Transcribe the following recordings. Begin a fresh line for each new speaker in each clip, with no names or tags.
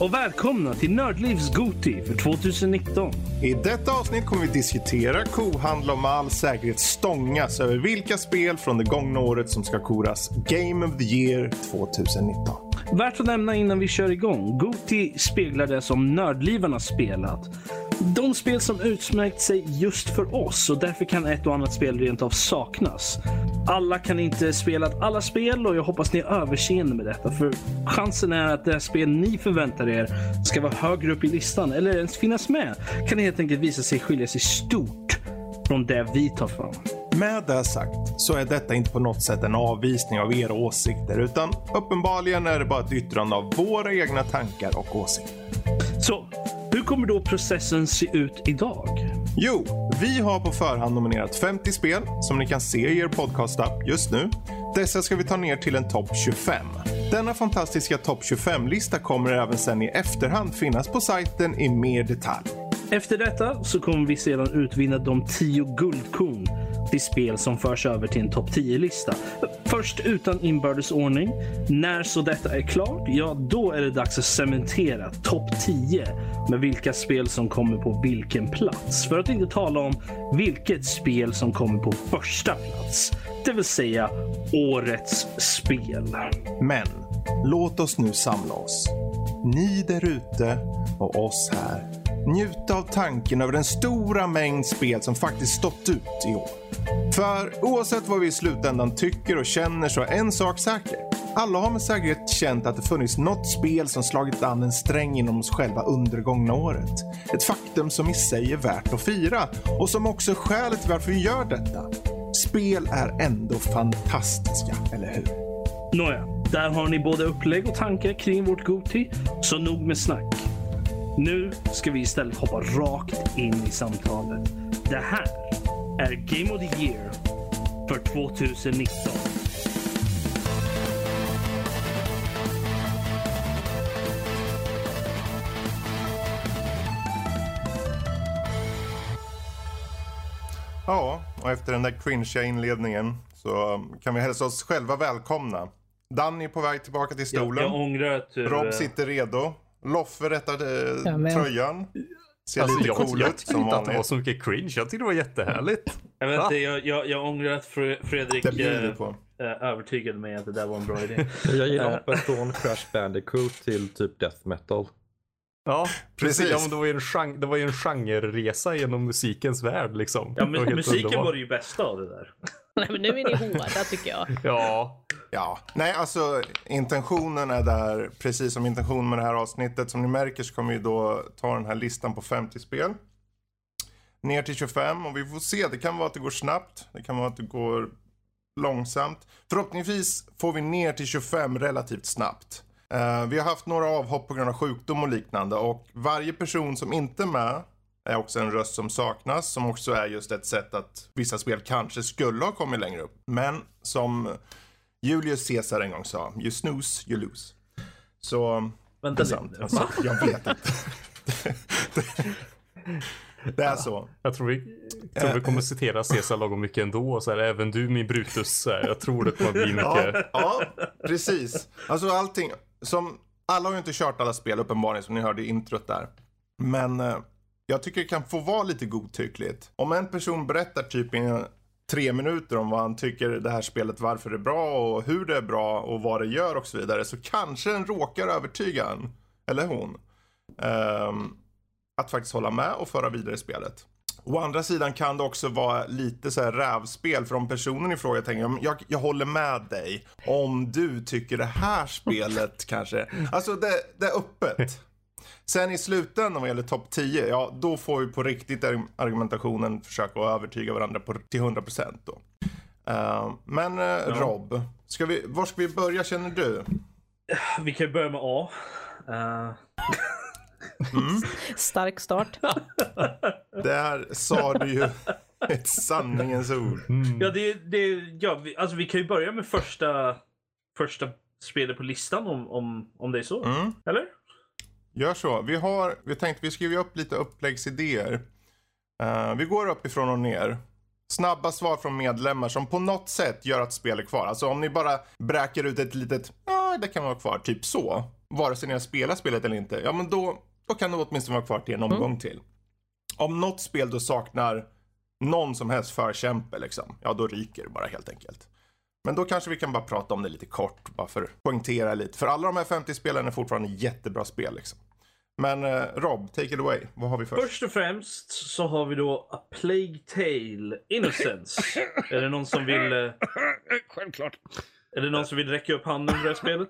och välkomna till Nördlivs Goti för 2019.
I detta avsnitt kommer vi diskutera kohandel och med all säkerhet stångas över vilka spel från det gångna året som ska koras Game of the Year 2019.
Värt att nämna innan vi kör igång. Goti speglar det som nördlivarna spelat. De spel som utmärkt sig just för oss och därför kan ett och annat spel rent av saknas. Alla kan inte spela alla spel och jag hoppas ni har överseende med detta för chansen är att det spel ni förväntar er ska vara högre upp i listan eller ens finnas med kan helt enkelt visa sig skilja sig stort från det vi tar fram.
Med det sagt så är detta inte på något sätt en avvisning av era åsikter utan uppenbarligen är det bara ett yttrande av våra egna tankar och åsikter.
Så hur kommer då processen se ut idag?
Jo, vi har på förhand nominerat 50 spel som ni kan se i er podcast-app just nu. Dessa ska vi ta ner till en topp 25. Denna fantastiska topp 25-lista kommer även sen i efterhand finnas på sajten i mer detalj.
Efter detta så kommer vi sedan utvinna de 10 guldkorn till spel som förs över till en topp 10-lista. Först utan inbördes ordning. När så detta är klart, ja då är det dags att cementera topp 10 med vilka spel som kommer på vilken plats. För att inte tala om vilket spel som kommer på första plats. Det vill säga årets spel.
Men låt oss nu samla oss. Ni där ute och oss här. Njuta av tanken över den stora mängd spel som faktiskt stått ut i år. För oavsett vad vi i slutändan tycker och känner så är en sak säker. Alla har med säkerhet känt att det funnits något spel som slagit an en sträng inom oss själva under det gångna året. Ett faktum som i sig är värt att fira och som också är skälet till varför vi gör detta. Spel är ändå fantastiska, eller hur?
Nåja, där har ni både upplägg och tankar kring vårt Goti. Så nog med snack. Nu ska vi istället hoppa rakt in i samtalet. Det här är Game of the Year för 2019.
Ja, och efter den där cringea inledningen så um, kan vi hälsa oss själva välkomna. Danny är på väg tillbaka till
Jag,
stolen.
jag ångrar att du... eh,
Rob sitter redo. Loffe rättar eh,
Ja, men-
tröjan. Ser
Alltså,
lite
jag,
cool
jag
ut
tyckte
som
inte att det var
vanligt.
så mycket cringe. Jag tyckte det var jättehärligt.
Jag, vet inte, jag, jag, jag ångrar att Fre- Fredrik
Det bjuder vi
eh,
på.
eh, övertygade mig att det där var en bra idé.
Jag gillar
Eh.
hoppet från Crash Bandicoot till typ death metal.
Ja,
Precis.
precis. Ja, men det, var ju en genre, det var ju en genreresa genom musikens värld liksom.
Ja,
Det var
men,
helt
musiken
underbart.
var det ju bästa av det där.
Nej, men nu är ni hårda tycker jag.
Ja,
Ja, nej alltså intentionen är där, precis som intentionen med det här avsnittet. Som ni märker så kommer vi då ta den här listan på 50 spel. Ner till 25 och vi får se. Det kan vara att det går snabbt. Det kan vara att det går långsamt. Förhoppningsvis får vi ner till 25 relativt snabbt. Eh, vi har haft några avhopp på grund av sjukdom och liknande och varje person som inte är med är också en röst som saknas som också är just ett sätt att vissa spel kanske skulle ha kommit längre upp. Men som Julius Caesar en gång sa, you snooze, you lose. Så det
Vänta
är
nu.
sant. Alltså, jag vet inte. det är så.
jag tror vi, jag tror vi
Eh.
kommer citera Caesar lagom mycket ändå. Och så här, även du min Brutus. Så här, jag tror det kommer bli mycket.
Ja, ja, precis. Alltså allting. Som, alla har ju inte kört alla spel uppenbarligen som ni hörde i introt där. Men eh, jag tycker det kan få vara lite godtyckligt. Om en person berättar typ i tre minuter om vad han tycker det här spelet, varför det är bra och hur det är bra och vad det gör och så vidare. Så kanske den råkar övertyga en, eller hon. ehm, att faktiskt hålla med och föra vidare spelet. Å andra sidan kan det också vara lite så här rävspel för om personen i fråga tänker "Ja, men jag, jag håller med dig om du tycker det här spelet kanske. Alltså det, det är öppet. Sen i slutändan vad gäller topp 10, ja då får vi på riktigt arg- argumentationen försöka att övertyga varandra på, till 100% då. Eh, men eh, Rob, ska vi, var ska vi börja känner du?
Vi kan ju börja med A. Eh,
Stark start.
Där sa du ju ett sanningens ord.
Ja, det, det, ja vi, alltså, vi kan ju börja med första, första spelet på listan om, om, om det är så.
Mm.
Eller?
Gör så. Vi har, vi tänkte vi skriver upp lite uppläggsidéer. Eh, vi går uppifrån och ner. Snabba svar från medlemmar som på något sätt gör att spel är kvar. Alltså om ni bara bräker ut ett litet, ja det kan vara kvar, typ så. vare sig när jag spelar spelet eller inte, ja men då, då kan det åtminstone vara kvar till en omgång till. Om något spel då saknar någon som helst förkämpe liksom, ja då ryker det bara helt enkelt. Men då kanske vi kan bara prata om det lite kort, bara för att poängtera lite. För alla de här 50 spelen är fortfarande jättebra spel liksom. Men eh, Rob, take it away. Vad har vi först?
Först och främst så har vi då A Plague Tale Innocence. är det någon som vill... eh,
Självklart.
Är det någon som vill räcka upp handen för det här spelet?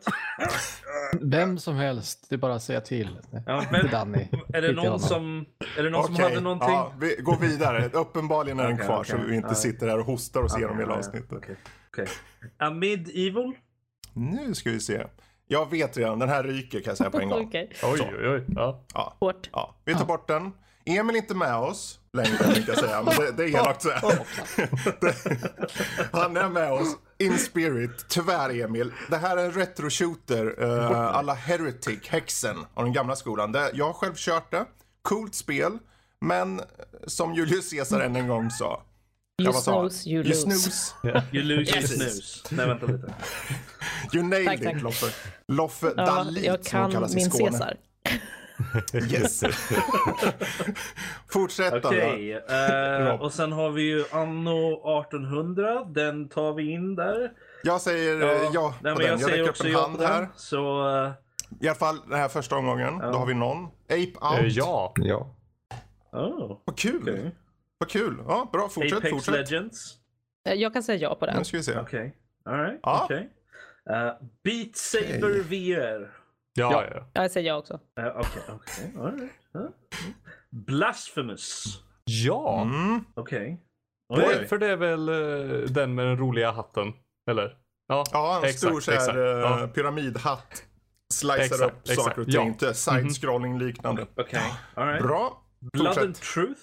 Vem som helst, det är bara att säga till.
Ja,
Inte
men,
Danny.
är det
Skit i honom.
någon som... Är det någon som
Okej,
hade någonting?
Ja, vi går vidare. Uppenbarligen är den
Okej,
kvar
okej.
så vi inte
Ja.
sitter här och hostar oss
Okej,
igenom hela
ja, ja.
avsnittet.
Okej. okej. A Medieval?
Nu ska vi se. Jag vet redan, den här ryker kan jag säga på en gång.
Okej.
Oj, oj, oj. Ja.
Hårt.
Ja, vi tar bort den. Emil är inte med oss längre tänkte jag säga, men det, det är elakt att säga. Det- Han är med oss in spirit, tyvärr Emil. Det här är en retro shooter, uh, alla Heretic, Hexen av den gamla skolan. Det, jag har själv kört det, coolt spel, men eh, som Julius Caesar än en gång sa.
You
Ja, vad sa han?
snooze, you
You
lose.
snooze.
You lose your
Precis.
snooze. Nej, vänta lite.
You nailed
Tack,
it,
tack.
Loffe. Loffe
Ja,
Dalit,
jag
som de
kan
kallas i
min
Skåne.
Caesar.
Yes. Fortsätt då, då.
Okej. eh, och sen har vi ju Anno 1800. Den tar vi in där.
Jag säger eh, ja
Nej,
på den.
men jag
Jag,
säger
räcker upp
också
en
ja på
hand här.
den. Så... eh,
I alla fall den här första omgången. Då har vi någon. Ape
Eh,
Out.
ja.
Ja.
oh.
Vad kul. Vad kul. Ja, bra. Fortsätt,
Apex
fortsätt.
Legends?
Eh, Jag kan säga ja på den.
Nu ska vi se.
Okej. Alright.
Ja.
Okej. Eh, Beat Saber VR.
Ja, ja.
Ja, Jag säger ja också.
Eh, Okej, okej. Alright. Ja. Blasphemous.
Ja.
Mm.
Okej. Oj,
Nej,
oj.
för det är väl eh, den med den roliga hatten? Eller? Ja,
Ja, en stor så här, eh,
Ja.
pyramidhatt. Slicer
Exakt,
upp
exakt.
saker och ting.
Ja. Mhm.
Inte side-scrolling liknande.
Okej. Alright.
Bra.
Blood and
Fortsätt.
Truth.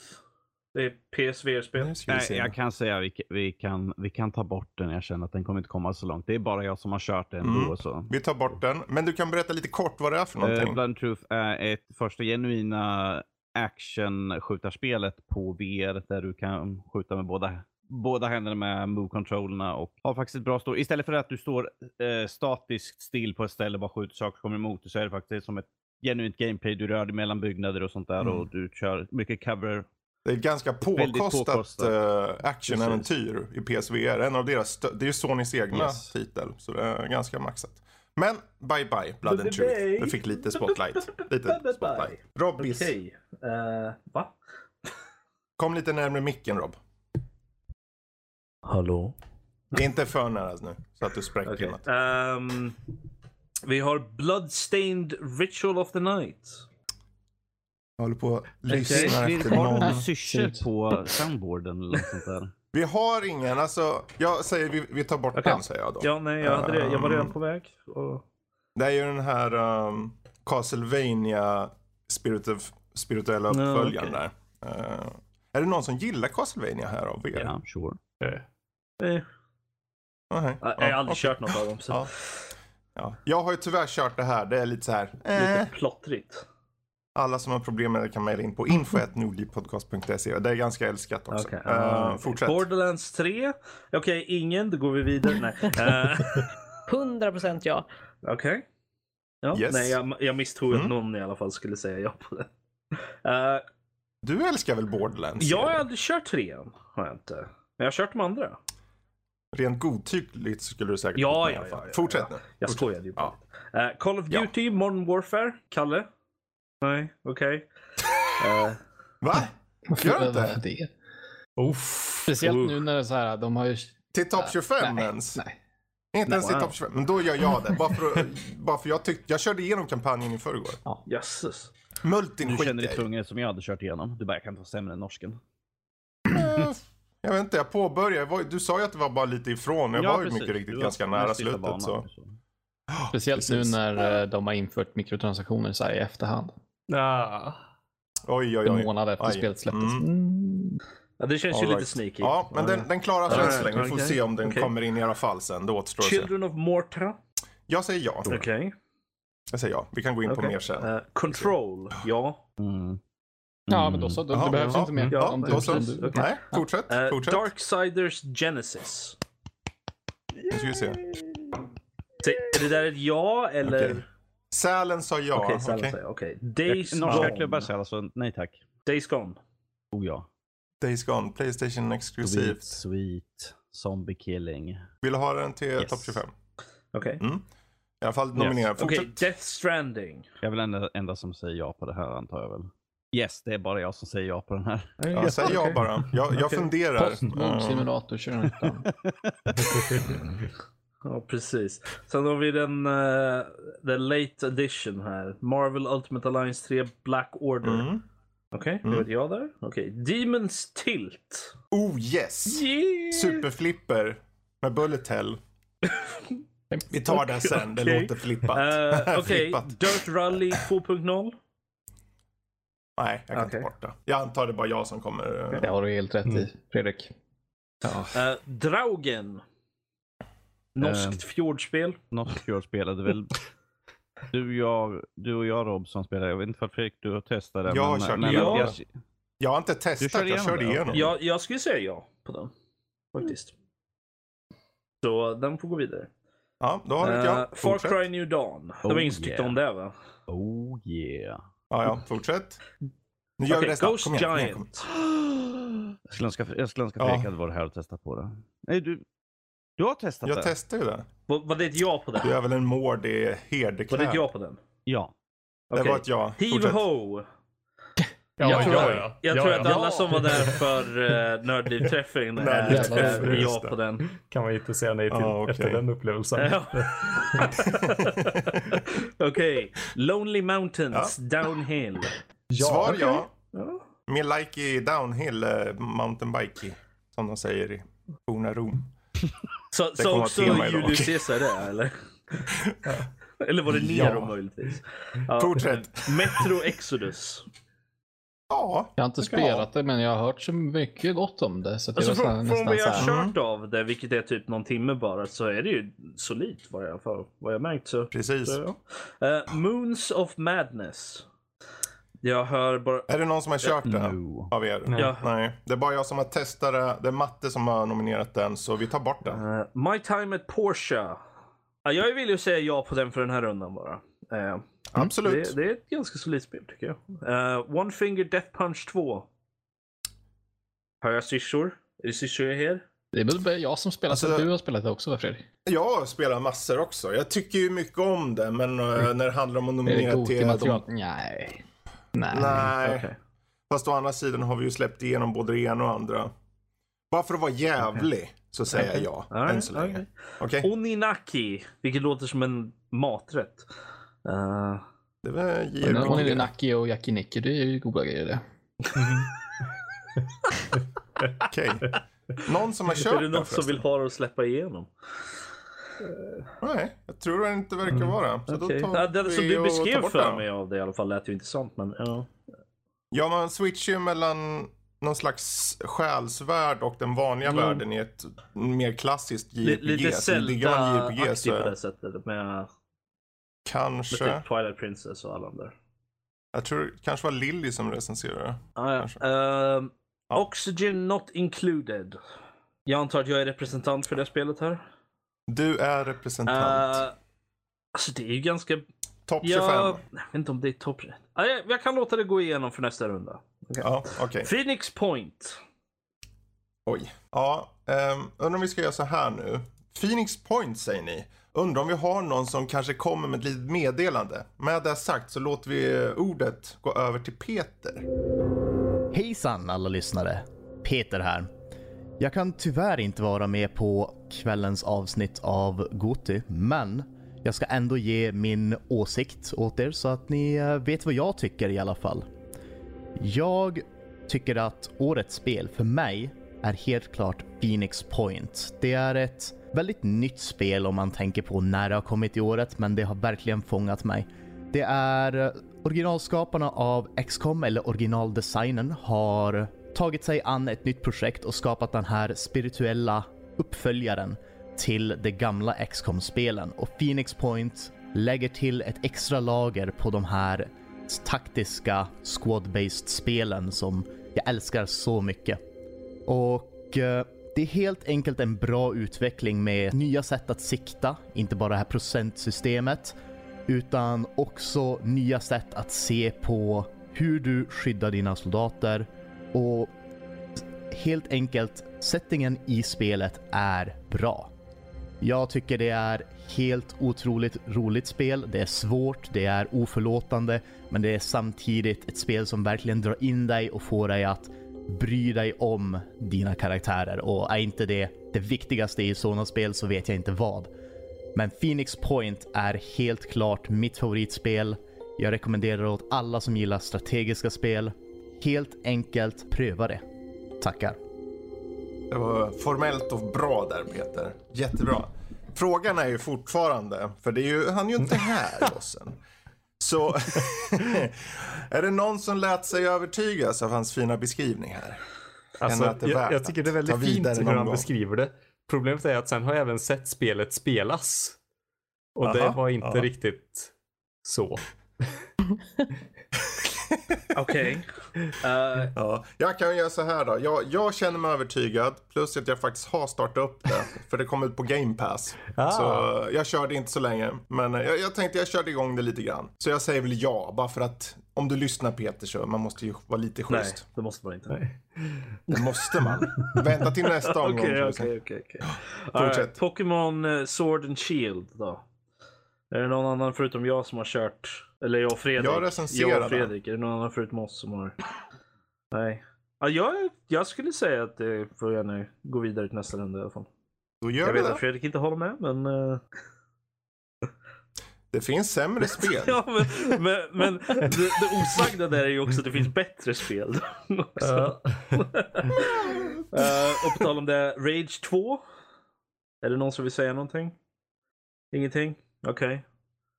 Det är PSVR-spel.
Nu ska vi
Nej,
se.
jag kan säga att vi, vi, kan, vi kan ta bort den. Jag känner att den kommer inte komma så långt. Det är bara jag som har kört den
Mm.
då. Så.
Vi tar bort den. Men du kan berätta lite kort vad det är för
Uh,
någonting.
Blood and Truth är ett första genuina action-skjutarspelet på VR där du kan skjuta med båda, båda händerna med move-controllerna och har faktiskt ett bra story. Istället för att du står eh, statiskt still på ett ställe och bara skjuter saker som kommer emot dig så är det faktiskt som ett genuint gameplay. Du rör dig mellan byggnader och sånt där
Mm.
och du kör mycket cover.
Det är ett ganska
Väldigt
påkostat
påkostat.
eh, actionäventyr i PSVR. En av deras stö- det är ju Sonys egna
Yes.
titel, så det är ganska maxat. Men bye bye, Blood and
Bye-bye.
Truth. Du fick lite spotlight. Lite
Bye-bye.
spotlight. Robbis,
Okej. Eh, va?
kom lite närmare micken Rob.
Hallå?
Det är inte för nära nu, så att du spräcker
Okej.
något.
Ehm, vi har Bloodstained Ritual of the Night.
Jag håller på att lyssna
Okej.
efter
Har du
någon.
några syrsor på soundboarden eller något sånt där?
Vi har ingen, alltså. Jag säger vi, vi tar bort den säger jag då.
Ja, nej, jag, hade det. jag var redan
Ehm,
på väg. Och...
Det är ju den här um, Castlevania spirit of, spirituella
Ja,
uppföljaren
okej.
där. Eh, är det någon som gillar Castlevania här av er?
Ja, sure.
Eh,
Nej.
jag har aldrig
okej.
kört något av dem. Så
Ja. Ja. Jag har ju tyvärr kört det här. Det är lite så här. eh,
Lite plottrigt.
Alla som har problem med det kan mejla in på info.nordlivpodcast.se. Det är ganska älskat också.
Okej,
Eh,
ja.
fortsätt.
Ehm, Borderlands 3. Okej, ingen. Då går vi vidare. Nej. Eh,
100% ja.
Okej. Ja,
Yes.
nej, jag, jag misstog att
Mm.
någon i alla fall skulle säga ja på det. Eh,
Du älskar väl Borderlands?
jag har
Erik?
aldrig kört trean. Har jag inte. Men jag har kört de andra.
Rent godtyckligt skulle du säkert
Ja,
kunna i
ja,
alla fall.
ja, ja,
Fortsätt nu.
Jag
Fortsätt.
skojade ju bara
Ja.
lite. Eh, Call of
Ja.
Duty, Modern Warfare. Kalle? Nej, okej. Eh,
Va? Gör du
Varför
inte?
det?
Uff.
Speciellt
Uff.
nu när det är så här, de har ju...
Till topp 25
nej,
ens?
nej.
Inte ens i
Wow.
topp 25. Men då gör jag det. Bara för, att- bara för jag tyckte, jag körde igenom kampanjen i förrgår.
Jösses.
Multin
Du
skiter
känner dig
jag i.
tvungen som jag hade kört igenom. Du bara, jag kan inte vara sämre än norsken.
Eh, Jag vet inte, jag påbörjade. Jag var, du sa ju att det var bara lite ifrån. Jag var ju mycket riktigt ganska nära slutet. Så.
Speciellt
Precis.
nu när eh, de har infört mikrotransaktioner så här i efterhand.
Ah.
Oj, oj,
En
oj.
månad efter
Aj.
spelet släpptes.
Mm.
Ja, det känns ju
All
lite
right.
sneaky.
Ja, men den, den klarar sig än så länge. Vi får
Okej.
se om den
Okej.
kommer in i alla fall sen. Det återstår att se.
Children of Morta.
Jag säger ja.
Okej.
Jag säger ja. Vi kan gå in på
okej.
mer sen.
Eh, Control. Ja.
Mm.
Ja, men då så. Då,
Jaha,
det behövs
ja,
inte mer.
Ja,
om du,
då så.
om du,
Nej, fortsätt.
Eh,
fortsätt.
Darksiders Genesis.
Nu ska vi se.
Se, Är det där ett ja eller?
Okej. Sälen sa ja.
Okej, Sally
okej.
säger okej. Days
Norska klubbar
gone.
säger alltså nej tack.
Days gone.
Oh ja.
Days Gone, Playstation
Sweet,
exklusivt.
sweet. Zombie killing.
Vill du ha den till
Yes.
topp 25?
Okej.
Mm. I alla fall nominerad.
Okej,
Fortsätt.
Death Stranding.
Jag är väl enda, enda som säger ja på det här antar jag väl. Yes, det är bara jag som säger ja på den här.
Ja, säg ja bara. Jag, jag
Okej.
funderar.
Postmord simulator 2019.
Ja, precis. Sen har vi den, eh, den late edition här. Marvel Ultimate Alliance 3 Black Order.
Mm. Mm.
Okej, det var jag där. Okej, Demons Tilt.
Oh yes!
Yeah!
Superflipper med Bullet Hell. Vi tar den sen. Det
Okej.
låter flippat.
Eh, Okej,
flippat.
Dirt Rally 2.0.
Nej, jag kan
Okej.
ta bort det. Jag antar det är bara jag som kommer. eh,
Det har du helt rätt
Mm.
i, Fredrik.
Eh, Draugen.
Eh.
Norskt fjordspel.
Norsk Fjord spelade väl du, jag, du och jag Rob som spelade. Jag vet inte om Fredrik du testade.
Jag körde
igenom
jag,
Jag har inte testat.
körde
jag
igenom
körde
det,
igenom.
Jag, jag skulle säga ja på den. Faktiskt. Så den får gå vidare.
Ja, då har du ett
Eh,
ja.
Far
Fortsätt.
Cry New Dawn. Det var
Oh,
ingen som tyckte
yeah.
om det va?
Oh yeah.
Ja, ja, fortsätt. Nu gör vi
Okej,
det snabbt.
Ghost
Kom igen, kom igen. kom igen.
Giant.
Jag skulle önska, jag skulle önska
Ja.
Fredrik hade varit här och testat på det. Nej, du, du har testat
Jag
det?
testade ju det.
Var, var det ett ja på den?
Du är väl en mård i
Var det ett
herdekläder?
ja på den?
ja.
Det
Okej.
var ett ja.
Heave
Fortsätt.
ho!
Ja,
tror-
ja, ja.
Jag
ja,
tror
ja.
att alla som var där för uh, Nördliv-träffen är
Nördliv-träffen,
är ja
just det.
på den.
Kan man inte säga nej till
Ja, okej.
efter den upplevelsen.
Ja. Okej. Lonely Mountains, Downhill.
Svar ja.
Ja.
Mer like i downhill, eh, mountainbike som de säger i forna Rom.
Så,
kommer
så
vara
också
tema idag.
Julius Caesar det eller? Eller var det Nero
Ja.
möjligtvis? Ja.
Fortsätt.
Metro Exodus.
Ja,
Jag har inte spelat det, men jag har hört så mycket gott om det. Så att
Alltså
jag var
från,
nästan,
från vad
nästan
jag
så
har
Mm.
här.
kört av det, vilket är typ någon timme bara, så är det ju solidt vad jag, för, vad jag märkt. Så,
precis.
så ja. Eh, Moons of Madness. Jag hör bara...
Är det någon som har kört den
No.
av er?
Ja.
Nej, det är bara jag som har testat det. Det är Matte som har nominerat den, så vi tar bort den.
eh, My Time at Porsche. Ja, jag vill ju säga ja på den för den här rundan bara. Eh,
Mm. Absolut.
det, det är ett ganska solidt spel tycker jag. Eh, One Finger Death Punch 2. Hör jag syrsor? Är det syrsor jag hör?
Det är väl bara jag som spelat
Alltså,
det.
det-
Du har spelat det också, va, Fredrik?
Jag spelar massor också. Jag tycker ju mycket om det, men eh, när det handlar om att
Är Mm. det
nominera
gott
till...
i
De...
material? Nej. Nej.
Nej.
Okej.
Fast å andra sidan har vi ju släppt igenom både det ena och andra. Bara för att vara jävlig så säger
Mm.
jag ja,
Alright,
än så länge.
okej.
Okej?
Oninaki, vilket låter som en maträtt. Eh,
Det var
Men Hon är ju
JRPG.
Naki och Yakiniki. Det är ju goda grejer det.
Okej. Någon som har kört
är det någon som
förresten?
vill ha det att släppa igenom?
Eh, Nej, jag tror det inte verkar vara. Så
Mm. Okej.
då tar
Ja, det som
vi
du
och tar
beskrev
bort
för
den.
mig av det i alla fall lät ju intressant. Men, ja.
Ja, man switchar ju mellan någon slags själsvärld och den vanliga världen i ett mer klassiskt
Mm. Li-
JRPG.
Lite
Så diggar man JRPG
Zelda-aktig på
så
det sättet. Med, med
kanske.
typ Twilight Princess och alla de där.
Jag tror det kanske var Lilly som recenserade det.
Ah, ja.
Kanske.
Ehm,
Ja.
Oxygen not included. Jag antar att jag är representant för det spelet här.
Du är representant.
Eh, alltså det är ju ganska...
Topp 25.
Jag,
Ja,
jag vet inte om det är topp... Ah, jag, jag kan låta det gå igenom för nästa runda.
okej.
Phoenix Point.
Oj. Ja, um, undrar om vi ska göra så här nu. Phoenix Point säger ni. Undrar om vi har någon som kanske kommer med ett litet meddelande. Med det sagt så låter vi eh, ordet gå över till Peter.
Hejsan alla lyssnare! Peter här. Jag kan tyvärr inte vara med på kvällens avsnitt av Goti, men jag ska ändå ge min åsikt åt er så att ni eh, vet vad jag tycker i alla fall. Jag tycker att årets spel för mig är helt klart Phoenix Point. Det är ett väldigt nytt spel om man tänker på när det har kommit i året, men det har verkligen fångat mig. Det är eh, originalskaparna av XCOM eller originaldesignen har tagit sig an ett nytt projekt och skapat den här spirituella uppföljaren till de gamla XCOM-spelen och Phoenix Point lägger till ett extra lager på de här taktiska squad-based spelen som jag älskar så mycket. Och eh, det är helt enkelt en bra utveckling med nya sätt att sikta, inte bara det här procentsystemet, utan också nya sätt att se på hur du skyddar dina soldater och helt enkelt settingen i spelet är bra. Jag tycker det är helt otroligt roligt spel. Det är svårt, det är oförlåtande, men det är samtidigt ett spel som verkligen drar in dig och får dig att bry dig om dina karaktärer och är inte det det viktigaste i sådana spel så vet jag inte vad. Men Phoenix Point är helt klart mitt favoritspel. Jag rekommenderar åt alla som gillar strategiska spel. Helt enkelt pröva det. Tackar.
Det var formellt och bra där Peter. Jättebra. Frågan är ju fortfarande, för det är ju, han är ju inte här bossen. Så är det någon som lät sig övertygas av hans fina beskrivning här?
Alltså,
Känner att det är värt
jag, jag tycker det är
att ta
väldigt fint
vidare
hur
någon
han
gång.
beskriver det. Problemet är att sen har jag även sett spelet spelas. Och det
Aha,
var inte
aha.
riktigt så.
Okej. Eh,
Ja, jag kan göra så här då. Jag, jag känner mig övertygad, plus att jag faktiskt har startat upp det. För det kom ut på Game Pass.
Ah.
Så eh, jag körde inte så länge. Men eh, jag, jag tänkte jag körde igång det lite grann. Så jag säger väl ja, bara för att om du lyssnar Peter så man måste ju vara lite
nej,
schysst.
det måste man inte.
Det måste man. Vänta till nästa omgång.
Okej,
får vi se.
okej, okej. okej.
Fortsätt.
Alright, Pokémon eh, Sword and Shield då? Är det någon annan förutom jag som har kört? Eller jag och Fredrik?
Jag recenserar
Jag
den.
och Fredrik. Är det någon annan förutom oss som har? Nej. Ja, jag, jag skulle säga att det får jag nu gå vidare till nästa runda i alla fall.
Då gör
Jag
vi
vet
det.
att Fredrik inte håller med, men... eh,
Det finns sämre spel.
ja, men, men, men det, det osagda där är ju också att det finns bättre spel. också.
Ja.
Eh, och på tal om det, Rage 2. Är det någon som vill säga någonting? Ingenting? Okej.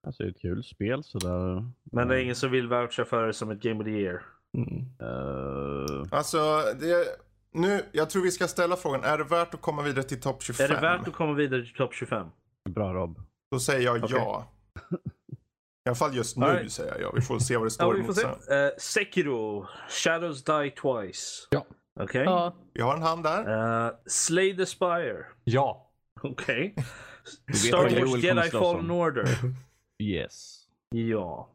Alltså det är ett kul spel sådär.
Men
Mm.
det är ingen som vill voucha för det som ett Game of the Year.
Mm. Eh,
Alltså, det, nu, jag tror vi ska ställa frågan. Är det värt att komma vidare till topp 25?
Är det värt att komma vidare till topp 25?
bra Rob.
Då säger jag
Okej.
ja. I alla fall just nu
All right.
säger jag ja. Vi får se vad det
Ja,
står
vi får
emot
se.
sen.
Eh, Sekiro, Shadows Die Twice.
Ja.
Okej.
Ja.
Vi har en hand där.
Eh, Slay the Spire.
ja.
Okej.
vet
Star
vad Joel
Wars
kommer
Jedi
slåss
Fallen
om.
Order.
Yes.
Ja.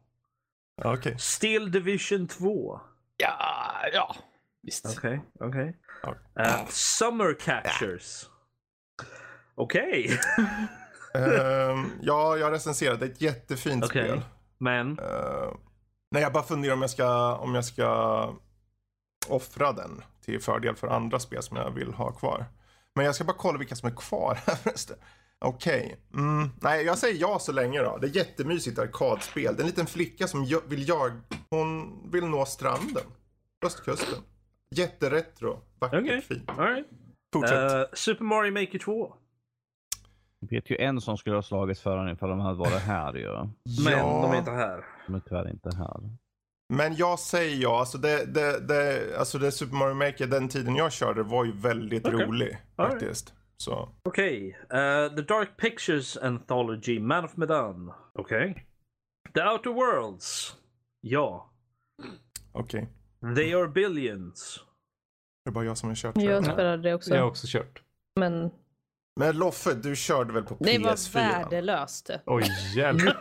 Okej.
Steel Division 2.
Ja, ja. Visst.
Okej, okej.
Ja.
Eh, Summer Catchers. Okej.
Ehm, ja, jag recenserade ett jättefint
Okej.
spel.
Men.
Ehm, nej, jag bara funderar om jag ska, om jag ska offra den till fördel för andra spel som jag vill ha kvar. Men jag ska bara kolla vilka som är kvar här förresten. Okej. Mm, nej, jag säger ja så länge då. Det är jättemysigt arkadspel. Det är en liten flicka som gö- vill jag... Hon vill nå stranden. Östkusten. Jätteretro. Vackert,
Okej.
fint.
All right.
Fortsätt.
Eh, Super Mario Maker 2.
Jag vet ju en som skulle ha slagits för honom ifall de hade varit här ju.
Men
Ja.
de är inte här.
De är tyvärr inte här.
Men jag säger ja, alltså det, det, det, alltså det Super Mario Maker, den tiden jag körde var ju väldigt
Okej.
rolig
All
faktiskt. Så
Okej. eh, The Dark Pictures Anthology, Man of Medan. Okej. The Outer Worlds. Ja.
okej.
They are billions.
Det är bara jag som har kört
Jag
det.
spelade det också.
Jag har också kört.
Men
Men Loffe, du körde väl på
det
PS4?
var värdelöst.
Oj, hjälp.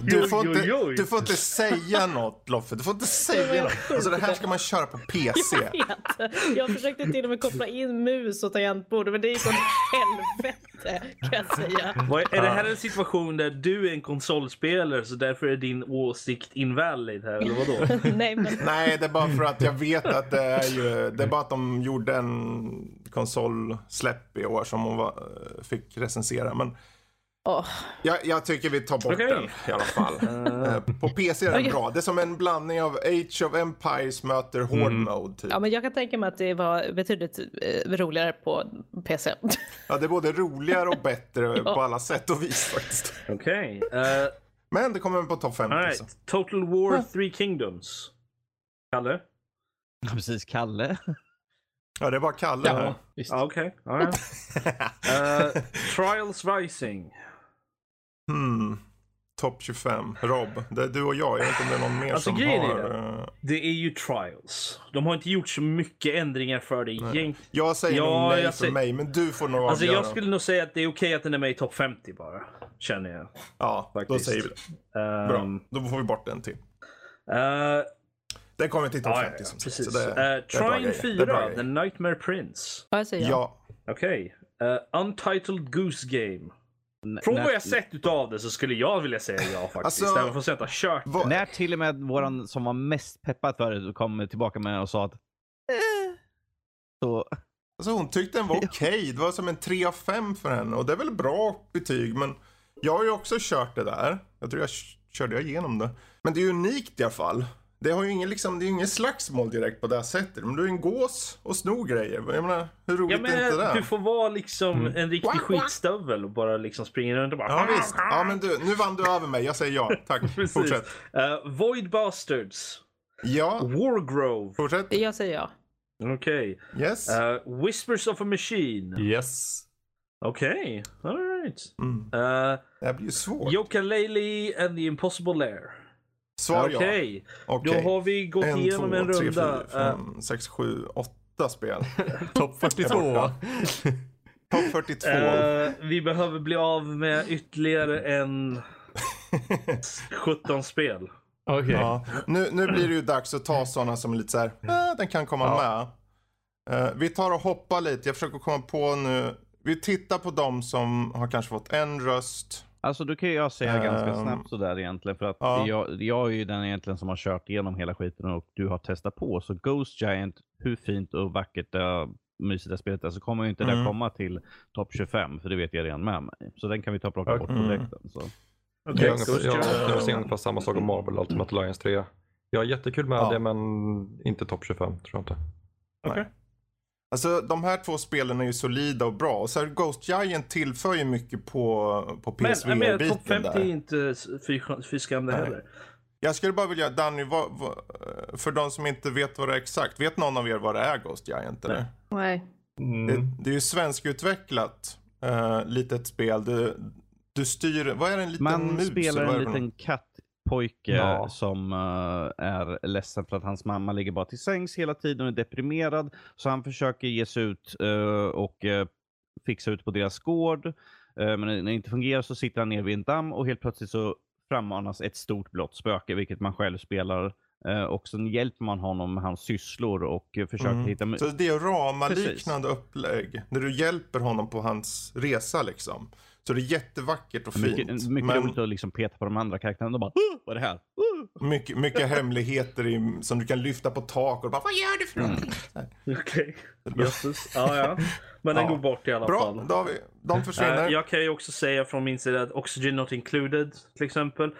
Du får, inte, du får inte säga något Loffe, du får inte säga något. Alltså det här ska man köra på PC.
vet. Jag försökte till och med koppla in mus och tangentbord men det gick åt helvete kan jag säga.
Vad är, är det här en situation där du är en konsolspelare så därför är din åsikt invalid här eller vadå?
Nej men
Nej, det är bara för att jag vet att det är ju, det är bara att de gjorde en konsolsläpp i år som hon var, fick recensera. Men
åh,
Jag, jag tycker vi tar bort
Okej.
den i alla fall. Eh, på PC är den bra. Det är som en blandning av Age of Empires möter Horde
Mm.
Mode. Typ.
ja, men jag kan tänka mig att det var betydligt eh, roligare på PC.
Ja, det är både roligare och bättre på alla sätt och vis faktiskt.
Okej. eh,
Men det kommer på topp 50.
all
så.
right. Total War Three Kingdoms. Kalle?
Ja, precis. Kalle.
Ja, det är bara Kalle här.
Ja, visst.
Ja, Ah, Okej. all right. Eh, Trials Rising.
Hmm. Topp 25. Rob, det är du och jag. Jag vet inte om det är någon mer
Alltså,
som
grejen är
har...
det.
eh,
Det är ju Trials. De har inte gjort så mycket ändringar för det egentligen.
Jag säger
Ja,
nog nej
jag
för
säger-
mig, men du får nog
Alltså
avgöra.
jag skulle nog säga att det är okej att den är med i topp 50 bara. känner jag.
Ja, då
Faktiskt.
säger vi det. Bra,
Ehm,
då får vi bort den till.
eh,
Den kommer till topp
ja,
50
ja,
som sagt.
precis.
så det- det är
Eh,
bra
Trine
grejer. Det är bra
4,
grejer.
The Nightmare Prince.
Ja, jag säger ja.
Ja,
Okej. Eh, Untitled Goose Game. Från vad jag sett utav det så skulle jag vilja säga ja faktiskt.
Alltså-
Även fast jag inte har kört.
vad-
När till och med våran som var mest peppad för det kom tillbaka med och sa att... Eh. Så,
Alltså hon tyckte den var okej. Det var som en 3 av 5 för henne och det är väl bra betyg men jag har ju också kört det där. Jag tror jag k- körde jag igenom det. Men det är ju unikt i alla fall. Det har ju ingen liksom, det är ju ingen slagsmål direkt på det här sättet. Men du är en gås och snor grejer. Jag menar, hur roligt
Ja,
är inte det? Mm.
men, du får vara liksom en riktig skitstövel och bara liksom springa runt och bara...
Ja visst. Ja men du, nu vann du över mig. Jag säger ja. Tack.
Precis.
Fortsätt.
Eh, Void Bastards.
Ja,
Wargrove.
fortsätt.
Jag säger ja.
Okej.
Yes.
Eh, Whispers of a Machine.
Yes.
Okej. Alright.
Mm.
Uh,
Det här blir ju svårt.
Yooka-Laylee and the Impossible Lair.
Svar ja. Okej.
Okej. Då har vi gått
en,
igenom
två,
en
tre,
runda. Eh,
fyra, fem, sex, sju, åtta spel.
Topp 42.
Topp 42.
Eh, vi behöver bli av med ytterligare en 17 spel.
Okej.
Ja. Nu, nu blir det ju dags att ta sådana som är lite så här, "Ah, den kan komma med. Eh, vi tar och hoppar lite. Jag försöker komma på nu. Vi tittar på de som har kanske fått en röst.
alltså då kan jag säga ganska
Ehm.
snabbt sådär egentligen. För att
Ja.
jag, jag är ju den egentligen som har kört igenom hela skiten och du har testat på. Så Ghost Giant, hur fint och vackert det mysigt det spelet är, så kommer ju inte
Mm.
det komma till topp 25. För det vet jag redan med mig. Så den kan vi ta och plocka bort
Mm.
direkt. Så.
Jag har ungefär- jag har jag ser ungefär samma sak om Marvel Ultimate Alliance 3. Jag har jättekul med
Ja.
det men inte topp 25 tror jag inte.
Alltså de här två spelen är ju solida och bra. Och så här, Ghost Giant tillför ju mycket på, på
Men, jag menar,
PSVR-biten
topp 50 är
där.
inte s- fy- fy skam det
Nej.
heller.
Jag skulle bara vilja, Danny, vad, vad, för de som inte vet vad det är exakt. Vet någon av er vad det är Ghost Giant eller?
Nej.
Mm.
Det, det är ju svenskutvecklat uh, litet spel. Du, du styr, vad är det, en liten
Man
mus? eller
spelar
vad är det
en
för något?
liten kattpojke
Ja.
som eh, är ledsen för att hans mamma ligger bara till sängs hela tiden och är deprimerad. Så han försöker ge sig ut eh, och eh, fixa ut på deras gård. Eh, men när det inte fungerar så sitter han ner vid en damm och helt plötsligt så frammanas ett stort blått spöke, vilket man själv spelar. Eh, och sen hjälper man honom med hans sysslor och eh, försöker
Mm.
hitta...
Så det är Rama-liknande upplägg. När du hjälper honom på hans resa liksom. Så det är jättevackert och fint.
Mycket, mycket roligt att liksom peta på de andra karaktärerna och bara "Åh, Vad är det här? Åh!"
mycket, mycket hemligheter i, som du kan lyfta på tak och bara Vad gör du
Mm.
för någonting?
Okej. Jösses. Ja, ja. Men den
Ja.
går bort i alla fall.
Bra, då har vi. De försvinner.
Eh, jag kan ju också säga från min sida att Oxygen Not Included till exempel.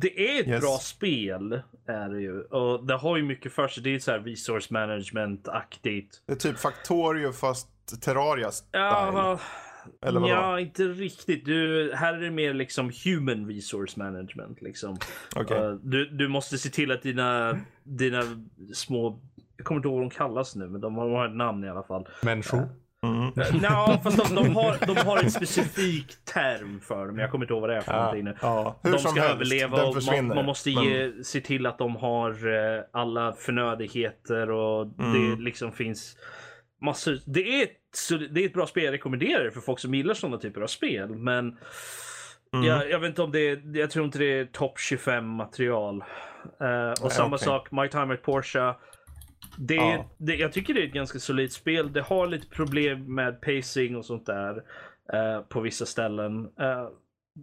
Det är ett
Yes.
bra spel. Är det, ju. Och det har ju mycket för sig. Det är så här resource management-aktigt.
Det är typ Factorio fast Terraria style.
Ja,
Eller vadå?
ja inte riktigt. Du, här är det mer liksom human resource management. Liksom.
Okej.
Eh, Du, du måste se till att dina, dina små... Jag kommer inte ihåg vad de kallas nu, men de har, de har ett namn i alla fall. Eh,
Människor.
Mm.
Nja, fast de, de, har, de har en specifik term för det, men jag kommer inte ihåg vad det är för
Ja.
någonting nu.
Ja, Mm. hur
De
som
ska
helst,
överleva
den
och man,
försvinner.
man måste ge, se till att de har eh, alla förnödenheter och
Mm.
det liksom finns massor. Det är, ett, så det är ett bra spel, jag rekommenderar det för folk som gillar sådana typer av spel. Men
Mm.
jag, jag vet inte om det är, jag tror inte det är topp 25 material. Eh,
Nej,
och samma
okej.
sak, My Time at Porsche. Det, är-
Ja.
det, jag tycker det är ett ganska solidt spel. Det har lite problem med pacing och sånt där eh, på vissa ställen. Eh,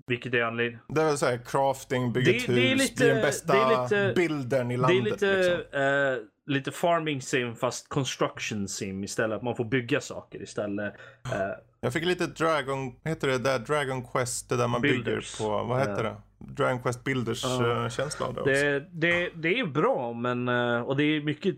vilket är anledningen.
Det är väl såhär crafting, bygga
Det-
ett
det är
hus,
lite-
bli den bästa
det är lite-
bilden i
Det är
landet.
lite,
liksom.
eh, lite farming sim fast construction sim istället. Man får bygga saker istället. Eh,
Jag fick lite Dragon, vad heter det där Dragon Quest, det där man
Builders.
bygger på, vad heter det? Dragon Quest Builders
Ja.
eh, känsla av det, också.
det, det, det är bra men, eh, och det är mycket,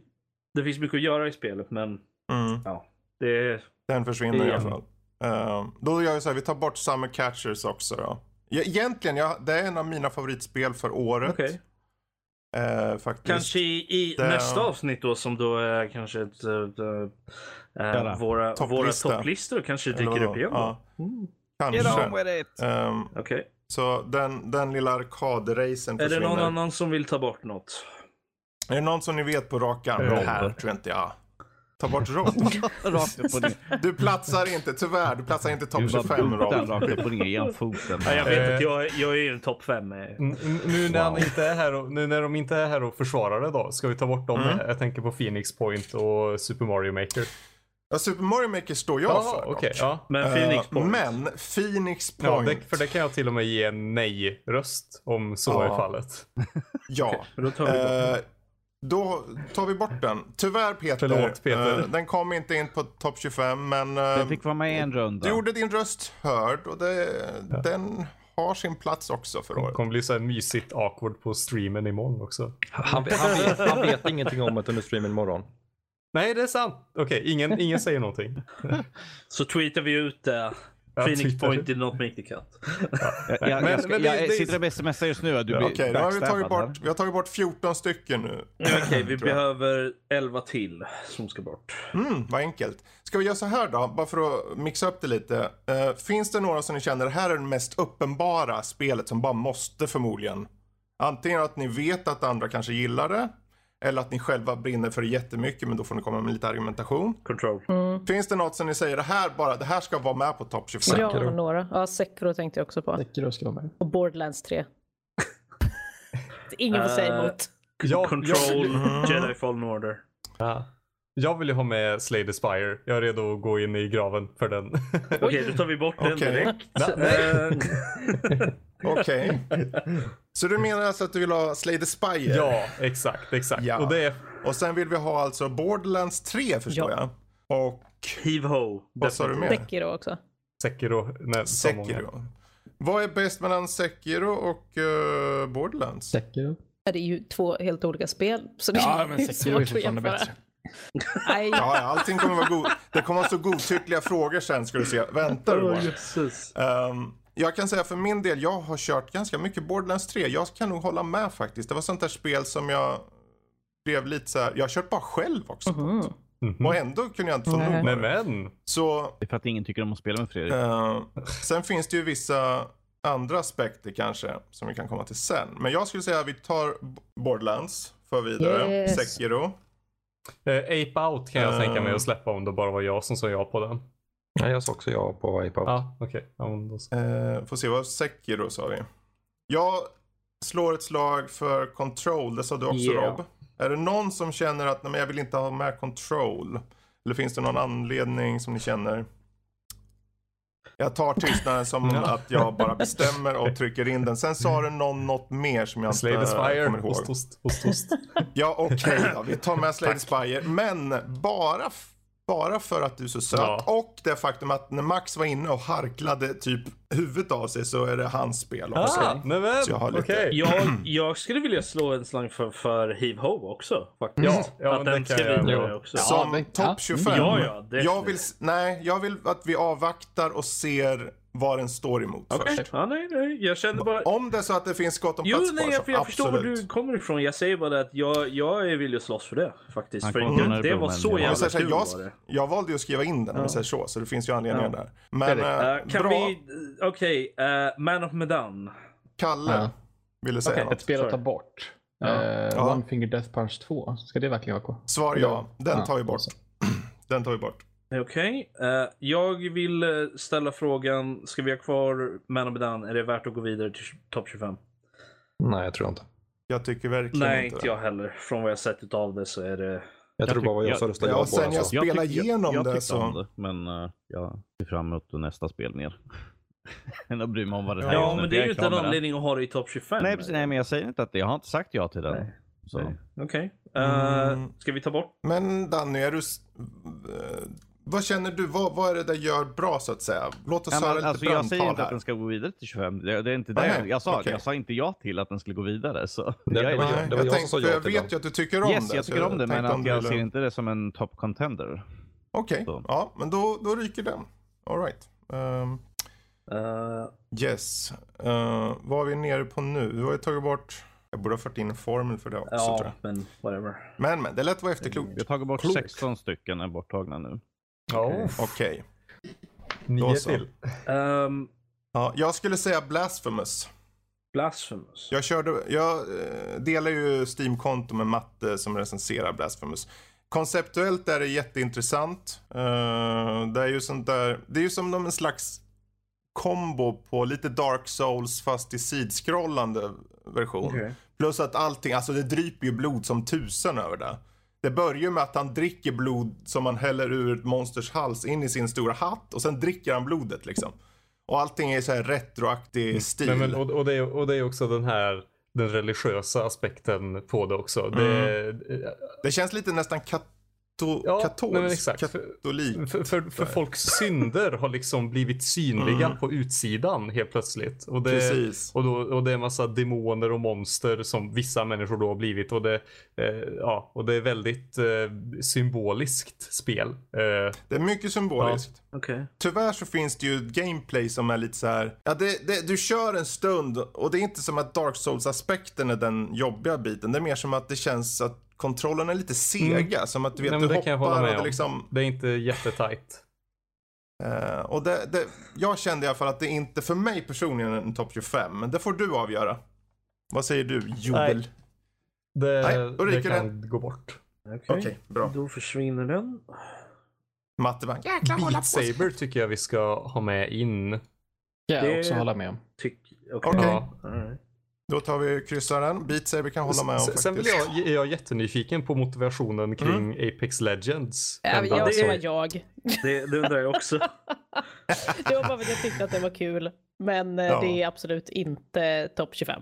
det finns mycket att göra i spelet men
Mm,
det är
den försvinner i
Igen.
alla fall. Eh, då gör vi så här, vi tar bort Summer Catchers också då. Ja, egentligen, jag, det är en av mina favoritspel för året.
okej.
Eh, faktiskt.
Kanske i, i
Det-
nästa avsnitt då som då är kanske ett, eh, eh,
Göra.
våra, våra
Topplista.
topplistor kanske
Eller
dyker
vadå?
upp igen. då. Mm.
Ja.
Get
Kanske.
on with it!
Ehm,
Okej.
så den, den lilla arkadracen
Är det
försvinner.
någon annan som vill ta bort något?
Är det någon som ni vet på rak arm?
Ja.
Det här tror jag inte jag. Ta bort Ron.
Rakt upp och ner.
Du platsar inte, tyvärr. Du platsar inte topp
Du bara
25
dunkar
Ron.
den rakt upp och ner genom foten.
Ja, jag vet
Eh.
att jag, jag är ju en topp fem. eh.
N- n- Nu när, han inte är här och, nu när de inte är här och försvarar det då, ska vi ta bort dem?
Mm.
med? Jag tänker på Phoenix Point och Super Mario Maker.
Ja, Super Mario Maker står jag
Ja,
för.
okej. ja.
Men
Eh,
Phoenix Point.
Men Phoenix
Ja,
Point.
det, för det kan jag till och med ge en nej-röst om så
Ja.
är fallet.
Ja.
Då tar vi bort
Eh,
den.
då tar vi bort den. Tyvärr Peter.
Förlåt, Peter.
eh, den kom inte in på topp 25 men eh,
Den fick vara med i en runda.
du gjorde din röst hörd och det, den har sin plats också för
Det
året.
kommer bli så här mysigt awkward på streamen imorgon också.
Han, vet- han, vet, han vet ingenting om det under streamen imorgon.
Nej, det är sant. Okej, ingen, ingen säger någonting.
Så tweetar vi ut det.
Jag
Phoenix
tweetar
Point
det.
did not make the cut.
Jag, jag,
Men-
jag, ska,
men det-
jag
det-
sitter och smsar just nu. att Du blir
Okej, då har vi
backstabbad,
tagit
va?
bort, vi har tagit bort 14 stycken nu.
Okej, vi
Tror jag.
behöver 11 till som ska bort.
Mm, vad enkelt. Ska vi göra så här då, bara för att mixa upp det lite. Eh, finns det några som ni känner, det här är det mest uppenbara spelet som bara måste förmodligen. Antingen att ni vet att andra kanske gillar det, eller att ni själva brinner för det jättemycket, men då får ni komma med lite argumentation.
Control.
Finns det något som ni säger, det här, bara, det här ska vara med på topp 25?
Jag har några. Ja, Sekiro tänkte jag också på.
Sekiro ska vara med.
Och Borderlands 3. Ingen får säga
Eh,
emot.
Jag,
Control,
Jag,
Mm.
Jedi Fallen Order.
jag vill ju ha med Slay the Spire. Jag är redo att gå in i graven för den.
Okej, då tar vi bort den
Okej.
direkt.
Nej,
Eh,
Okej. Så du menar alltså att du vill ha Slay the Spire?
ja, exakt, exakt.
Ja.
Och det är
Och sen vill vi ha alltså Borderlands 3 förstår jag. Och
Heave ho.
vad sa du mer?
Sekiro också.
Sekiro. Nej, så många.
Sekiro. Vad är bäst mellan Sekiro och eh, Borderlands?
Sekiro.
Ja, Det är ju två helt olika spel. Så det
Ja,
är
men Sekiro är
svårt att
fortfarande
jämföra.
bättre.
Nej,
Ja, ja, allting kommer vara god. Det kommer vara så godtyckliga frågor sen ska du se. Vänta du bara.
Jösses.
Ehm, jag kan säga för min del, jag har kört ganska mycket Borderlands 3. Jag kan nog hålla med faktiskt. Det var sånt där spel som jag blev lite så här. Jag har kört bara själv också.
Mhm.
Och ändå kunde jag inte få nog. av
Nej
det.
men.
Så
Det är för att ingen tycker om att spela med Fredrik.
Eh, sen finns det ju vissa andra aspekter kanske som vi kan komma till sen. Men jag skulle säga att vi tar B- Borderlands för vidare.
Yes.
Sekiro.
Eh, Ape Out kan jag
Eh.
tänka mig att släppa om det bara var jag som sa ja på den.
Nej, jag sa också ja på Ape Out.
Ja, okej. Ja, men då så.
Eh, får se vad Sekiro sa vi. Jag slår ett slag för Control. Det sa du också
Yeah.
Rob. Är det någon som känner att nej, men jag vill inte ha med Control? Eller finns det någon anledning som ni känner? Jag tar tystnaden som att jag bara bestämmer och trycker in den. Sen sa det någon något mer som jag
Slay the
inte
Spire.
kommer ihåg.
Ost, ost, ost, ost.
Ja, okej då. Vi tar med Slade Spire. Men bara, f- bara för att du är så söt.
Ja.
Och det faktum att när Max var inne och harklade typ huvudet av sig så är det hans spel också.
ah, nej men.
Så jag har
Okej.
lite- Mm.
Jag, jag skulle vilja slå en slang för, för Heave ho också. Faktiskt.
Ja, ja,
Mm. att
men
den
det kan
ska
jag-
vidare
ja.
också.
Som
det- ja.
topp 25.
Ja, ja, definitivt.
jag, vill, s- nej, jag vill att vi avvaktar och ser vad den står emot
Okej.
först.
Ja, nej, nej. Jag känner bara...
Om det är så att det finns gott om
Jo,
plats
nej,
kvar
jag,
så
för jag förstår var du
absolut.
kommer ifrån. Jag säger bara att jag, jag är villig att slåss för det faktiskt.
Han
för
kommer
det,
från
det,
Örebro,
var
men-
så
Ja,
Jag,
jävla
säger, så
kul
här, jag,
var det.
jag valde ju att skriva in den om vi säger så, så det finns ju anledningar där. Men
Eh,
eh,
kan
bra,
vi... Okej, eh, Man of Medan.
Kalle
Ja.
ville säga något.
Ett spel att ta
sorry.
bort.
Ja.
Eh,
Ja.
One Finger Death Punch 2. Ska det verkligen vara kvar?
Svar ja. Den tar vi bort. Den tar vi bort.
Okej. eh, jag vill eh, ställa frågan, ska vi ha kvar Man of Medan? Är det värt att gå vidare till topp 25?
Nej, jag tror inte.
Jag tycker verkligen
Nej,
inte
inte
det.
jag heller. Från vad jag sett utav det så är det...
Jag, tror bara vad jag,
jag-
sa röstade
Ja,
jag,
sen
på.
jag
Alltså.
spelar
tyckte- jag-
igenom
jag
det
tyckte
så-
om det, men eh, jag ser fram emot nästa spel mer. Än att bry mig om vad det
Ja,
här just nu.
men
Jag
det är ju inte
klar
en
med det.
anledning att ha det i topp 25.
Nej, precis, nej, men jag säger inte att det. Jag har inte sagt ja till den.
Nej.
Så.
Okej. Eh,
Mm.
Ska vi ta bort?
Men Danny, är du... s- eh, Vad känner du? Vad, vad är det där gör bra så att säga? Låt oss
Ja,
höra
men,
lite
alltså, jag
brandtal
säger inte att
här.
den ska gå vidare till 25. Det, det är inte det.
Nej,
jag- jag, sa,
okej.
jag sa inte ja till att den skulle gå vidare. Så.
Nej,
jag
det var
är,
jag.
Nej,
Det
jag,
jag som
tänkte,
sa
för
ja
jag
till
vet
den.
ju att du tycker om
yes,
det.
jag
så
tycker om det, men
tänkte om
att
du
jag
ville-
ser inte det som en top contender.
Okej,
Så.
ja, men då, då ryker den. All right. Ehm,
Eh,
yes. Eh, vad är vi nere på nu? Du har ju tagit bort... Jag borde ha fört in en formel för det också tror
ja,
jag.
men whatever.
Men, men, det är lätt att vara efterklok.
Vi har tagit bort
Klokt.
16 stycken är borttagna nu.
Ja,
Okej.
nio
Då så.
till.
Um,
Ja, jag skulle säga Blasphemous.
Blasphemous.
Jag, körde, jag eh, delar ju Steam-konto med Matte som recenserar Blasphemous. Konceptuellt är det jätteintressant. Eh, det är ju sånt där, det är ju som en slags kombo på lite Dark Souls fast i sidskrollande version.
Okej.
Plus att allting, alltså det dryper ju blod som tusen över det. Det börjar ju med att han dricker blod som han häller ur ett monsters hals in i sin stora hatt och sen dricker han blodet liksom. Och allting är i så här retroaktig stil.
Mm.
Mm.
Nej, men, och, och, det är, och det är också den här den religiösa aspekten på det också.
Mm.
Det,
Det känns lite nästan kato-
Ja,
katolskt.
nej, men exakt.
Katolik.
För, för, för folks synder har liksom blivit synliga på utsidan helt plötsligt. Och det,
Mm. Precis.
och, då, och det är massa demoner och monster som vissa människor då har blivit. Och det, eh, ja, och det är väldigt eh, symboliskt spel. Eh,
Det är mycket symboliskt.
Okej.
Tyvärr så finns det ju ett gameplay som är lite så här. Ja, det, det, du kör en stund och det är inte som att Dark Souls-aspekten är den jobbiga biten. Det är mer som att det känns att kontrollen är lite sega. Som att du vet,
Mm. nej,
du
men det kan jag hålla
hoppar och
med
det
om.
liksom.
Det är inte jättetajt.
Eh, och det, det, jag kände i alla fall att det inte för mig personligen är en topp 25. Men det får du avgöra. Vad säger du, Joel?
Nej. Det,
Nej,
det
Ulrika,
kan gå bort.
Okej.
Okej, bra.
Då försvinner den.
Mattebank.
Beat Saber tycker jag vi ska ha med in.
Kan jag
Det-
också hålla med om.
Tyck... Okej.
Okej.
Ja.
All right.
Då tar vi kryssaren. Beat Saber kan jag hålla med om
Sen-
faktiskt. Mm.
Sen vill jag, är jag jättenyfiken på motivationen kring Apex Legends.
Ja,
Ändå.
Äh, jag
det-
som var jag.
Det, det undrar jag också.
Det var bara för att jag tyckte att det var kul. Men eh,
Ja.
det är absolut inte topp 25.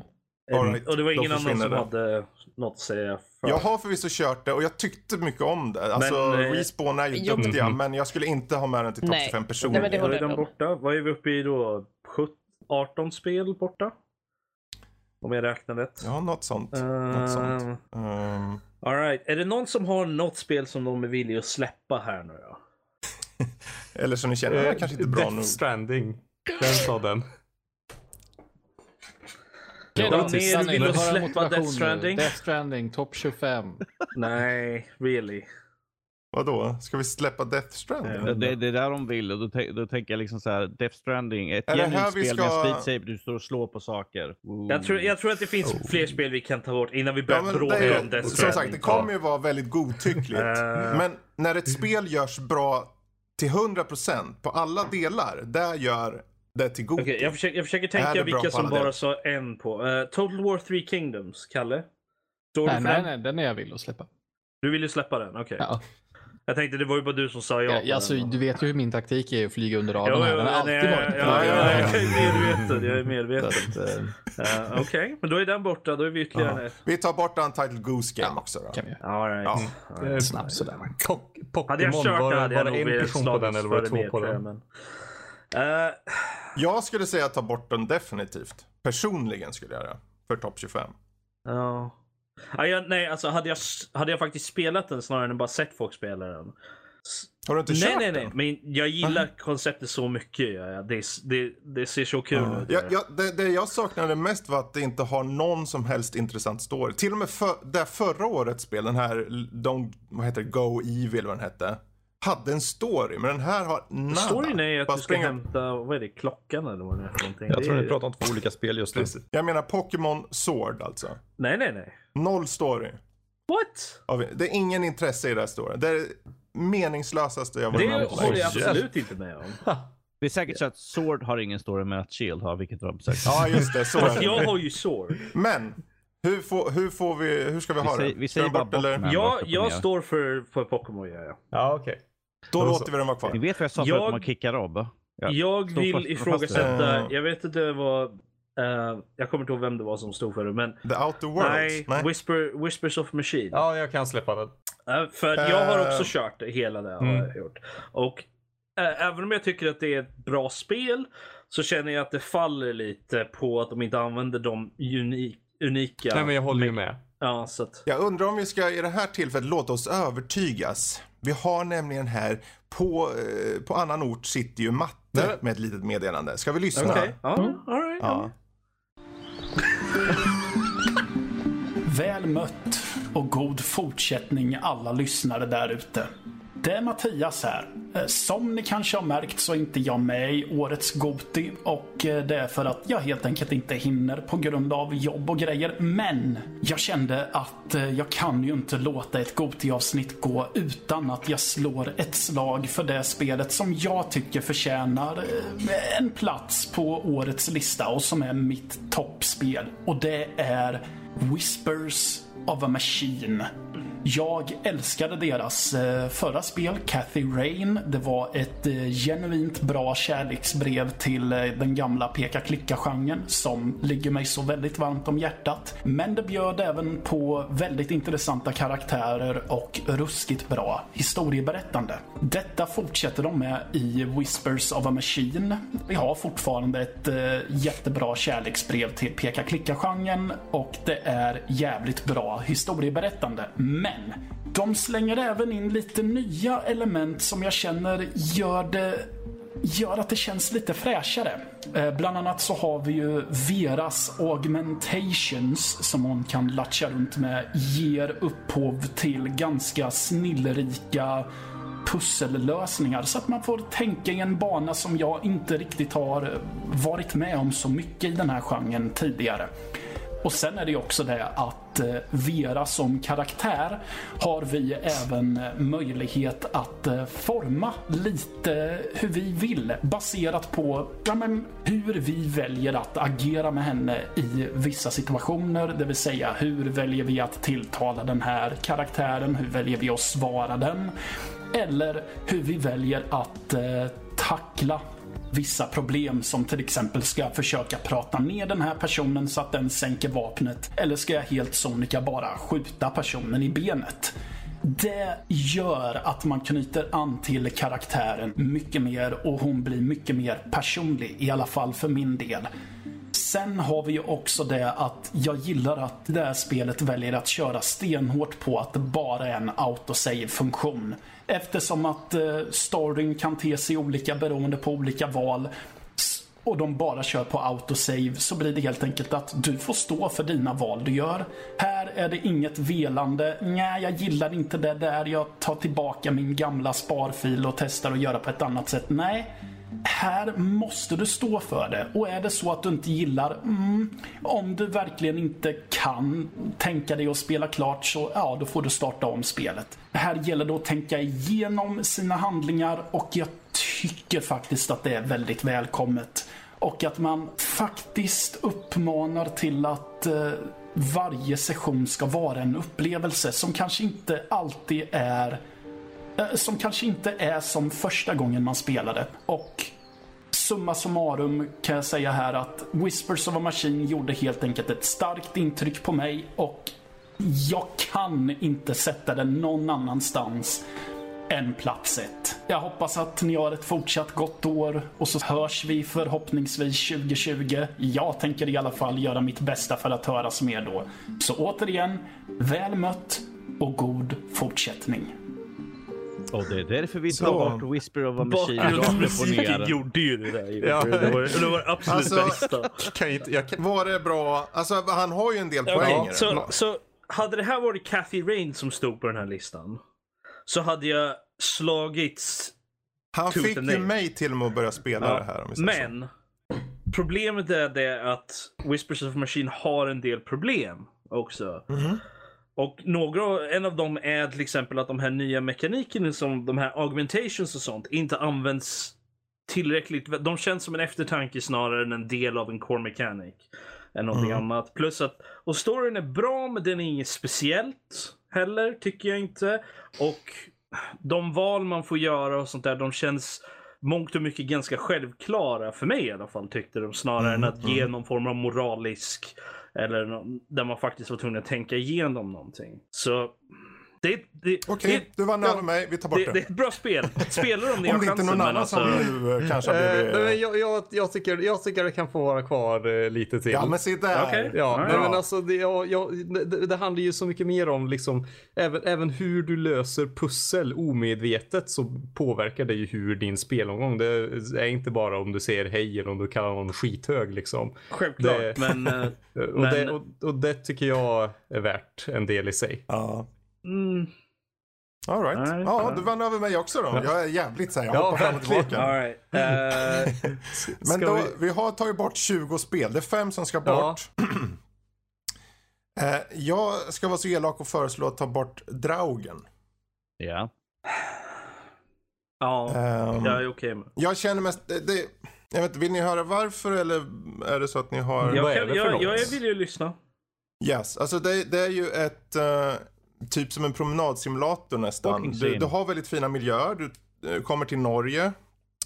All right,
Och det var
då
ingen annan
försvinner
som
det.
hade något att säga. För.
Jag har förvisso kört det och jag tyckte mycket om det. Alltså,
eh, Mm.
Respawn är ju
jo, men-
duktiga, men jag skulle inte ha med den till topp
Nej.
25
Nej,
personligen.
men det
Då
håller
är
jag med om.
den borta. Vad är vi uppe i då? 17, 18 spel borta? Om jag räknar rätt. Eh,
Ja, något sånt. något sånt.
Ehm,
Ehm,
all right. Är det någon som har något spel som de är villiga att släppa här nu då?
eller som ni känner, det
eh,
är kanske inte är bra
Death
nog.
Stranding. Vem sa den?
Okej
Ja,
då,
men
Sanny,
vill
du
du
har en
släppa
motivation
Death
nu.
Stranding?
Death Stranding, topp 25.
Nej, really.
Vadå? Ska vi släppa Death Stranding?
Ja.
Det, det, det är där de vill och då, tän- då tänker jag liksom så här, Death Stranding, ett
Är det här
genuint
vi
spel
ska-
med en speed saver, du står och slår på saker. Oh. Ooh.
Jag tror, jag tror att det finns fler spel vi kan ta bort innan vi
Oh. Ja,
börjar
men det
bråka
är,
om Death
ju- som
Stranding.
sagt, det kommer ju vara väldigt godtyckligt.
Eh.
men när ett spel görs bra till 100% på alla delar, där gör det till god.
Okej, jag, försöker, jag
Är
försöker tänka
det bra på
vilka som
alla
bara
delar?
sa en på. Eh, Total War 3 Kingdoms, Kalle? Står
nej,
du för
nej,
den?
nej, den är jag vill att släppa.
Du vill ju släppa den? Okej.
Ja.
Jag tänkte det var ju bara du som sa ja.
Ja,
på
alltså,
den.
du vet ju hur min taktik är att flyga under
Jo,
radarn. här.
jo,
Den har
nej,
alltid varit
ja,
på
ja,
flyga
ja,
under
Jag
radarn.
är medveten. Jag är medveten.
Så att, eh,
Eh, Okej, men då är den borta. Då är vi ytterligare en ett.
Vi tar bort Untitled Goose Game också då.
kan vi göra.
All right.
Ja.
All right.
Snabbt sådär.
Po-
Hade jag
Pokémon,
kört
Eh,
den
var, var
hade jag nog
det en person på den eller var det två på den?
Men... Eh,
Jag skulle säga ta bort den definitivt. Personligen skulle jag göra. För topp 25.
Ja. Ja, jag, nej, alltså hade jag, s- hade jag faktiskt spelat den snarare än bara sett folk spela den.
Har du inte
Nej,
kört
nej,
den?
nej. Men jag gillar konceptet så mycket. gör jag. Det, är s- det, det ser så kul ut.
Jag, jag, det, det jag saknade mest var att det inte har någon som helst intressant story. Till och med för, det förra årets spel, den här, de, vad heter det, Go Evil vad den hette. Hade en story, men den här har nada.
Storyn är ju att
Bara
du ska
springa-
hämta, vad är det, klockan eller vad det är för någonting.
Jag
Det
tror
är-
ni pratar om två olika spel just nu.
Precis. Jag menar Pokémon Sword alltså.
Nej, nej, nej.
Noll story.
What?
Av- Det är ingen intresse i det här storyn. Det är det meningslösaste jag varit
Det
med om på länge.
håller jag absolut inte med om.
Det är säkert så att Sword har ingen story men att Shield har, vilket Rob sagt.
Ja, just det. Så är
Fast
det.
jag har ju Sword.
Men, hur får, hur får vi, hur ska vi,
Vi
ha
säger-
det?
vi
Ska
säger
den
bara
bort
bort
eller?
den.
Jag,
vad ska
jag
jag?
står för, för Pokémon, gör jag.
Ja, okej.
Då
Då så.
låter vi den vara
Ni
kvar.
vet vad jag sa förut
Jag-
om att kicka Rob? Ja.
Jag
Stå
vill
fast-
ifrågasätta,
fast-
jag vet inte det var, eh, jag kommer inte ihåg vem det var som stod för det, men
The Outer Worlds?
nej, Whisper, Whispers of Machine.
Ja, jag kan släppa den.
Eh, för att jag har också
Eh.
kört det, hela det. Har
Mm.
jag gjort. Och eh, även om jag tycker att det är ett bra spel så känner jag att det faller lite på att de inte använder de uni- unika.
Nej, men jag håller ju med.
ja, så att,
Jag undrar om vi ska i det här tillfället låta oss övertygas. Vi har nämligen här, på, eh, på annan ort sitter ju matte med ett litet meddelande. Ska vi lyssna? Mm.
Okej, ja, all right.
Ja.
Väl mött och god fortsättning alla lyssnare där ute. Det är Mattias här. Eh, Som ni kanske har märkt så är inte jag med i årets Goti och eh, det är för att jag helt enkelt inte hinner på grund av jobb och grejer. Men jag kände att eh, jag kan ju inte låta ett Goti-avsnitt gå utan att jag slår ett slag för det spelet som jag tycker förtjänar eh, en plats på årets lista och som är mitt toppspel. Och det är Whispers of a Machine. Jag älskade deras eh, förra spel, Cathy Rain. Det var ett eh, genuint bra kärleksbrev till eh, den gamla peka-klicka-genren som ligger mig så väldigt varmt om hjärtat. Men det bjöd även på väldigt intressanta karaktärer och ruskigt bra historieberättande. Detta fortsätter de med i Whispers of a Machine. Vi har fortfarande ett eh, jättebra kärleksbrev till peka-klicka-genren och det är jävligt bra historieberättande. Men de slänger även in lite nya element som jag känner gör det gör att det känns lite fräschare. Eh, Bland annat så har vi ju Veras augmentations som hon kan latcha runt med. Ger upphov till ganska snillrika pussellösningar så att man får tänka i en bana som jag inte riktigt har varit med om så mycket i den här genren tidigare. Och sen är det ju också det att eh, Vera som karaktär har vi även eh, möjlighet att eh, forma lite hur vi vill baserat på ja, men, hur vi väljer att agera med henne i vissa situationer. Det vill säga hur väljer vi att tilltala den här karaktären? Hur väljer vi att svara den? Eller hur vi väljer att eh, tackla vissa problem som till exempel ska jag försöka prata ner den här personen så att den sänker vapnet eller ska jag helt sonika bara skjuta personen i benet? Det gör att man knyter an till karaktären mycket mer och hon blir mycket mer personlig i alla fall för min del. Sen har vi ju också det att jag gillar att det här spelet väljer att köra stenhårt på att det bara är en autosave-funktion. Eftersom att eh, storyn kan te sig olika beroende på olika val s- och de bara kör på autosave så blir det helt enkelt att du får stå för dina val du gör. Här är det inget velande. Nej, jag gillar inte det där. Jag tar tillbaka min gamla sparfil och testar att göra på ett annat sätt. Nej, här måste du stå för det. Och är det så att du inte gillar, mm, om du verkligen inte kan tänka dig att spela klart så ja, då får du starta om spelet. Här gäller det att tänka igenom sina handlingar och jag tycker faktiskt att det är väldigt välkommet. Och att man faktiskt uppmanar till att eh, varje session ska vara en upplevelse som kanske inte alltid är Eh, som kanske inte är som första gången man spelade. Och summa summarum kan jag säga här att Whispers of a Machine gjorde helt enkelt ett starkt intryck på mig och jag kan inte sätta den någon annanstans än plats ett. Jag hoppas att ni har ett fortsatt gott år och så hörs vi förhoppningsvis 2020. Jag tänker i alla fall göra mitt bästa för att höras med då. Så återigen, väl mött och god fortsättning.
Och det är därför vi tar
Så.
bort Whisper of a Machine rakt upp och
Bakgrundsmusiken
ner.
gjorde ju det där.
Ja.
Det, var, det var det absolut
Alltså,
bästa.
Kan inte, jag kan,
Var det bra? Alltså, han har ju en del
Okej,
poäng i det.
så, så hade det här varit Kathy Rain som stod på den här listan så hade jag slagits.
Han
Tooth
fick
and
ju
nail.
mig till och med att börja spela det här. Om vi säger så.
Men problemet är det att Whispers of Machine har en del problem också.
Mhm.
Och några, en av dem är till exempel att de här nya mekanikerna som de här augmentations och sånt inte används tillräckligt. De känns som en eftertanke snarare än en del av en core mechanic. Än någonting annat. Plus att, och storyn är bra men den är inget speciellt heller tycker jag inte. Och de val man får göra och sånt där, de känns mångt och mycket ganska självklara. För mig i alla fall tyckte de snarare än att ge någon form av moralisk eller nå- där man faktiskt var tvungen att tänka igenom någonting. Så det, det,
Okej,
det,
du vann över
ja,
mig. Vi tar bort
det,
det.
det är ett bra spel. Spela om ni
Om
har
det inte är
chansen.
någon
men
annan
alltså,
som nu eh, kanske har blivit...
Eh, men jag, jag, jag, tycker, jag tycker det kan få vara kvar eh, lite till.
Ja, men se där.
Okej.
Ja,
Alright.
nej, men alltså det, ja, ja, det, det handlar ju så mycket mer om liksom även, även hur du löser pussel omedvetet så påverkar det ju hur din spelomgång. Det är inte bara om du säger hej eller om du kallar någon skithög liksom.
Självklart,
Det-
men... eh,
Och,
Men-
det, och, och det tycker jag är värt en del i sig.
Ja.
mm,
All right.
All right.
Ja, du vann över mig också då. Jag är jävligt så här, jag
Ja,
hoppar fram och
verkligen.
tillbaka.
All right. Eh,
Men
ska
då,
vi-
vi... har tagit bort 20 spel. Det är fem som ska
Ja.
bort. Eh, jag ska vara så elak och föreslå att ta bort Draugen.
Ja.
Ja,
Ehm.
jag är okej med
Jag känner mest... Det, det, jag vet, inte, vill ni höra varför eller är det så att ni har...
jag, kan, jag, jag vill ju lyssna.
Yes, alltså det, det är ju ett eh, typ som en promenadsimulator nästan.
Fucking
Du,
sim.
du har väldigt fina miljöer, du eh, kommer till Norge.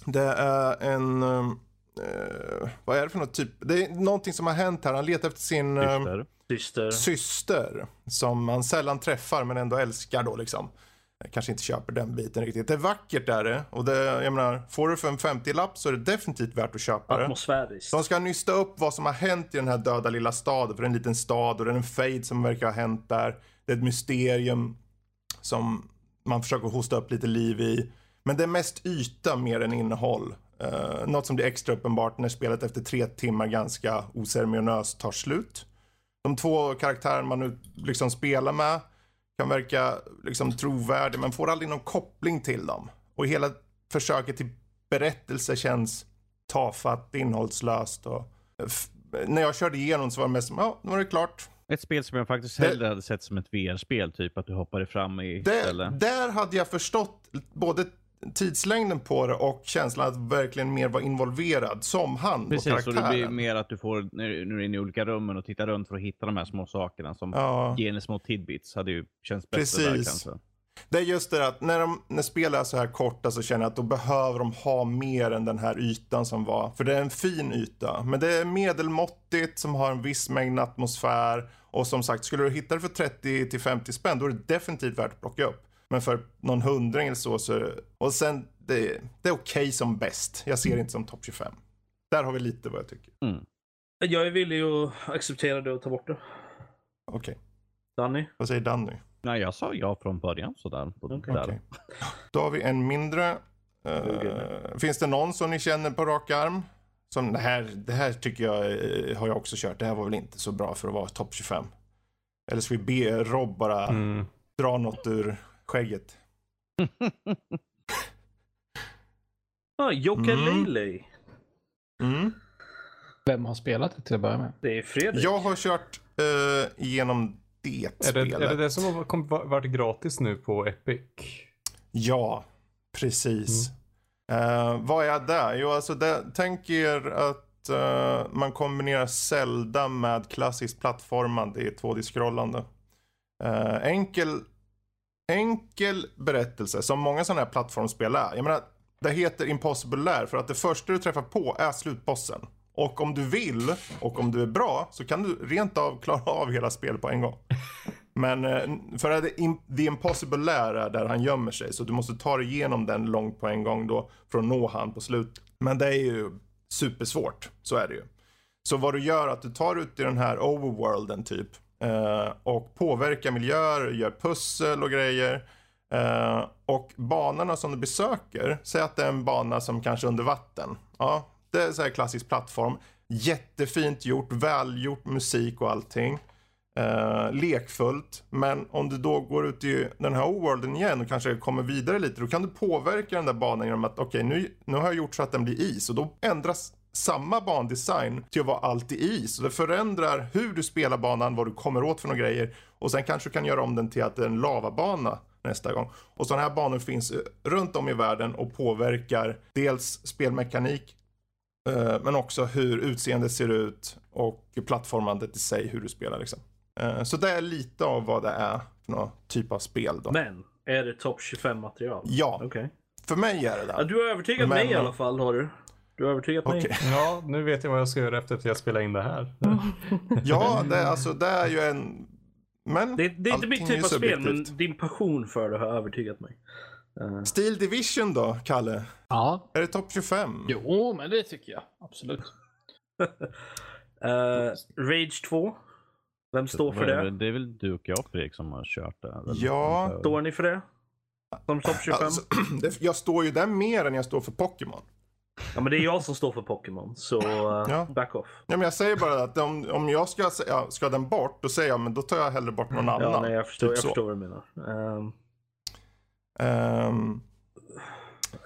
Det är en, ehm, eh, vad är det för något? Typ, det är någonting som har hänt här. Han letar efter sin eh,
Syster.
Syster.
syster som man sällan träffar men ändå älskar då liksom. Jag Kanske inte köper den biten riktigt. Det är vackert är det och det, jag menar, får du för en 50-lapp så är det definitivt värt att köpa det.
Atmosfäriskt.
De ska nysta upp vad som har hänt i den här döda lilla staden. För det är en liten stad och det är en fade som verkar ha hänt där. Det är ett mysterium som man försöker hosta upp lite liv i. Men det är mest yta mer än innehåll. Uh, något som blir extra uppenbart när spelet efter tre timmar ganska oceremoniöst tar slut. De två karaktärer man nu liksom spelar med kan verka liksom trovärdiga men får aldrig någon koppling till dem. Och hela försöket till berättelse känns tafatt, innehållslöst och eh, f- när jag körde igenom så var det mest som, ja, nu var det klart.
Ett spel som jag faktiskt hellre hade sett som ett VR-spel, typ att du hoppade fram i
Det,
stället.
där hade jag förstått både tidslängden på det och känslan att verkligen mer vara involverad som han och
Precis, och det
karaktären.
blir mer att du får, när du när du är inne i olika rummen och tittar runt för att hitta de här små sakerna som
Ja.
ger en små tidbits. hade ju känts bättre där
Precis.
kanske.
Det är just det att när, de, när spel är så här korta så känner jag att då behöver de ha mer än den här ytan som var. För det är en fin yta. Men det är medelmåttigt som har en viss mängd atmosfär. Och som sagt, skulle du hitta det för 30 till 50 spänn då är det definitivt värt att plocka upp. Men för någon hundring eller så, så och sen det, det är okej som bäst. Jag
Mm.
ser det inte som topp 25. Där har vi lite vad jag tycker.
Jag är villig att acceptera det och ta bort det.
Okej,
Danny?
vad säger Danny?
Nej, jag sa ja från början sådär. På där.
Okej. Då har vi en mindre. Eh, finns det någon som ni känner på rak arm? Som det här, det här tycker jag eh, har jag också kört. Det här var väl inte så bra för att vara topp 25. Eller ska vi be Rob bara
Mm.
dra något ur skägget?
Ja,
Mm.
Jokkalili. Mm.
Vem har spelat det till att börja med?
Det är Fredrik.
Jag har kört eh, igenom det
Är det,
spelet.
är det det som har kom- varit gratis nu på Epic?
Ja, precis. Eh, vad är det? Jo, alltså det, tänk er att eh, man kombinerar Zelda med klassiskt plattformande i 2D-scrollande. Eh, enkel, enkel berättelse, som många sådana här plattformsspel är. Jag menar, det heter Impossible Lair för att det första du träffar på är slutbossen. Och om du vill och om du är bra så kan du rent av klara av hela spelet på en gång. Men eh, för att det im- The Impossible Lair är där han gömmer sig så du måste ta dig igenom den långt på en gång då för att nå han på slut. Men det är ju supersvårt, så är det ju. Så vad du gör är att du tar ut i den här overworlden typ eh, och påverkar miljöer, gör pussel och grejer. Eh, Och banorna som du besöker, säg att det är en bana som kanske är under vatten. Ja, det är så här klassisk plattform. Jättefint gjort, välgjort musik och allting eh, lekfullt. Men om du då går ut i den här worlden igen och kanske kommer vidare lite, då kan du påverka den där banan genom att okej, nu, nu har jag gjort så att den blir is och då ändras samma bandesign till att vara allt i is. Så det förändrar hur du spelar banan, vad du kommer åt för några grejer och sen kanske du kan göra om den till att det är en lavabana nästa gång. Och sådana här banor finns eh, runt om i världen och påverkar dels spelmekanik eh, men också hur utseendet ser ut och plattformandet i sig, hur du spelar liksom. Eh, Så det är lite av vad det är för någon typ av spel då.
Men, är det topp 25 material?
Ja.
Okej.
För mig är det
Ja,
där.
du har övertygat
Men-
mig i alla fall, har du. Du har övertygat mig.
Okej.
Ja, nu vet jag vad jag ska göra efter att jag spelar in det här.
Ja, det är, alltså, det är ju en... Men
Det, det är inte
allting
min
är
typ av spel, men
subjektivt.
din passion för det har övertygat mig. Eh.
Steel Division då, Kalle?
Ja.
Är det topp 25?
Jo, men det tycker jag. Absolut.
Eh, Rage 2. Vem står för
Det är
det?
väl- Det är väl du och jag Fredrik som har kört det? eller?
Ja.
Står ni för det? Som topp 25?
Alltså, det- jag står ju där mer än jag står för Pokémon.
Ja, men det är jag som står för Pokémon, så eh,
Ja.
back off.
Ja, men jag säger bara att om, om jag ska, säga- ska den
eh,
bort, då säger jag men då tar jag hellre bort någon annan.
Ja, nej, jag förstår,
Typ
jag
så.
förstår vad du menar. Ehm,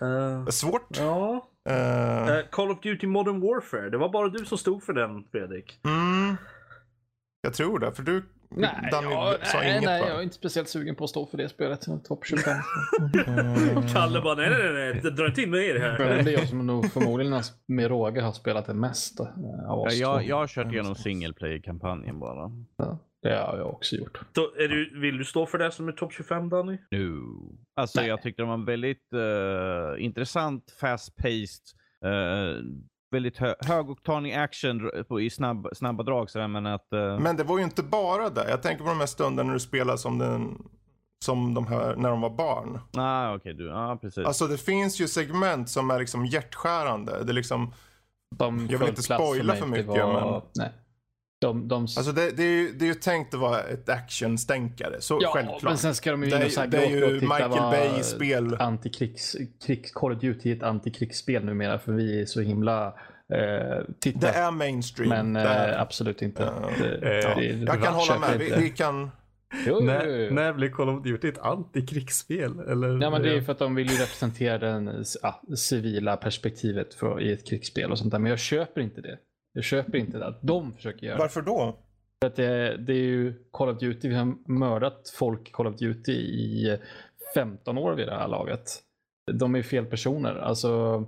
Ehm, svårt.
Ja.
Eh,
Eh, Call of Duty Modern Warfare. Det var bara du som stod för den, Fredrik.
mm, jag tror det, för du
Nej,
Danny
jag,
sa
nej,
inget
nej
va?
jag är inte speciellt sugen på att stå för det spelet. eh, Topp 25.
Och Kalle bara, nej, nej, nej, nej, dra inte in mig i det här.
Det är jag som nog förmodligen har- med råge har spelat det mest eh, av
Ja,
oss
jag,
två.
jag har kört igenom single player-kampanjen bara.
Det har jag också gjort.
Så är du, vill du stå för det som är topp 25, Danny?
No. Alltså jag tyckte det var en väldigt eh, intressant, fast-paced, eh, väldigt hö högoktanig action r- på, i snabb, snabba drag. Sådär, men att, eh,
Men det var ju inte bara det. Jag tänker på de här stunderna när du spelar som, den, som de här, när de var barn.
ah, okej, du, ah, precis.
Alltså det finns ju segment som är liksom hjärtskärande. Det är liksom,
De
jag vill inte
föll platt
spoila
mig.
för
Det
mycket
var-
men.
Nej. De, de...
Alltså det, det, är ju, det är ju tänkt att vara ett actionstänkare, så
ja,
självklart.
men sen ska de ju in
det,
och så
är-
här
det är
gråta och
ju
titta
Michael
vad-
Bay-spel.
Antikrigs... Krigs... Call of Duty är ett antikrigsspel numera för vi är så himla... Eh, titta.
Det är mainstream.
Men
det är, Eh,
eh, absolut inte. det,
ja.
det-
jag kan hålla
köper
med.
inte.
Vi, vi kan...
Jo, jo, jo,
När,
jo.
när blir Call of Duty ett antikrigsspel? Eller?
Ja, men det är ju för att de vill ju representera den ja, civila perspektivet för, i ett krigsspel och sånt där. Men jag köper inte det. Jag köper inte det att de försöker göra. det.
Varför då?
För att det, det är ju Call of Duty. Vi har mördat folk i Call of Duty i 15 år vid det här laget. De är ju fel personer. Alltså,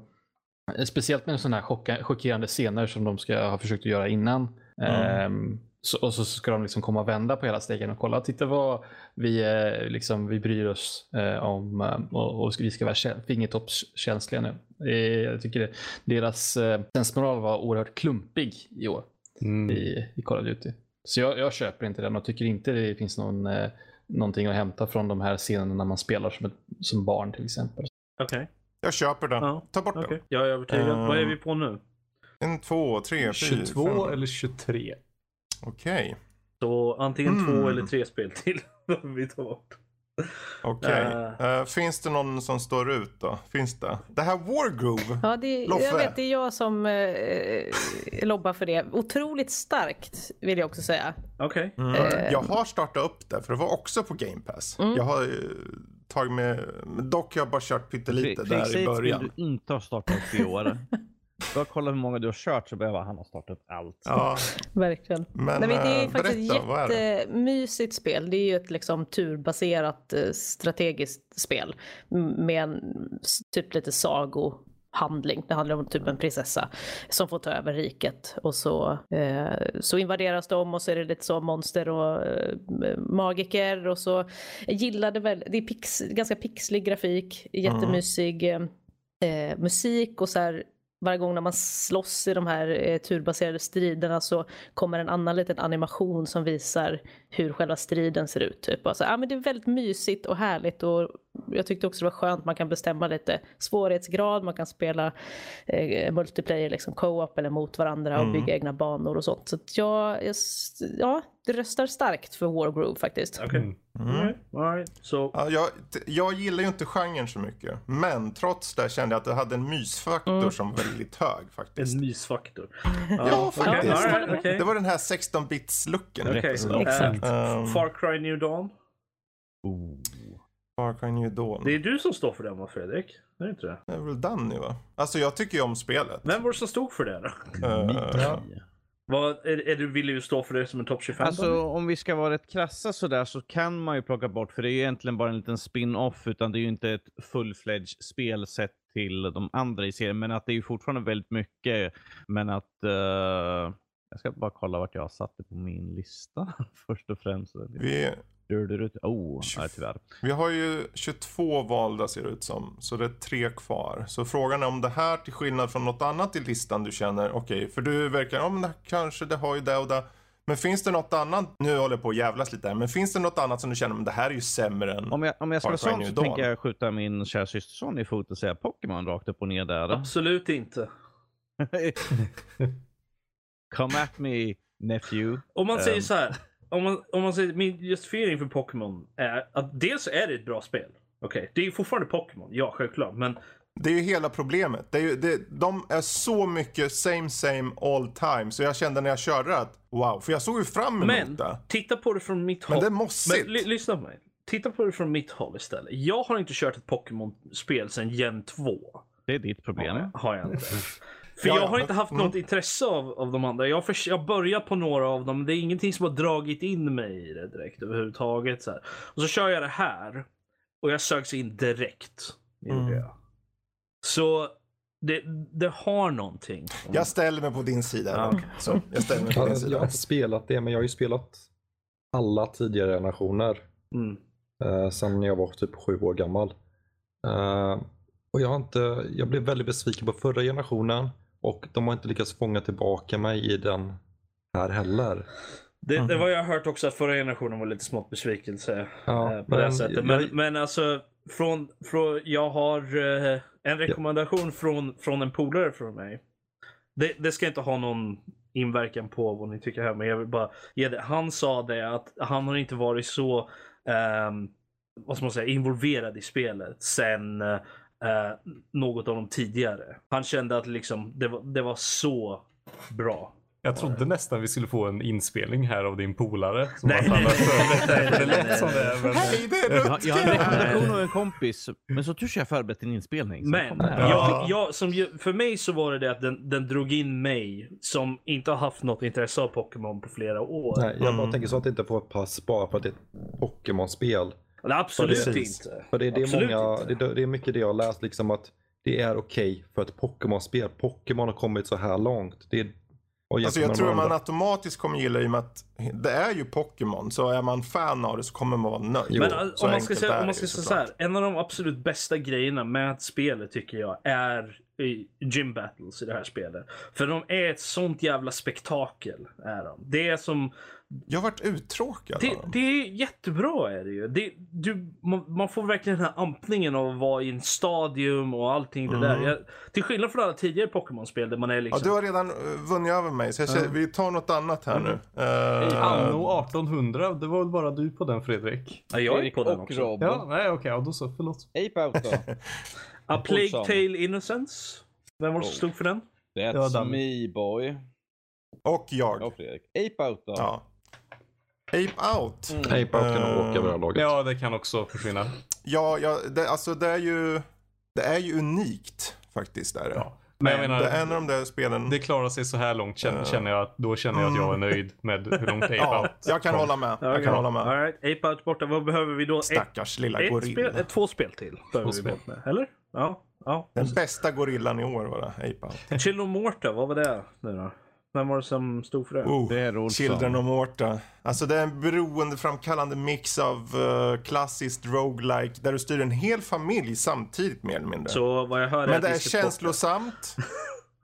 speciellt med sådana här chocka, chockerande scener som de ska ha försökt att göra innan. Ehm, så, och så ska de liksom komma och vända på hela stegen och kolla. Titta vad vi, eh, liksom, vi bryr oss eh, om eh, och, och vi ska vara kä- fingertoppskänsliga nu. Eh, jag tycker det, deras eh, sensmoral var oerhört klumpig i år i, i Call of Duty. Så jag, jag köper inte den och tycker inte det finns någon, eh, någonting att hämta från de här scenerna när man spelar som, ett, som barn till exempel.
Okej.
Jag köper den.
Ja,
Ta bort
Okej. Jag är övertygad.
Ehm.
Vad är vi på nu?
den. En, två, tre, fyra.
22
fem.
eller 23?
Okej.
Så antingen
Mm.
två eller tre spel till. behöver vi tar bort.
Okej.
Eh.
Eh, finns det någon som står ut då? Finns det? Det här Wargroove.
Ja, det,
Loffe.
jag vet, det är jag som eh, lobbar för det. Otroligt starkt vill jag också säga.
Okej.
Mm. Jag har startat upp det för det var också på Game Pass.
Eh. Mm.
Jag har eh, tagit med, dock har jag bara kört pyttelite där i
Krigsaids vill
början.
du inte ha startat upp i år. Bara kolla hur många du har kört så behöver han ha startat upp allt.
Ja,
Verkligen.
men
Nej, men det är
eh,
faktiskt
berätta, vad är
ett
det?
jättemysigt spel. Det är ju ett liksom turbaserat eh, strategiskt spel m- med en s- typ lite sagohandling. Det handlar om typ en prinsessa som får ta över riket och så, eh, så invaderas de och så är det lite så monster och eh, magiker och så jag gillade väl, det är pix, ganska pixlig grafik, jättemysig eh, eh, musik och så här varje gång när man slåss i de här eh, turbaserade striderna så kommer en annan liten animation som visar hur själva striden ser ut. Typ. Alltså, ja, men det är väldigt mysigt och härligt och jag tyckte också det var skönt, man kan bestämma lite svårighetsgrad, man kan spela eh, multiplayer, liksom co-op eller mot varandra
Mm.
och bygga egna banor och sånt. Så att jag, jag, s- ja, det röstar starkt för Wargroove faktiskt.
Okej. Alright.
Mm.
Alright. Så
Mm. Ja, jag, t- jag gillar ju inte genren så mycket. Men trots det kände jag att det hade en mysfaktor
Mm.
som var väldigt hög faktiskt.
en mysfaktor.
Ja, faktiskt.
Okej.
håller
Alright,
med.
okej.
Det var den här 16-bits-looken.
Okej.
Okay.
Exakt.
Ehm.
Eh, Far Cry New Dawn.
Far Cry New Dawn.
Det
Det
är du som står för den va Fredrik? Är det inte det?
är väl Danny va? Alltså jag tycker ju om spelet.
Vem var det som stod för det då?
Eh,
Vad, är, är du, vill du stå för det som en topp 25?
Alltså om vi ska vara rätt krassa sådär så kan man ju plocka bort för det är ju egentligen bara en liten spin-off utan det är ju inte ett full-fledged spel sett till de andra i serien. Men att det är ju fortfarande väldigt mycket. Men att... eh, jag ska bara kolla vart jag satte på min lista först och främst.
vi,
Du, du, du. Oh, nej, tyvärr.
vi har ju 22 valda ser det ut som. Så det är tre kvar. Så frågan är om det här till skillnad från något annat i listan du känner. Okej, för du verkar, ja men det, kanske det har ju det och det. Men finns det något annat, nu håller jag på att jävlas lite här. Men finns det något annat som du känner, men det här är ju sämre än.
Om jag, om jag ska
Far
vara
Cry
sån
New
så
Dawn.
tänker jag skjuta min kära systerson i foten och säga Pokémon rakt upp och ner där.
Absolut inte.
Come at me nephew.
Om man säger
Ehm.
så här. Om man, om man säger min justifiering för Pokémon är att dels är det ett bra spel. Okej, det är ju fortfarande Pokémon. Ja, självklart. Men
Det är ju hela problemet. Det är ju, det, de är så mycket same same all time. Så jag kände när jag körde det att wow, för jag såg ju fram emot
Men
det.
titta på det från mitt håll.
Men det är mossigt.
Men ly- lyssna på mig. titta på det från mitt håll istället. Jag har inte kört ett Pokémon-spel sedan Gen 2.
Det är ditt problem.
Har jag inte. För jag har inte haft
mm.
något intresse av, av de andra. Jag har, förs- jag har börjat på några av dem. men Det är ingenting som har dragit in mig i det direkt överhuvudtaget. Så här. Och så kör jag det här. Och jag sögs in direkt. gjorde
Mm.
jag. Så det, det har någonting.
Jag ställer mig på din sida.
Ja, okej.
Så, jag ställer mig på
Jag,
din
alltså, jag
sida.
har inte spelat det, men jag har ju spelat alla tidigare generationer.
Mm.
Eh, sen när jag var typ sju år gammal. Eh, och jag, har inte, jag blev väldigt besviken på förra generationen och de har inte lyckats fånga tillbaka mig i den här heller.
Det, det var jag hört också att förra generationen var lite smått besvikelse
Ja,
eh, på det
men
sättet.
jag-
Men, men alltså, från, från, jag har eh, en rekommendation från, från en polare från mig. Det, det ska inte ha någon inverkan på vad ni tycker här, men jag vill bara ge det. Han sa det att han har inte varit så ehm, vad ska man säga, involverad i spelet sen eh, eh, något av de tidigare. Han kände att liksom, det, var, det var så bra
Jag trodde nästan vi skulle få en inspelning här av din polare. Som
Nej,
att han
nej,
har
nej,
förberett det här.
nej, nej,
Det
Ehm,
nej.
lät som det. Men...
Hej, det är
Jag, jag har
Rutger!
en rekommendation av en kompis, men så törs jag förberett en inspelning. så
Men
kom här.
jag, jag, som, ju- för mig så var det det att den, den drog in mig som inte har haft något intresse av Pokémon på flera år.
Nej, jag
Mm.
bara tänker så att det inte får ett pass bara för att det är ett Pokémon-spel.
Eller Absolut
Precis.
inte.
För det, är- det, är
Absolut
många,
inte.
det, det är mycket det jag har läst, liksom att det är okej för ett Pokémon-spel. Pokémon har kommit så här långt. Det är, och
Alltså
jämfört
jag
med
tror
de
man
andra-
automatiskt kommer gilla i och med att det är ju Pokémon. Så är man fan av det så kommer man vara nöjd.
Men
Så
alltså, om man ska
enkelt är
säga, om man
det
ska
ju
säga så
såklart.
här. En av de absolut bästa grejerna med spelet tycker jag är i gym battles i det här spelet. För de är ett sånt jävla spektakel. Är de. Det är som
Jag har varit uttråkad
Det,
av dem.
det är jättebra är det ju. Det, du, man, man får verkligen den här ampningen av att vara i en stadium och allting det där. Jag, till skillnad från alla tidigare Pokémon-spel där man är
Mm. Ja,
liksom... Mm.
du har redan eh, vunnit över mig, så jag säger, vi tar något annat här nu.
I
Eh,
anno 1800, det var väl bara du på den Fredrik?
Ja, jag är på den också.
Rob.
Ja, nej okej, ja, då så. Förlåt.
Ape Out då?
A Plague
Olsson.
Tale Innocence. Vem var det som
Oh.
stod för den?
Det
Det var
är
Danny.
Smiboy.
och jag.
Ja, Fredrik. Ape Out då?
Ja. Ape Out.
Nej, bara kunna
Eh,
åka över det här laget.
Ja, det kan också försvinna.
Ja, ja det, alltså det är ju... Det är ju unikt faktiskt. Där.
Ja. Men jag menar,
Det är en av de där spelen... Eh. Mm.
det klarar sig så här långt känner, känner jag att då känner jag att jag är nöjd med hur långt Ape
ja,
Out
jag kan
kom.
hålla med. Jag kan
Okej.
hålla med.
All right. Ape Out borta. Vad behöver vi då? Ett,
Stackars lilla
ett spel,
gorilla.
ett, två spel till. Behöver vi
spel.
bort med. Eller? Ja. ja.
Den bästa gorillan i år var det, Ape Out.
Chillomorta, vad var det nu då? Vem var det som stod för det?
Oh,
Det är Olsson.
Children of Morta. Alltså det är en beroendeframkallande mix av uh, klassiskt roguelike där du styr en hel familj samtidigt mer eller mindre.
Så vad jag hör
Men
att
det
vi
är
ska plocka-
känslosamt.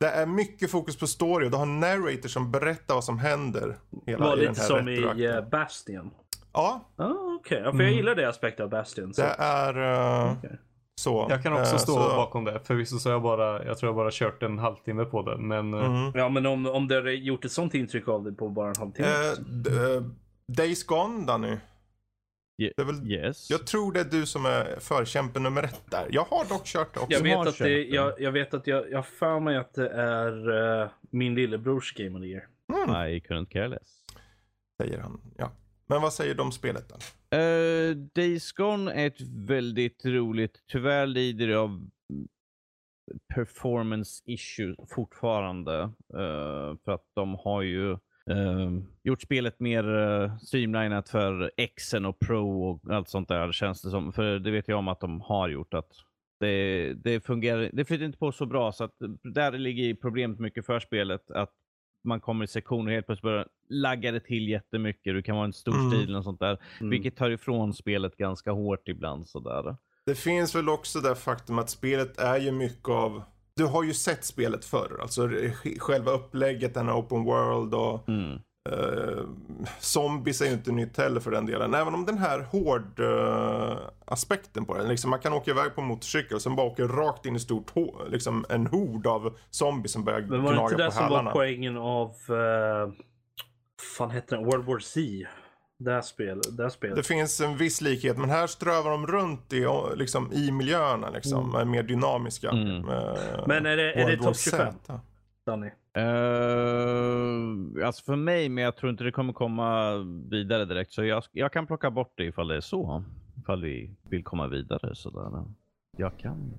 Det är mycket fokus på story och du har en narrator som berättar vad som händer.
Det
Hela
var
i den
lite
här
som i
retroakten.
eh, Bastion.
Ja, Mm.
Ah, Okej, ja, för jag gillar det aspekten av Bastion. Så.
det är eh,
Okej.
så.
Jag kan också
Eh,
stå
så-
bakom det. Förvisso så har jag bara, jag tror jag bara kört en halvtimme på det. Men eh,
mm.
Ja, men om, om det hade gjort ett sånt intryck av dig på bara en halvtimme.
Eh, d- eh, Days Gone, Danny.
Ye-
Det är väl,
Yes.
Jag tror det är du som är förkämpe nummer ett där. Jag har dock kört det också.
jag, vet
har
att det,
köpt den.
jag, jag vet att jag jag har för mig att det är eh, min lillebrors Game of the Year.
I couldn't care less.
Säger han. Ja. Men vad säger de om spelet då?
Uh, Days Gone är ett väldigt roligt. Tyvärr lider det av performance issue fortfarande. Eh, för att de har ju eh, gjort spelet mer uh, streamlinat för Xen och Pro och allt sånt där känns det som. För det vet jag om att de har gjort. att Det, det fungerar, det flyter inte på så bra så att där ligger problemet mycket för spelet. Att man kommer i sektioner och helt plötsligt börjar lagga det till jättemycket. Du kan vara i en stor
Mm.
stil eller något sånt där.
Mm.
Vilket tar ifrån spelet ganska hårt ibland sådär.
Det finns väl också det faktum att spelet är ju mycket av... Du har ju sett spelet förr. Alltså re- själva upplägget, den här open world och...
Mm.
eh, zombies är ju inte nytt heller för den delen. Även om den här hård eh, aspekten på den. Liksom man kan åka iväg på en motorcykel och sen bara åker rakt in i stort hå- liksom en hord av zombies som börjar
Men var det inte
gnaga
det
på
som var
hälarna.
poängen av... Uh, fan hette den? World War Z? Det här spelet. Det här spelet.
Det finns en viss likhet men här strövar de runt i, o- liksom, i miljöerna liksom. Är mer dynamiska.
Mm.
Eh,
Men är det- är det
World War
topp 25?
Z.
Danny.
Eh, alltså för mig, men jag tror inte det kommer komma vidare direkt. Så jag, jag kan plocka bort det ifall det är så. ifall vi vill komma vidare. Sådär. Jag kan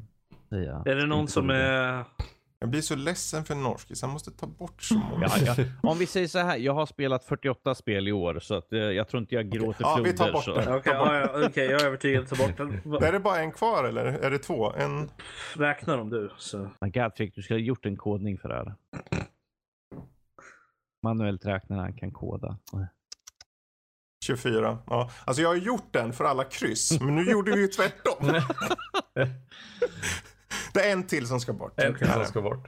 säga.
Är det någon som är...
Jag blir så ledsen för norskis. Han måste ta bort så många.
Ja, ja. Om vi säger så här, jag har spelat 48 spel i år så att, eh, jag tror inte jag gråter
Ja, vi tar
floder.
bort
så.
den.
Okej, ja, ja, okej, jag är övertygad. Ta bort den.
Är det bara en kvar eller är det två? En...
Räkna dem du. Så.
Men Gadfrick, du skulle ha gjort en kodning för det här. Manuellt räknar han kan koda.
24. Ja. Alltså jag har gjort den för alla kryss, men nu gjorde vi ju tvärtom. Det är en till som ska bort.
En till som ska bort.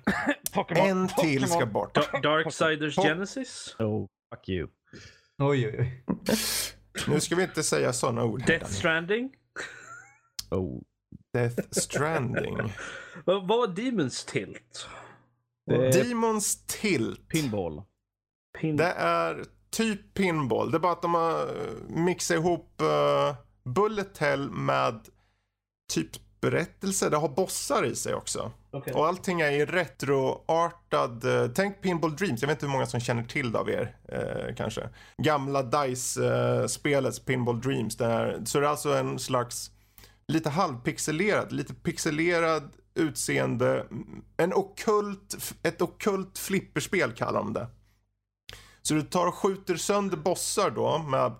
En till ska bort.
Da- Darksiders Genesis?
Oh, fuck you.
Oj, oj, oj.
Nu ska vi inte säga sådana ord. här,
Death
Danny.
Stranding?
Oh.
Death Stranding.
Vad vad var Demons Tilt? Eh,
Demons Tilt.
Pinball.
Pin-
Det är typ pinball. Det är bara att de har eh, mixat ihop eh, Bullet Hell med typ berättelser. Det har bossar i sig också.
Okej.
Och allting är i retroartad. eh, Tänk Pinball Dreams. Jag vet inte hur många som känner till det av er eh, kanske. Gamla Dice-spelets Pinball Dreams. Där, så det är alltså en slags lite halvpixelerad, lite pixelerad utseende. En okult, ett okult flipperspel kallar de det. Så du tar och skjuter sönder bossar då med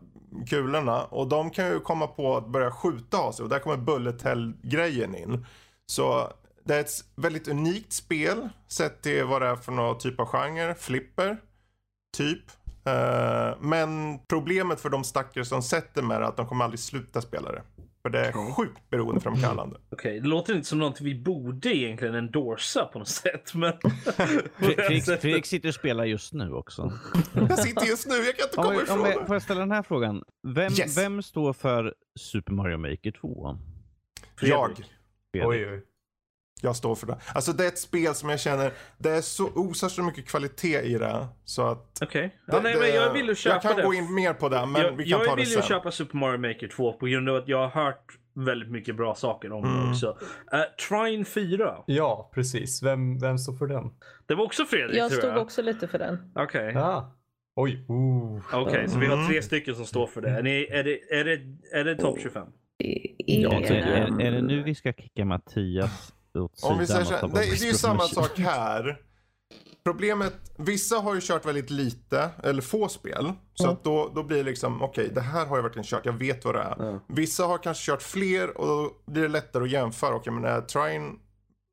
kulorna och de kan ju komma på att börja skjuta av sig och där kommer bullet hell-grejen in. Så det är ett väldigt unikt spel sett till vad det är för någon typ av genre, flipper, typ. Eh, Men problemet för de stackare som sätter med det är att de kommer aldrig sluta spela det. För det är sjukt beroendeframkallande.
Okej, det låter inte som något vi borde egentligen endorsa på något sätt. Men...
Fredrik, Fredrik sitter och spelar just nu också.
Jag sitter just nu, jag kan inte
Om
komma
jag,
ifrån
om
det.
jag, får jag ställa den här frågan? Vem,
Yes.
vem står för Super Mario Maker 2?
Jag.
oj, oj.
Jag står för det. Alltså det är ett spel som jag känner, det är så, osar så mycket kvalitet i det. Så att...
Okej.
det-
Ja, nej, men jag vill ju köpa
Jag kan
det.
gå in mer på det, men
jag
vi kan ta
jag
det
vill ju
sen.
köpa Super Mario Maker 2 på grund av att jag har hört väldigt mycket bra saker om
Mm.
det också. Uh, Trine 4.
Ja, precis. Vem, vem står för den?
Det var också Fredrik
Jag
tror
stod
jag.
också lite för den.
Okej.
Ah. Oj, oh.
Okej, så vi
Mm.
har tre stycken som står för det. Är, ni, är det, är det, är det topp 25?
Ja, är, är, är det nu vi ska kicka Mattias åt sidan?
Om vi säger så
och ta
här,
bort
det, det är ju
Super
samma
Mario?
sak här. Problemet, vissa har ju kört väldigt lite, eller få spel. Så att då, då blir det liksom, okej det här har jag verkligen kört, jag vet vad det är. Vissa har kanske kört fler och då blir det lättare att jämföra. Okej men är Trine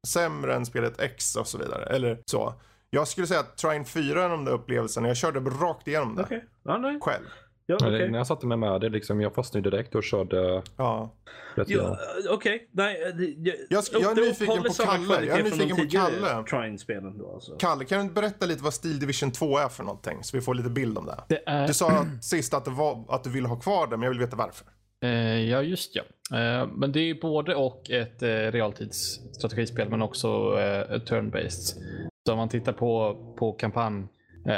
sämre än spelet X och så vidare? Eller så. Jag skulle säga att Trine 4 är den där upplevelsen, jag körde rakt igenom det.
Okej. Ja, nej.
Själv.
Ja,
Men
okej.
När jag satte mig med det, liksom, jag fastnade direkt och körde
Ja.
rätt
Ja,
ja.
Okej, nej. eh, det- Jag,
Jag ska- jag är
det
nyfiken
håller
på
samma
Kalle.
kvalitet
Jag är
från de
nyfiken på
tidigare
Kalle.
Trine-spelen då alltså.
Kalle, kan du berätta lite vad Steel Division 2 är för någonting? Så vi får lite bild om det.
Det är
Du sa sist att, det var, att du ville ha kvar det, men jag vill veta varför.
Eh, ja, just ja. Eh, men det är ju både och ett eh, realtidsstrategispel men också eh, ett turn-based. Så om man tittar på, på kampanjläget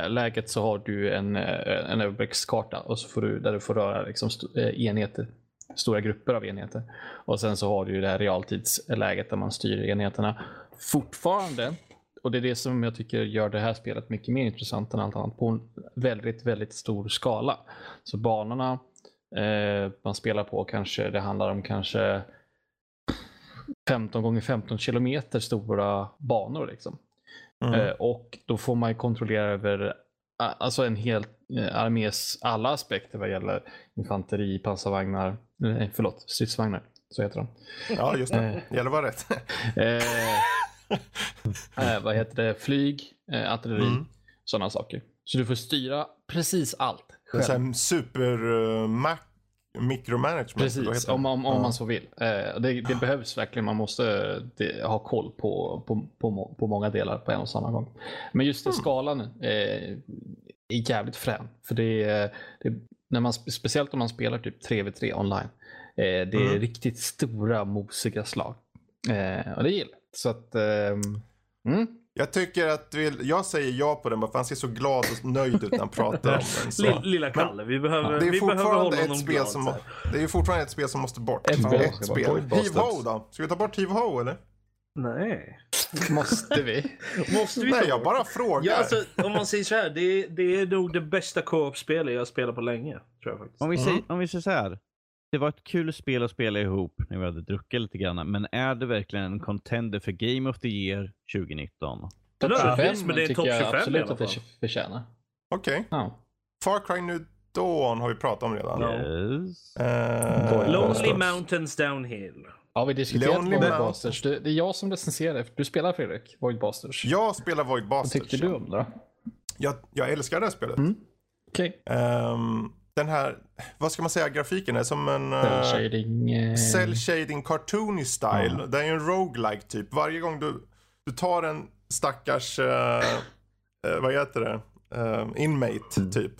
eh, läget så har du en, eh, en överblickskarta och så får du, där du får röra liksom, st- eh, enheter. Stora grupper av enheter. Och sen så har du ju det här realtidsläget där man styr enheterna. Fortfarande, och det är det som jag tycker gör det här spelet mycket mer intressant än allt annat, på en väldigt, väldigt stor skala. Så banorna Eh, man spelar på kanske, det handlar om kanske 15 gånger 15 kilometer stora banor. Liksom.
Mm.
Eh, och då får man ju kontrollera över a- alltså en hel eh, armés alla aspekter vad gäller infanteri, pansarvagnar, nej förlåt, stridsvagnar. Så heter de.
Ja, just det. Det gäller att vara rätt.
Eh, eh, vad heter det? Flyg, eh, artilleri,
Mm.
sådana saker. Så du får styra precis allt
Det är så
själv.
här super uh, mac, micromanagement. vad
Precis,
heter det?
om, om, om
Ja. Ah.
man så vill. Eh, det det behövs verkligen. Man måste eh, det, ha koll på, på, på, må- på många delar på en och samma gång. Men just det,
Hmm.
skalan eh, är jävligt frän. För det, är- det, när man, spe- speciellt om man spelar typ 3v3 online. Eh, det är
Mm.
riktigt stora, mosiga slag. Eh, och det gillar jag. Så att... ehm, mm.
Jag tycker att vi, jag säger ja på den bara för han ser så glad och nöjd ut när han pratar om den. Så.
Lill- Lilla Kalle, vi behöver,
Det är
vi behöver
fortfarande
hålla
ett
honom
spel
glad.
som,
så här.
det är ju fortfarande ett spel som måste bort.
Ett
Ja,
spel.
Ett spel.
Point Busters.
Heave Ho då? Ska vi ta bort Heave Ho eller?
Nej.
Måste vi?
Måste vi ta
Nej, jag
bort?
bara frågar.
Ja, alltså, om man säger så här, det är, det är nog det bästa co-op-spelet jag spelat på länge. Tror jag faktiskt. Mm.
Mm.
Om vi, säger, om vi säger så här. Det var ett kul spel att spela ihop när vi hade druckit lite grann, men är det verkligen en contender för Game of the Year 2019?
Topp
Ja,
25
visst, men det är
tycker
topp
jag
25 i
absolut
alla
att det
fall.
förtjänar.
Okej.
Ja.
Far Cry New Dawn har vi pratat om redan.
Yes.
Eh,
Boy,
Lonely
Monsters.
Mountains Downhill.
Har vi diskuterat
Lonely
Void
Man.
Busters? Du, det är jag som recenserar. för Du spelar Fredrik, Void Busters.
Jag spelar Void
Vad
Busters.
tyckte du om det då?
Jag, jag älskar det här spelet.
Okej.
Ehm, den här, vad ska man säga, grafiken är som en... eh,
Cell shading. eh,
cell shading cartoony style. Det är ju en roguelike typ. Varje gång du, du tar en stackars, eh, eh, vad heter det, Eh, inmate typ.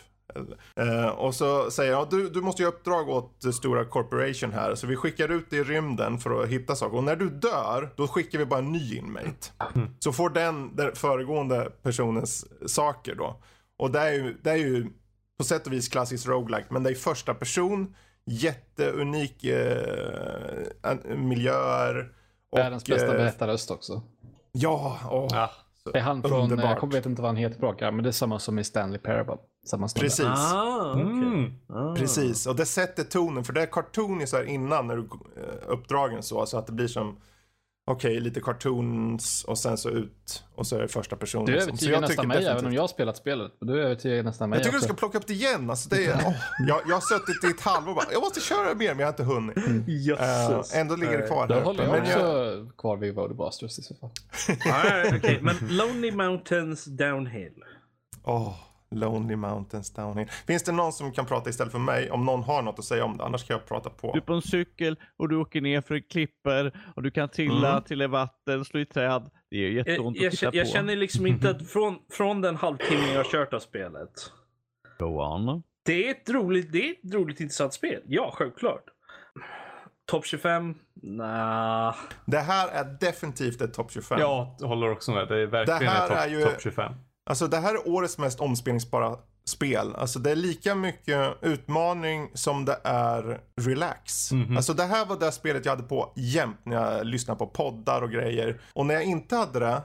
Eh, och så säger jag, du, du måste göra uppdrag åt eh, stora corporation här. Så vi skickar ut dig i rymden för att hitta saker. Och när du dör, då skickar vi bara en ny inmate.
Mm.
Så får den, den föregående personens saker då. Och det är ju, det är ju på sätt och vis klassiskt roguelike. Men det är första person, jätteunik eh, an- miljöer. och,
Världens bästa
eh,
berättarröst också.
Ja, åh. Så-
Det är han från, eh,
underbart.
jag kommer- vet inte vad han heter på rak arm, men det är samma som i Stanley Parable. Samma snubbe.
Precis.
Ah, okej.
Mm.
Ah.
Precis, och det sätter tonen. För det är cartoon så här innan när du eh, uppdragen så. Så att det blir som, okej, lite cartoons och sen så ut och så är det första personen.
Du
Så
övertygar nästan mig, även om jag har spelat spelet. Men Du övertygar nästan mig
Jag tycker du
också.
ska plocka upp det igen. Alltså det är, åh, jag, jag har suttit i ett halvår och bara, jag måste köra mer men jag har inte hunnit. Eh,
Jösses.
ändå ligger det kvar
Mm. Då
där
håller
uppe.
jag
Men
också
jag,
kvar vid Void Busters i så fall.
Ah, ja, ja, okej. Men Lonely Mountains Downhill.
åh, Lonely Mountains Downhill. Finns det någon som kan prata istället för mig? Om någon har något att säga om det, annars kan jag prata på.
Du är på en cykel och du åker ner för klipper och du kan trilla till ett vatten, slå i träd. Det är
Jag,
jätteont
Eh, jag,
att titta
kä- jag
på.
känner liksom inte att från, från den halvtimmen jag har kört av spelet.
Go on.
Det är ett roligt, det är ett roligt intressant spel. Ja, självklart. Topp 25? Nah.
Det här är definitivt ett topp 25.
Jag håller också med. Det är verkligen
Det här
ett topp
är ju-
top 25.
Alltså det här är årets mest omspelningsbara spel. Alltså det är lika mycket utmaning som det är relax. Alltså det här var det spelet jag hade på jämt när jag lyssnade på poddar och grejer. Och när jag inte hade det,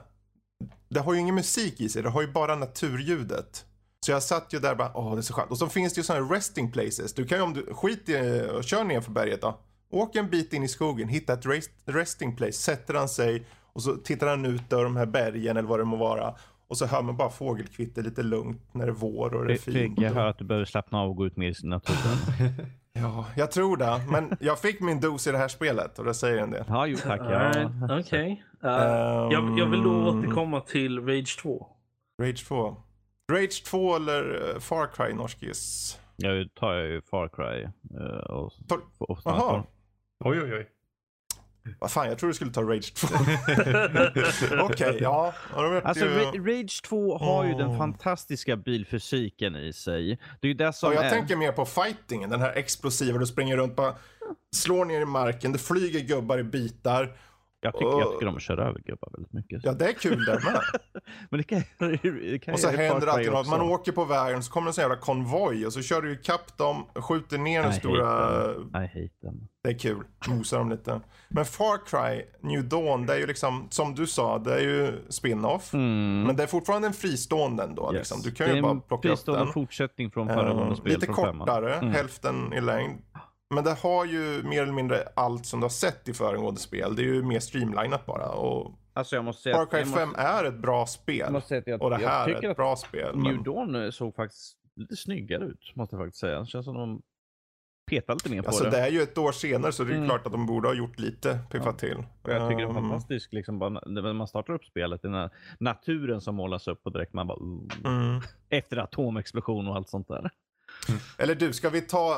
det har ju ingen musik i sig, det har ju bara naturljudet. Så jag satt ju där och bara, åh det är så skönt. Och så finns det ju sådana här resting places. Du kan ju om du, skit i eh, och kör ner för berget då. Åk en bit in i skogen, hitta ett rest, resting place, sätter han sig och så tittar han ut över de här bergen eller vad det må vara. Och så hör man bara fågelkvitter lite lugnt när det är vår och det är
Fredrik,
fint.
jag hör att du behöver slappna av och gå ut mer i naturen.
Ja, jag tror det. Men jag fick min dos i det här spelet och det säger en del.
ja, jo tack.
Alright,
Ja.
Okej.
Ehm.
Eh, jag, jag vill då återkomma till Rage 2.
Rage 2. Rage 2 eller eh, Far Cry norskis?
Jag tar jag ju Far Cry. eh, Och,
Tar-
och
Jaha.
Oj, oj, oj.
Vad fan, jag tror du skulle ta Rage 2. Okej, ja. ja, då vet
Alltså,
du-
Ra- Rage 2 har ju den
Åh.
fantastiska bilfysiken i sig. Det är ju det som
Ja, jag
är...
tänker mer på fightingen, den här explosiva. Du springer runt bara slår ner i marken, det flyger gubbar i bitar.
jag, tycker, jag
Åh.
tycker de kör över gubbar väldigt mycket.
Ja, det är kul det med.
Men det kan, det kan
Och så
jag göra i Far
händer det
Cry
alltid något.
också.
Man åker på vägen så kommer en sån jävla konvoj och så kör du ikapp dem, skjuter ner den
I
stora
hate them. I hate them.
Det är kul. Mosar dem lite. Men Far Cry New Dawn, det är ju liksom, som du sa, det är ju spin-off. Men det är fortfarande en fristående ändå.
Mm. Yes.
Liksom. Du kan
det
ju
är
bara
en
plocka upp
fristående
den.
fortsättning från föregående
Eh,
spel.
lite
från femman. Mm.
kortare, hälften i längd. Men det har ju mer eller mindre allt som du har sett i föregående spel. Det är ju mer streamlinat bara. Och
Alltså jag måste säga
Far
att-
Cry
jag måste-
5 är ett bra spel.
jag måste säga att jag-
och det
jag
här
tycker
är ett
att
bra spel.
New
Men...
Dawn såg faktiskt lite snyggare ut, måste jag faktiskt säga. Det känns som de petar lite mer på
Alltså
det.
det är ju ett år senare så det är ju
Mm.
klart att de borde ha gjort lite, piffat till.
Och jag tycker det är
Ehm,
fantastiskt liksom, bara, när man startar upp spelet, den här naturen som målas upp och direkt man bara... "Ooh."
mm.
Efter atomexplosion och allt sånt där.
Eller du, ska vi ta,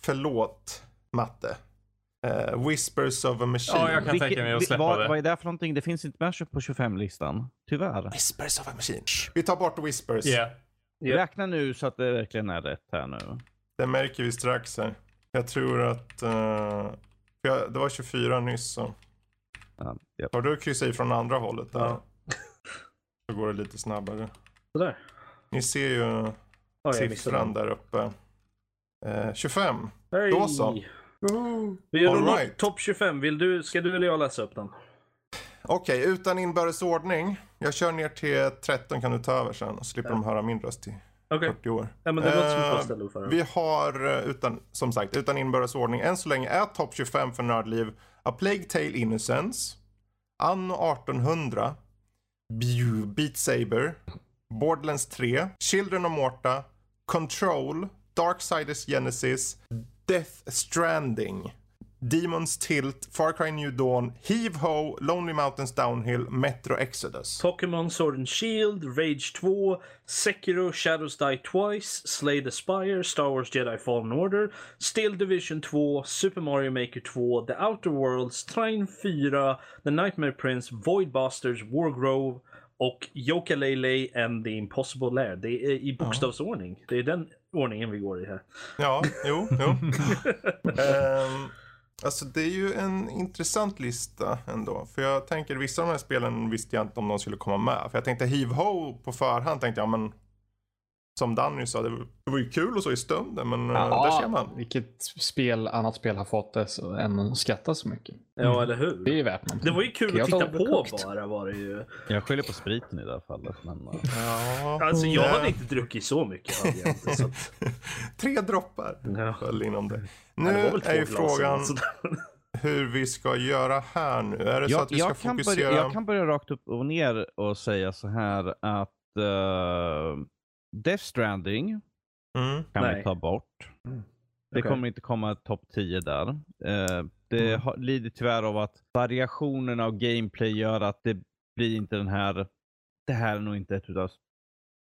förlåt matte, Eh, Whispers of a Machine.
Ja, jag kan tänka mig att
vil-
släppa
vad,
det.
Vad är det för någonting? Det finns inte med på 25-listan. Tyvärr.
Whispers of a Machine. Vi tar bort Whispers.
Yeah.
Ja.
Räkna nu så att det verkligen är rätt här nu.
Det märker vi strax här. Jag tror att, eh, för jag, det var 24 nyss så.
Ja, ja.
Har du kryssat i från andra hållet där? Så går det lite snabbare.
Sådär.
Ni ser ju
Oh,
siffran där uppe. Eh, 25.
Hej.
Då så.
Vi har
All
right.
right.
nått topp 25. Vill du, ska du eller jag läsa upp den?
Okej, utan inbördes ordning. Jag kör ner till 13 kan du ta över sen och slipper de höra min röst i
Okej.
40 år.
Ja, men det låter som ett
Eh,
bra ställe att föra.
Vi har, eh, utan, som sagt, utan inbördes ordning, än så länge är topp 25 för Nördliv A Plague Tale Innocence, Anno 1800, Bew- Beat Saber, Borderlands 3, Children of Morta, Control, Darksiders Genesis, Death Stranding, Demons Tilt, Far Cry New Dawn, Heave Ho, Lonely Mountains Downhill, Metro Exodus.
Pokémon Sword and Shield, Rage 2, Sekiro, Shadows Die Twice, Slay the Spire, Star Wars Jedi Fallen Order, Steel Division 2, Super Mario Maker 2, The Outer Worlds, Train 4, The Nightmare Prince, Void Busters, Wargrove och Yokalele and the Impossible Lair. Det är i bokstavsordning. Det är den ordningen vi går i här.
Ja, jo, jo. Ehm, alltså det är ju en intressant lista ändå. För jag tänker vissa av de här spelen visste jag inte om de skulle komma med. För jag tänkte Heave Ho på förhand tänkte jag men som Danny sa, det var- det var ju kul och så i stunden men eh, där ser man.
Vilket spel, annat spel har fått det så- än skratta så mycket.
Mm.
Ja, eller hur?
Det är ju värt någonting.
Det var ju kul att
Jag
titta
tar
på
Overcooked.
bara var det ju.
Jag skyller på spriten i det här fallet. Men, eh,
Ja.
Alltså jag hade
Mm.
inte druckit så mycket. Hade jag inte, så att,
Tre droppar
ja.
föll inom det.
Ja,
Nu
det var väl två
är ju
glas eller något
frågan
sånt där.
hur vi ska göra här nu. Är det så
jag,
att vi ska
jag, kan
fokusera?
börja, jag kan börja rakt upp och ner och säga så här att eh, Death Stranding
Mm.
kan
Nej. Mm.
vi ta bort. Det
Okej. Mm.
kommer inte komma topp 10 där. Eh, det har, lider tyvärr av att variationen av gameplay gör att det blir inte den här. Det här är nog inte ett utav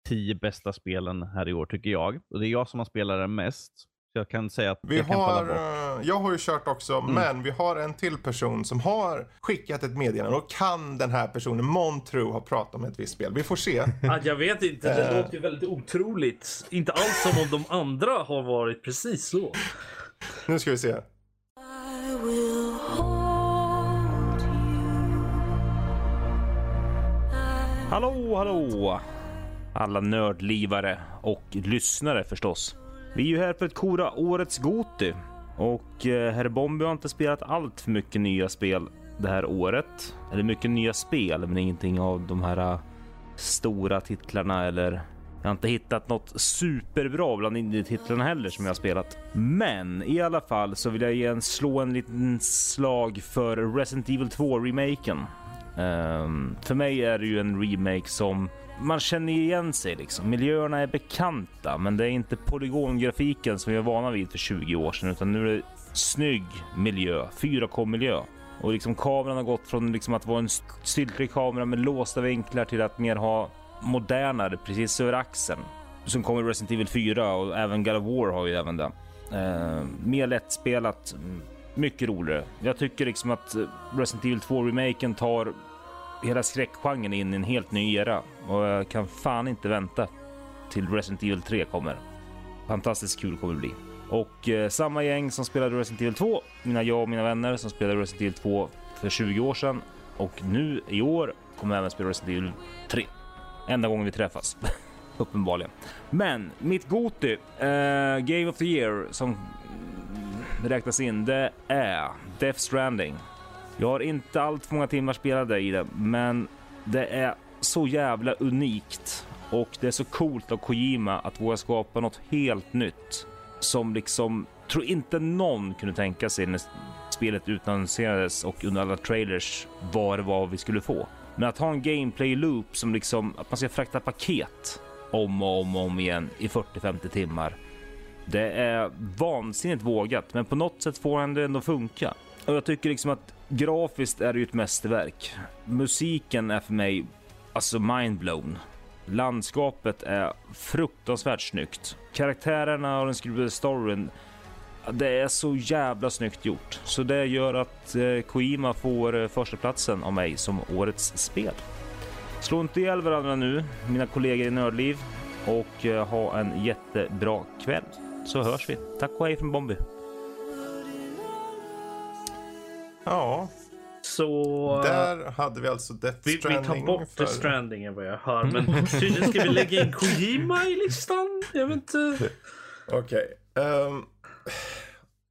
10 bästa spelen här i år tycker jag. Och det är jag som har spelat den mest. Så jag kan säga att
Vi
jag kan falla
har,
bort. Mm.
eh, jag har ju kört också, men vi har en till person som har skickat ett meddelande och kan den här personen, Montro, ha pratat med ett visst spel. Vi får se.
Ja, jag vet inte,
Eh.
det låter ju väldigt otroligt. Inte alls som om de andra har varit precis så.
Nu ska vi se.
Hallå, hallå! Alla nördlivare och lyssnare förstås. Vi är ju här för att kora årets Goti. Och eh, herr Bombi har inte spelat allt för mycket nya spel det här året. Eller mycket nya spel, men ingenting av de här eh, stora titlarna eller jag har inte hittat något superbra bland indie-titlarna heller som jag har spelat. Men i alla fall så vill jag igen slå en liten slag för Resident Evil 2-remaken. Ehm, för mig är det ju en remake som man känner igen sig liksom. Miljöerna är bekanta, men det är inte polygongrafiken som vi är vana vid för 20 år sedan, utan nu är det snygg miljö, 4K-miljö. Och liksom kameran har gått från liksom att vara en st- styltlig kamera med låsta vinklar till att mer ha modernare precis över axeln. Som kommer i Resident Evil 4 och även God of War har ju även det. Eh, mer lättspelat, mm, mycket roligare. Jag tycker liksom att eh, Resident Evil 2-remaken tar hela skräckgenren in i en helt ny era och jag kan fan inte vänta till Resident Evil 3 kommer. Fantastiskt kul kommer det bli. Och eh, samma gäng som spelade Resident Evil 2, mina jag och mina vänner som spelade Resident Evil 2 för 20 år sedan och nu i år kommer jag även spela Resident Evil 3. Enda gången vi träffas. Uppenbarligen. Men mitt Goti, eh, Game of the Year som räknas in, det är Death Stranding. Jag har inte allt för många timmar spelade i det, men det är så jävla unikt och det är så coolt av Kojima att våga skapa något helt nytt som liksom tror inte någon kunde tänka sig när spelet utannonserades och under alla trailers vad det var vi skulle få. Men att ha en gameplay loop som liksom att man ska frakta paket om och om och om igen i 40-50 timmar. Det är vansinnigt vågat, men på något sätt får han det ändå funka. Och jag tycker liksom att grafiskt är det ju ett mästerverk. Musiken är för mig alltså mindblown. Landskapet är fruktansvärt snyggt. Karaktärerna och den skruvade storyn. Det är så jävla snyggt gjort. Så det gör att eh, Kojima får eh, första platsen av mig som årets spel. Slå inte ihjäl varandra nu, mina kollegor i Nördliv. Och eh, ha en jättebra kväll. Så hörs vi. Tack och hej från Bombi.
Ja,
Så...
där hade vi alltså Death
eh, Vi, vi
Stranding.
tar bort
för- Mm.
för... strandingen vad jag hör, men tydligen ska vi lägga in Kojima i listan. Jag vet inte.
Okej. ehm,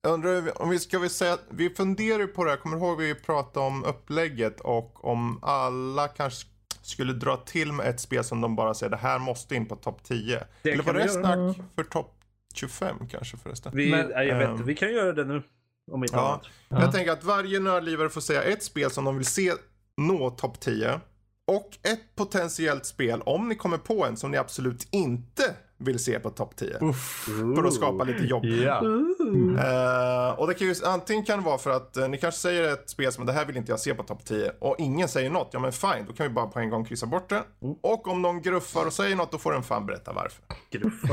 jag undrar om vi ska vi säga att vi funderar ju på det här. Kommer du ihåg vi pratade om upplägget och om alla kanske skulle dra till med ett spel som de bara säger det här måste in på topp 10.
Det
Eller
kan
var
vi
det
göra.
snack för topp 25 kanske förresten?
Vi,
Men,
nej, jag vet, inte.
ehm,
vi kan göra det nu. Om inte
Ja.
annat.
Men Jag tänker att varje nördlivare får säga ett spel som de vill se nå topp 10. Och ett potentiellt spel, om ni kommer på en, som ni absolut inte vill se på topp 10. För att skapa lite jobb. Eh, och det kan ju, antingen kan det vara för att eh, ni kanske säger ett spel som det här vill inte jag se på topp 10 och ingen säger något, ja men fine, då kan vi bara på en gång kryssa bort det.
Mm.
Och om någon gruffar och säger något, då får den fan berätta varför.
Gruffa.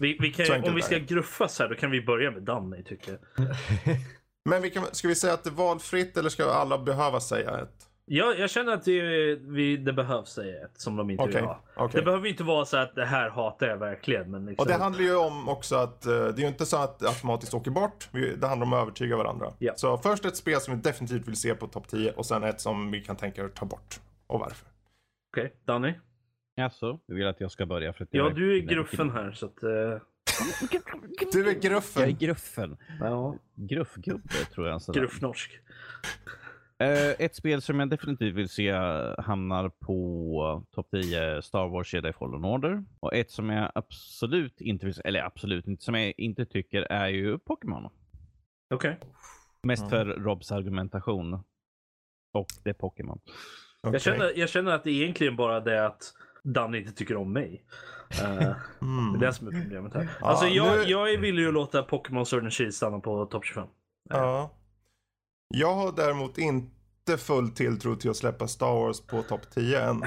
Vi, vi kan,
Så
ju-
enkelt
om vi
är
ska
det.
gruffas här, då kan vi börja med Danny tycker jag.
Men vi kan, ska vi säga att det är valfritt eller ska alla behöva säga ett?
Jag, jag känner att det, vi, det behövs säga ett som de inte
Okej,
vill ha.
okej.
Det behöver ju inte vara så att det här hatar jag verkligen. Men liksom,
Och det handlar ju om också att eh, det är ju inte så att det automatiskt åker bort. Vi- Det handlar om att övertyga varandra.
Ja.
Så först ett spel som vi definitivt vill se på topp 10 och sen ett som vi kan tänka er att ta bort. Och varför.
Okej, Danny.
Jaså, du vill att jag ska börja? För att
Ja,
jag
du är gruffen här så att... eh,
Du är
Jag är
gruffen.
gruffen.
ja,
Gruffgubbe tror jag. Sådär.
gruffnorsk.
Eh, ett spel som jag definitivt vill se hamnar på topp 10 Star Wars Jedi Fallen Order. Och ett som jag absolut inte vill se, eller absolut inte, som jag inte tycker är ju Pokémon.
Okej.
Mest för Robs argumentation. Och det är Pokémon.
Okej.
Jag, känner, jag känner att det är egentligen bara det att Danny inte tycker om mig. Eh,
Mm.
Det är det som är problemet här.
Ja,
Alltså jag,
nu-
jag är villig att låta Pokémon Sword and Shield stanna på topp 25.
Ja. Jag har däremot inte full tilltro till att släppa Star Wars på topp 10 än.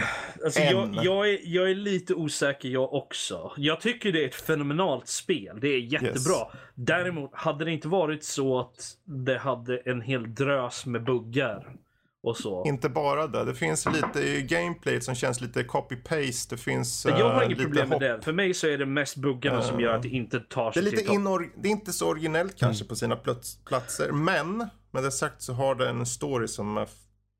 Alltså
Än.
jag, jag, är, jag är lite osäker jag också. Jag tycker det är ett fenomenalt spel. Det är jättebra. Däremot hade det inte varit så att det hade en hel drös med buggar och så.
Inte bara det. Det finns lite i gameplayet som känns lite copy-paste. Det finns
Men jag har
eh,
inget
lite
problem med
hopp.
det. För mig så är det mest buggarna som gör att det inte tar
Det är,
sig till
lite
topp. Mm.
inor- det är inte så originellt kanske på sina plöts- platser. Men med det sagt så har det en story som eh, f-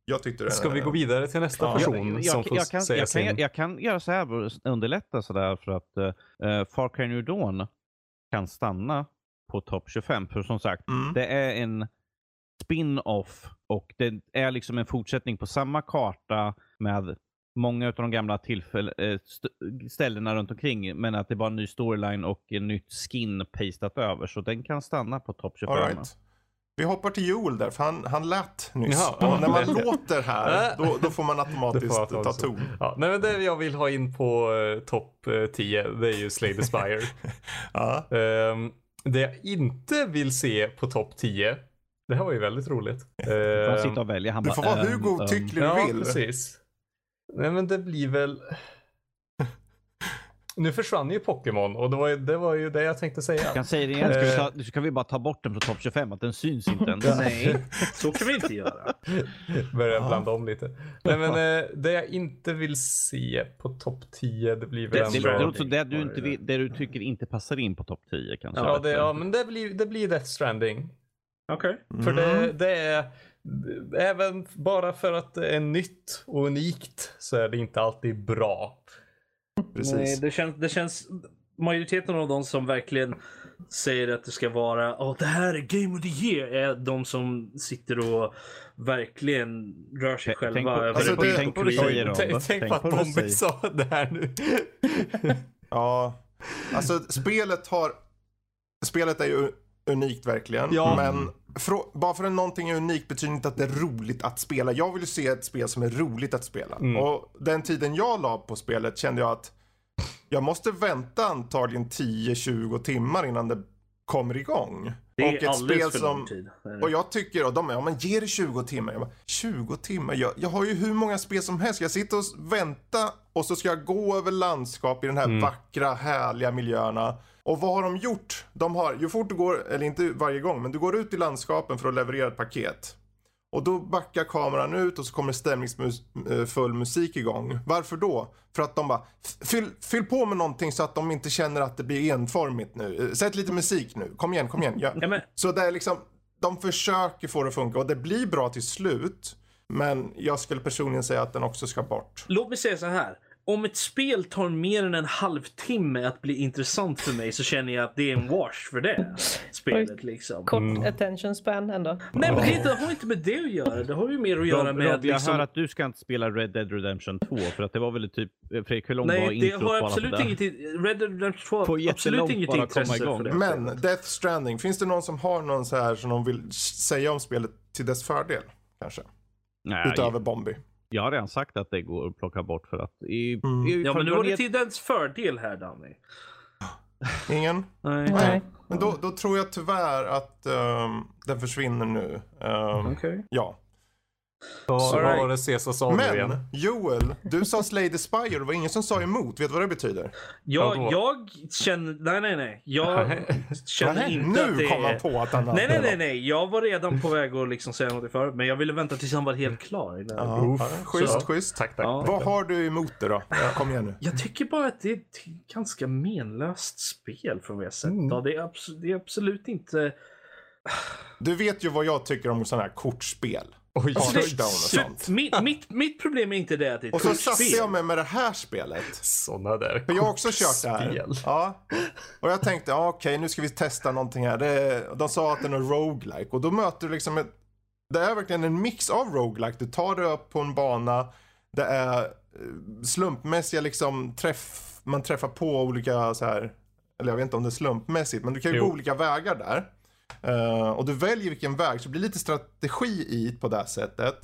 jag tyckte den
Ska vi gå vidare till nästa
Ja.
person
jag,
som
jag,
får
jag, kan,
säga
jag,
sin?
kan, jag kan göra så här och underlätta sådär för att uh, Far Cry New Dawn kan stanna på topp 25. För som sagt,
Mm.
det är en spin-off och det är liksom en fortsättning på samma karta med många av de gamla tillfäll- eh, st- ställena runt omkring. Men att det är bara en ny storyline och en nytt skin pastat över. Så den kan stanna på topp 25.
All right. Vi hoppar till Joel där, för han, han lät nyss.
Jaha,
och
ja.
när man låter här, då, då får man
Det
automatiskt
får jag
ta
också.
ton.
Ja, nej, men det jag vill ha in på eh, topp eh, 10, det är ju Slay the Spire.
Ja.
Ehm, det jag inte vill se på topp 10, det här var ju väldigt roligt.
Får han
Ehm,
sitta och välja. Han
Du
bara,
får vara hur
ehm, ehm.
godtycklig
ja,
du vill.
precis. Nej, men det blir väl... Nu försvann ju Pokémon och det var ju det, var ju det jag tänkte säga.
Jag kan säga det igen. Ska vi,
Eh.
ta, nu ska vi bara ta bort den från topp 25? Att den syns inte ens.
Nej, så kan vi inte göra.
Börja blanda om lite. Nej, men eh, det jag inte vill se på topp 10, det blir väl
Det-
Det,
ändå...
det
Stranding
låter som det du,
var
inte,
det.
vill- det du tycker inte passar in på topp 10 kanske.
Ja, det, ja men det blir, det blir Death Stranding.
Okej.
För det,
Mm.
det är, även bara för att det är nytt och unikt så är det inte alltid bra.
Nej, det, känns, det känns... Majoriteten av de som verkligen säger att det ska vara Åh, det här är Game of the Year är de som sitter och verkligen rör sig
Tänk
själva
på-
över
alltså,
en
det-
Game
tänk på
of
det
the Year.
säger de.
Tänk, tänk på
Tänk
att
på det
Bobby
liksom-
sa det här nu.
Ja, alltså spelet har... Spelet är ju unikt verkligen.
Ja.
Men frå- bara för att någonting är unikt betyder inte att det är roligt att spela. Jag vill ju se ett spel som är roligt att spela.
Mm.
Och den tiden jag la på spelet kände jag att jag måste vänta antagligen 10-20 timmar innan det kommer igång.
Det
och
är
ett spel
alldeles för lång
som...
tid.
Och jag tycker, och de är, ja men ge det 20 timmar. Jag bara, 20 timmar? Jag, jag har ju hur många spel som helst. Jag sitter och s- väntar och så ska jag gå över landskap i den här
Mm.
vackra, härliga miljöerna. Och vad har de gjort? De har, ju fort du går, eller inte varje gång, men du går ut i landskapen för att leverera ett paket. Och då backar kameran ut och så kommer stämningsfull musik igång. Varför då? För att de bara, "F- fyll, fyll på med någonting så att de inte känner att det blir enformigt nu. Eh, Sätt lite musik nu. Kom igen, kom igen.
Ja,
Gör.
men-
Så det är liksom, de försöker få det att funka och det blir bra till slut. Men jag skulle personligen säga att den också ska bort.
Låt mig säga så här. om ett spel tar mer än en halvtimme att bli intressant för mig så känner jag att det är en wash för det spelet liksom.
Kort attention span ändå.
Nej men det, är inte, det har inte med det att göra. Det har ju mer att göra
Rob,
med
Rob,
att
jag
liksom...
hör att du ska inte spela Red Dead Redemption 2 för att det var väl typ, Fredrik hur långt var
Nej, det
introt på
har
alla
absolut
sådär?
inget... i- Red Dead Redemption 2
Får
har absolut
jättelångt
inget
bara att komma
intresse
igång.
för det.
Men Death Stranding, finns det någon som har någon så här som de vill säga om spelet till dess fördel? Kanske.
Nej,
Utöver Bombi.
Jag har redan sagt att det går att plocka bort för att... I,
Mm.
i,
Ja men nu
dra
var det
ner-
till dens fördel här Danny.
Ingen?
Nej.
Nej.
Men då, då tror jag tyvärr att ehm, den försvinner nu. Ehm,
Okej.
Ja.
Ja,
All right.
vad var det Cesar sa nu igen?
Men Joel, du sa Slay the Spire. Det var ingen som sa emot. Vet du vad det betyder?
Jag,
Vadå?
jag känner... Nej nej nej. Jag känner
Nej,
inte att det
nu kom han
är...
på att han
Nej, nej, nej, nej. Jag var redan på väg att liksom säga något förut, men jag ville vänta tills han var
Mm.
helt klar. Innan.
Ja, ja, schysst, schysst.
Tack, tack.
Ja.
Vad har du emot det då? Ja, kom igen nu.
Jag tycker bara att det är ett ganska menlöst spel från vad jag sett.
Mm.
Ja, det, är abs- det är absolut inte...
Du vet ju vad jag tycker om sådana här kortspel.
Oj,
Ja.
Alltså, Det-
Touchdown och sånt.
Mitt, mitt, mitt problem är inte det att det är
Och
ett
så
coolt
satte jag
spel.
mig med det här spelet.
sådana där.
För jag har också kört det här.
Kortspel.
Ja. Och jag tänkte, ja, okej nu ska vi testa någonting här. Det, de sa att den är roguelike och då möter du liksom ett... Det är verkligen en mix av roguelike. Du tar dig upp på en bana. Det är eh, slumpmässiga liksom träff... Man träffar på olika så här... Eller jag vet inte om det är slumpmässigt, men du kan ju
Jo.
gå olika vägar där. Eh, och du väljer vilken väg, så det blir lite strategi i på det här sättet.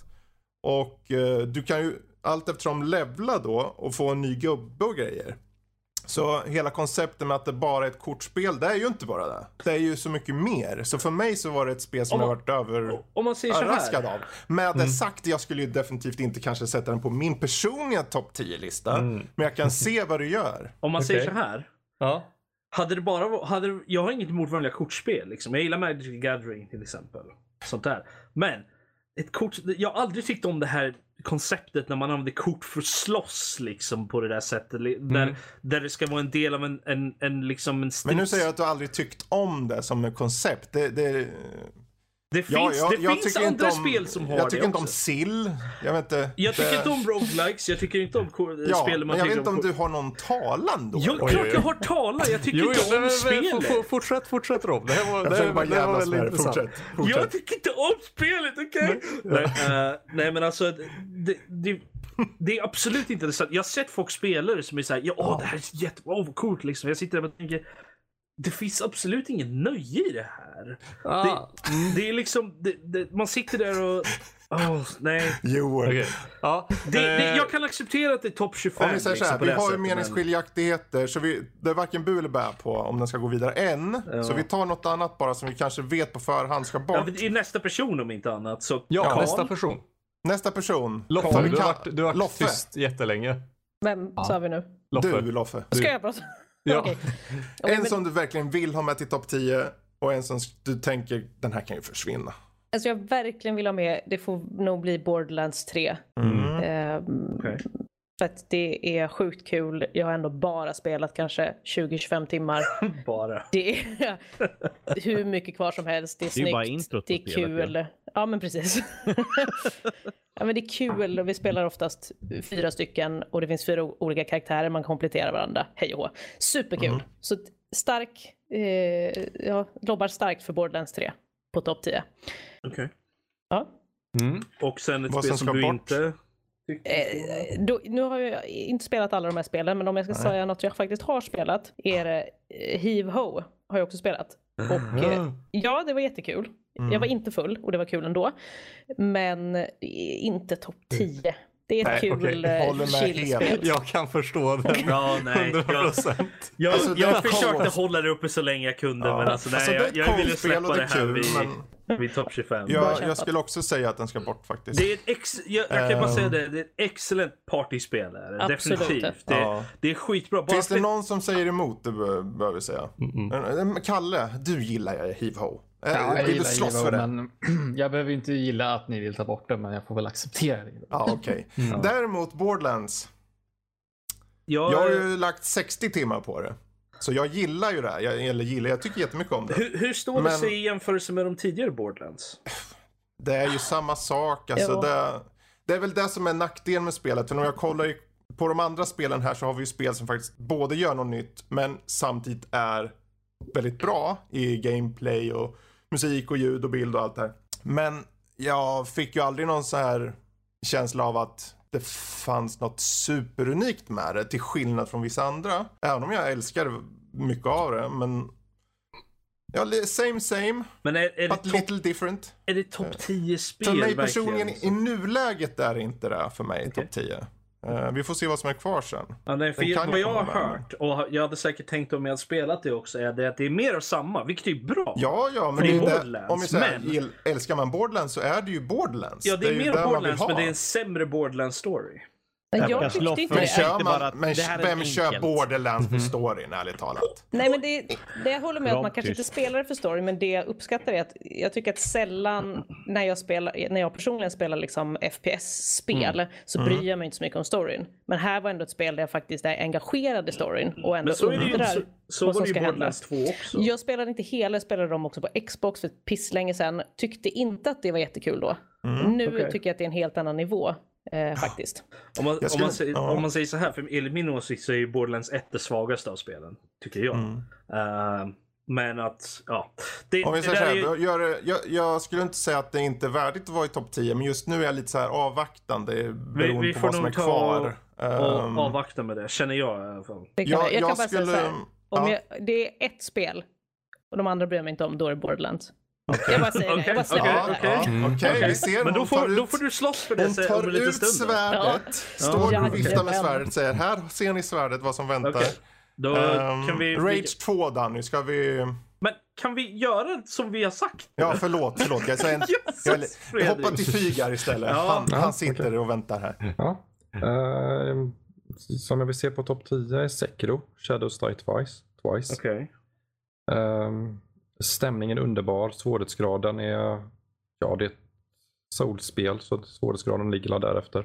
Och eh, du kan ju allt eftersom levla då och få en ny gubbe och grejer. Så hela konceptet med att det bara är ett kortspel, det är ju inte bara det. Det är ju så mycket mer. Så för mig så var det ett spel som
Om-
jag varit
Om man säger så
överraskad
här. Mm.
av. Med det sagt, jag skulle ju definitivt inte kanske sätta den på min personliga topp 10-lista.
Mm.
Men jag kan se vad du gör.
Om man säger så
Okej.
här.
Ja.
Hade det bara var- hade, det- Jag har inget emot vanliga kortspel. Liksom. Jag gillar Magic the Gathering till exempel. Sånt där. Men ett kort, jag har aldrig tyckt om det här konceptet när man använder kort för att slåss liksom, på det där sättet. Li-
Mm.
Där, där det ska vara en del av en, en, en, liksom en
Men nu
strids-
säger jag att du aldrig tyckt om det som ett koncept. Det, det,
Det
Ja,
finns, det finns
tycker inte
andra
om-
spel som har
Jag tycker
det
inte om
också.
sill. Jag vet inte.
Jag tycker
det-
inte om roguelikes, jag tycker inte om ko-
Ja,
spel där
men
man
jag vet
tycker
inte
om
om
ko-
du har någon talan då.
Jo,
eller?
klart jag har talat. Jag tycker
Jo,
inte
jo,
om
men, men,
spelet.
Eh, f- f- fortsätt, fortsätt Rob. Det här var,
Jag
det,
försöker bara
det var
jävlas
väldigt
med det.
intressant.
Fortsätt. fortsätt.
Jag tycker inte om spelet, okej? nej, eh, nej men alltså, det, det, det är absolut inte intressant. Jag har sett folk spelare som är såhär, ja åh, det här är jätte, åh, vad coolt liksom. Jag sitter där och tänker, det finns absolut inget nöje i det här.
Ah,
Det, det är liksom, det, det, man sitter där och, åh, nej.
Joel.
okej. Ja,
Det, det,
eh,
jag kan acceptera att det är topp 25.
Om vi säger så
liksom,
här,
på
vi
det
har ju
sättet, men-
meningsskiljaktigheter så vi, det är varken bu eller bä på om den ska gå vidare än. Så vi tar något annat bara som vi kanske vet på förhand ska
Ja,
bort.
men det är nästa person om inte annat. Så
ja,
Karl.
nästa person.
Nästa person.
Loffe,
Tar vi
du har
Ka-
varit, du har varit
Loffe.
tyst jättelänge.
Vem sa vi nu?
Loffe.
Du Loffe.
Ska jag prata?
Ja.
Okej.
En som du verkligen vill ha med till topp 10 och en som du tänker den här kan ju försvinna.
Alltså jag verkligen vill ha med, det får nog bli Borderlands 3. Ehm,
Okej.
För att det är sjukt kul. Jag har ändå bara spelat kanske 20-25 timmar.
bara.
Det är hur mycket kvar som helst. Det är
Det är ju
snyggt.
bara introt på
det är
spelet, ja.
kul. Ja. men precis. ja, men det är kul och vi spelar oftast fyra stycken och det finns fyra o- olika karaktärer. Man kompletterar varandra. Hej och hå. Superkul.
Mm.
Så ett stark, eh, jag lobbar starkt för Borderlands 3 på topp 10.
Okej.
Ja.
Och sen ett
Vad som
spel som
ska
du
bort?
inte...
Eh, då, nu har jag inte spelat alla de här spelen, men om jag ska säga något jag faktiskt har spelat är det eh, Heave Ho. Har jag också spelat. Och, eh, ja, det var jättekul. Jag var inte full och det var kul ändå. Men eh, inte topp 10. Det är ett
Nej,
kul
Håller
okej.
okay.
med
chill-spel.
helt.
Jag kan förstå den.
Ja, nej.
100
Jag,
procent.
jag,
Alltså, det är
jag
ett
försökte
konst-
hålla det uppe så länge jag kunde, men alltså, nej,
Alltså, det är
jag,
ett
jag ville
konstspel och
släppa
det är
det
kul,
här vid,
men-
vid topp 25.
Jag,
kämpat.
jag skulle också säga att den ska bort faktiskt.
Det är ett ex... jag, jag kan bara
Ehm.
säga det, det är ett excellent partyspel. Är det.
Absolut.
Definitivt. Det,
Ja.
det är skitbra. Bara
Finns det
för-
någon som säger emot? Det bör, bör vi säga. Eh, Kalle, du gillar ju Heave Ho. Eh,
jag
vill du
gillar
slåss
Ivo,
för det?
Men jag behöver inte gilla att ni vill ta bort det, men jag får väl acceptera det.
Ja, okej.
Mm.
Däremot Borderlands.
jag,
Jag har ju lagt 60 timmar på det. Så jag gillar ju det här. Jag, eller gillar, jag tycker jättemycket om det.
hur, hur står det
Men-
sig i jämförelse med de tidigare Borderlands?
Det är ju samma sak. Alltså,
Ja.
det, det är väl det som är nackdelen med spelet. För när jag kollar i på de andra spelen här så har vi ju spel som faktiskt både gör något nytt men samtidigt är väldigt bra i gameplay och musik och ljud och bild och allt det här. Men jag fick ju aldrig någon så här känsla av att det fanns något superunikt med det till skillnad från vissa andra. Även om jag älskar mycket av det men ja, li- same same
Men är, är, det,
but
topp,
little different. Eh,
är det topp 10 spel
För mig
verkligen?
personligen i nuläget är det inte det för mig topp 10. Eh, vi får se vad som är kvar sen.
Ja, nej, för
Den kan
vad
ju
jag har
komma med.
hört, och jag hade säkert tänkt om jag hade spelat det också, är det att det är mer av samma, vilket är bra.
Ja, ja, men
För det är
det är inte,
Borderlands,
om vi säger,
men-
el- älskar man Borderlands så är det ju Borderlands.
Ja, det är,
ju
mer
där man vill
Borderlands,
ha.
men det är en sämre Borderlands-story.
Men
Jag
jag
slåss
tyckte inte
för-
Men
Nej,
det.
kör
inte
man,
bara att
men
det här är
vem kör
enkelt.
Borderlands
Mhm.
för storyn ärligt talat?
Nej, men det, det jag håller med att man kanske inte
Romantiskt.
spelar det för story, men det jag uppskattar är att jag tycker att sällan när jag, spelar, när jag personligen spelar liksom FPS-spel
Mm.
så bryr jag mig inte så mycket om storyn. Men här var ändå ett spel där jag faktiskt är engagerad i storyn och ändå
Men så, är det ju,
undrar
så, så
vad
var
som
det ju
ska hända.
Borderlands 2 också.
Jag spelade inte hela, jag spelade dem också på Xbox för ett pisslänge sedan. Tyckte inte att det var jättekul då. nu
Mm. okej.
tycker jag att det är en helt annan nivå eh, faktiskt.
Om man,
Jag
om,
skulle-
man säger,
ja.
om man säger så här, för enligt min åsikt så är ju Borderlands 1 det svagaste av spelen. Tycker jag. Eh, men att, ja. Det,
Mm. Om vi
det
säger
där
så här,
är ju-
jag, gör det- jag, jag skulle inte säga att det inte är värdigt att vara i topp 10, men just nu är jag lite så här avvaktande beroende
vi
på
får
vad som är
nog ta
kvar.
och
Ehm,
avvakta med det, känner jag i alla fall.
Det kan
jag,
jag, jag kan
jag
bara
skulle...
säga så här. Om
ja.
jag, det är ett spel och de andra bryr jag mig inte om, då är det Borderlands. Jag bara säger det, jag bara släpper
Ja,
det
ja,
där.
Okej, vi ser.
Men då
Hon tar
får,
ut,
då får du slåss för det
hon
sen
tar
om en liten
ut
stund. då.
svärdet, står och viftar med
Jajamän.
svärdet och säger här ser ni svärdet, vad som väntar.
Okej. Då
Ehm,
kan vi...
Rage 2 Danny, ska vi...
Men kan vi göra som vi har sagt?
Ja, förlåt, förlåt. Jag, säger en... jag, jag hoppar till Fygar istället.
Ja.
Han, han sitter och väntar här.
Ja. Eh, som jag vill se på topp 10 är Sekiro, Shadows Die Twice. twice.
Okej.
Ehm, stämningen är underbar. Svårighetsgraden är... Ja, det är ett solspel så att svårighetsgraden ligger la därefter.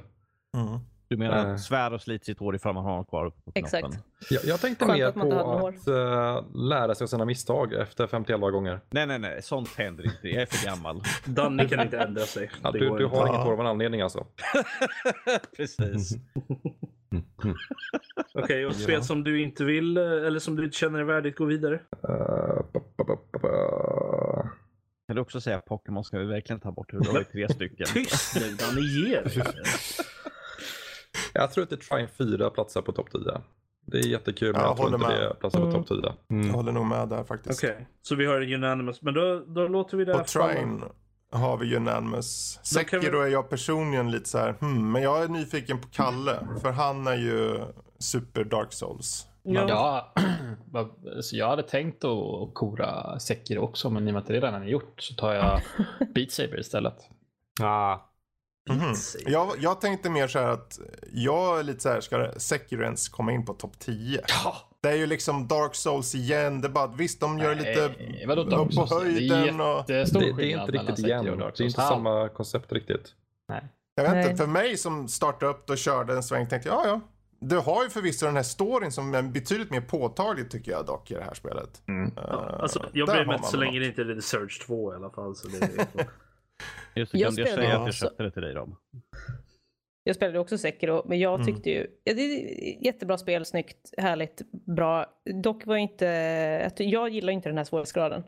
Mm.
Du menar
Eh.
att svär och slit sitt hår ifall man har något kvar på knoppen?
Exakt.
Jag, jag tänkte
Skönt
mer
att man
på
inte hade några
att eh, lära sig av sina misstag efter 51 gånger.
Nej, nej, nej. Sånt händer inte. Jag är för gammal.
Danny kan inte ändra sig.
Ja,
Det
du,
går
du
inte.
har inget hår av en anledning alltså.
Precis.
Okej, och spel som du inte vill eh, eller som du inte känner är värdigt, gå vidare.
Eh, ba, ba, ba, ba, ba.
Kan du också säga Pokémon ska vi verkligen ta bort? Hur då har vi tre stycken.
Tyst nu Danny, ge dig.
Jag tror att det är Triumph 4 platsar på topp 10. Det är jättekul men
Ja,
jag tror
håller
inte
med.
det platsar på topp
Mm.
10.
Jag håller nog med där faktiskt.
Okej, så vi har unanimous. Men då, då låter vi det här
Och Trine har vi Unanimous.
Då kan vi-
Sekiro är jag personligen lite så här, hmm, men jag är nyfiken på Kalle. För han är ju super Dark Souls.
Men
Ja.
ja, vad- så jag hade tänkt att kora säcker också, men i och med att det redan är gjort så tar jag Beat Saber istället.
Ah,
Mhm.
Saber.
Jag, jag tänkte mer så här att jag är lite så här, ska det- Sekiro ens komma in på topp 10? Det är ju liksom Dark Souls igen. Det är bara att visst, de gör lite
Eh,
Nej, vadå
upp på
Souls?
höjden
Det
och...
är jättestor
Det,
skillnad
det är inte
mellan
riktigt
Sekiro och
igen. Det
Dark
är
Souls.
inte
Ah,
samma koncept riktigt.
Jag vet
Nej.
inte, för mig som startade upp och körde en sväng tänkte jag, ja ja. Du har ju förvisso den här storyn som är betydligt mer påtaglig tycker jag dock i det här spelet. Eh,
Alltså, jag
där
blir
har
mätt
man
så
väl
länge
något.
det inte är The Surge 2 i alla fall. Så det är...
Just det, alltså.
Jag
glömde
spelar
jag säga
ju
att jag
också-
köpte det till dig Rob.
Jag spelade också Sekiro, men jag tyckte ju... Ja, det är jättebra spel, snyggt, härligt, bra. Dock var jag inte... att Jag gillar inte den här svårighetsgraden.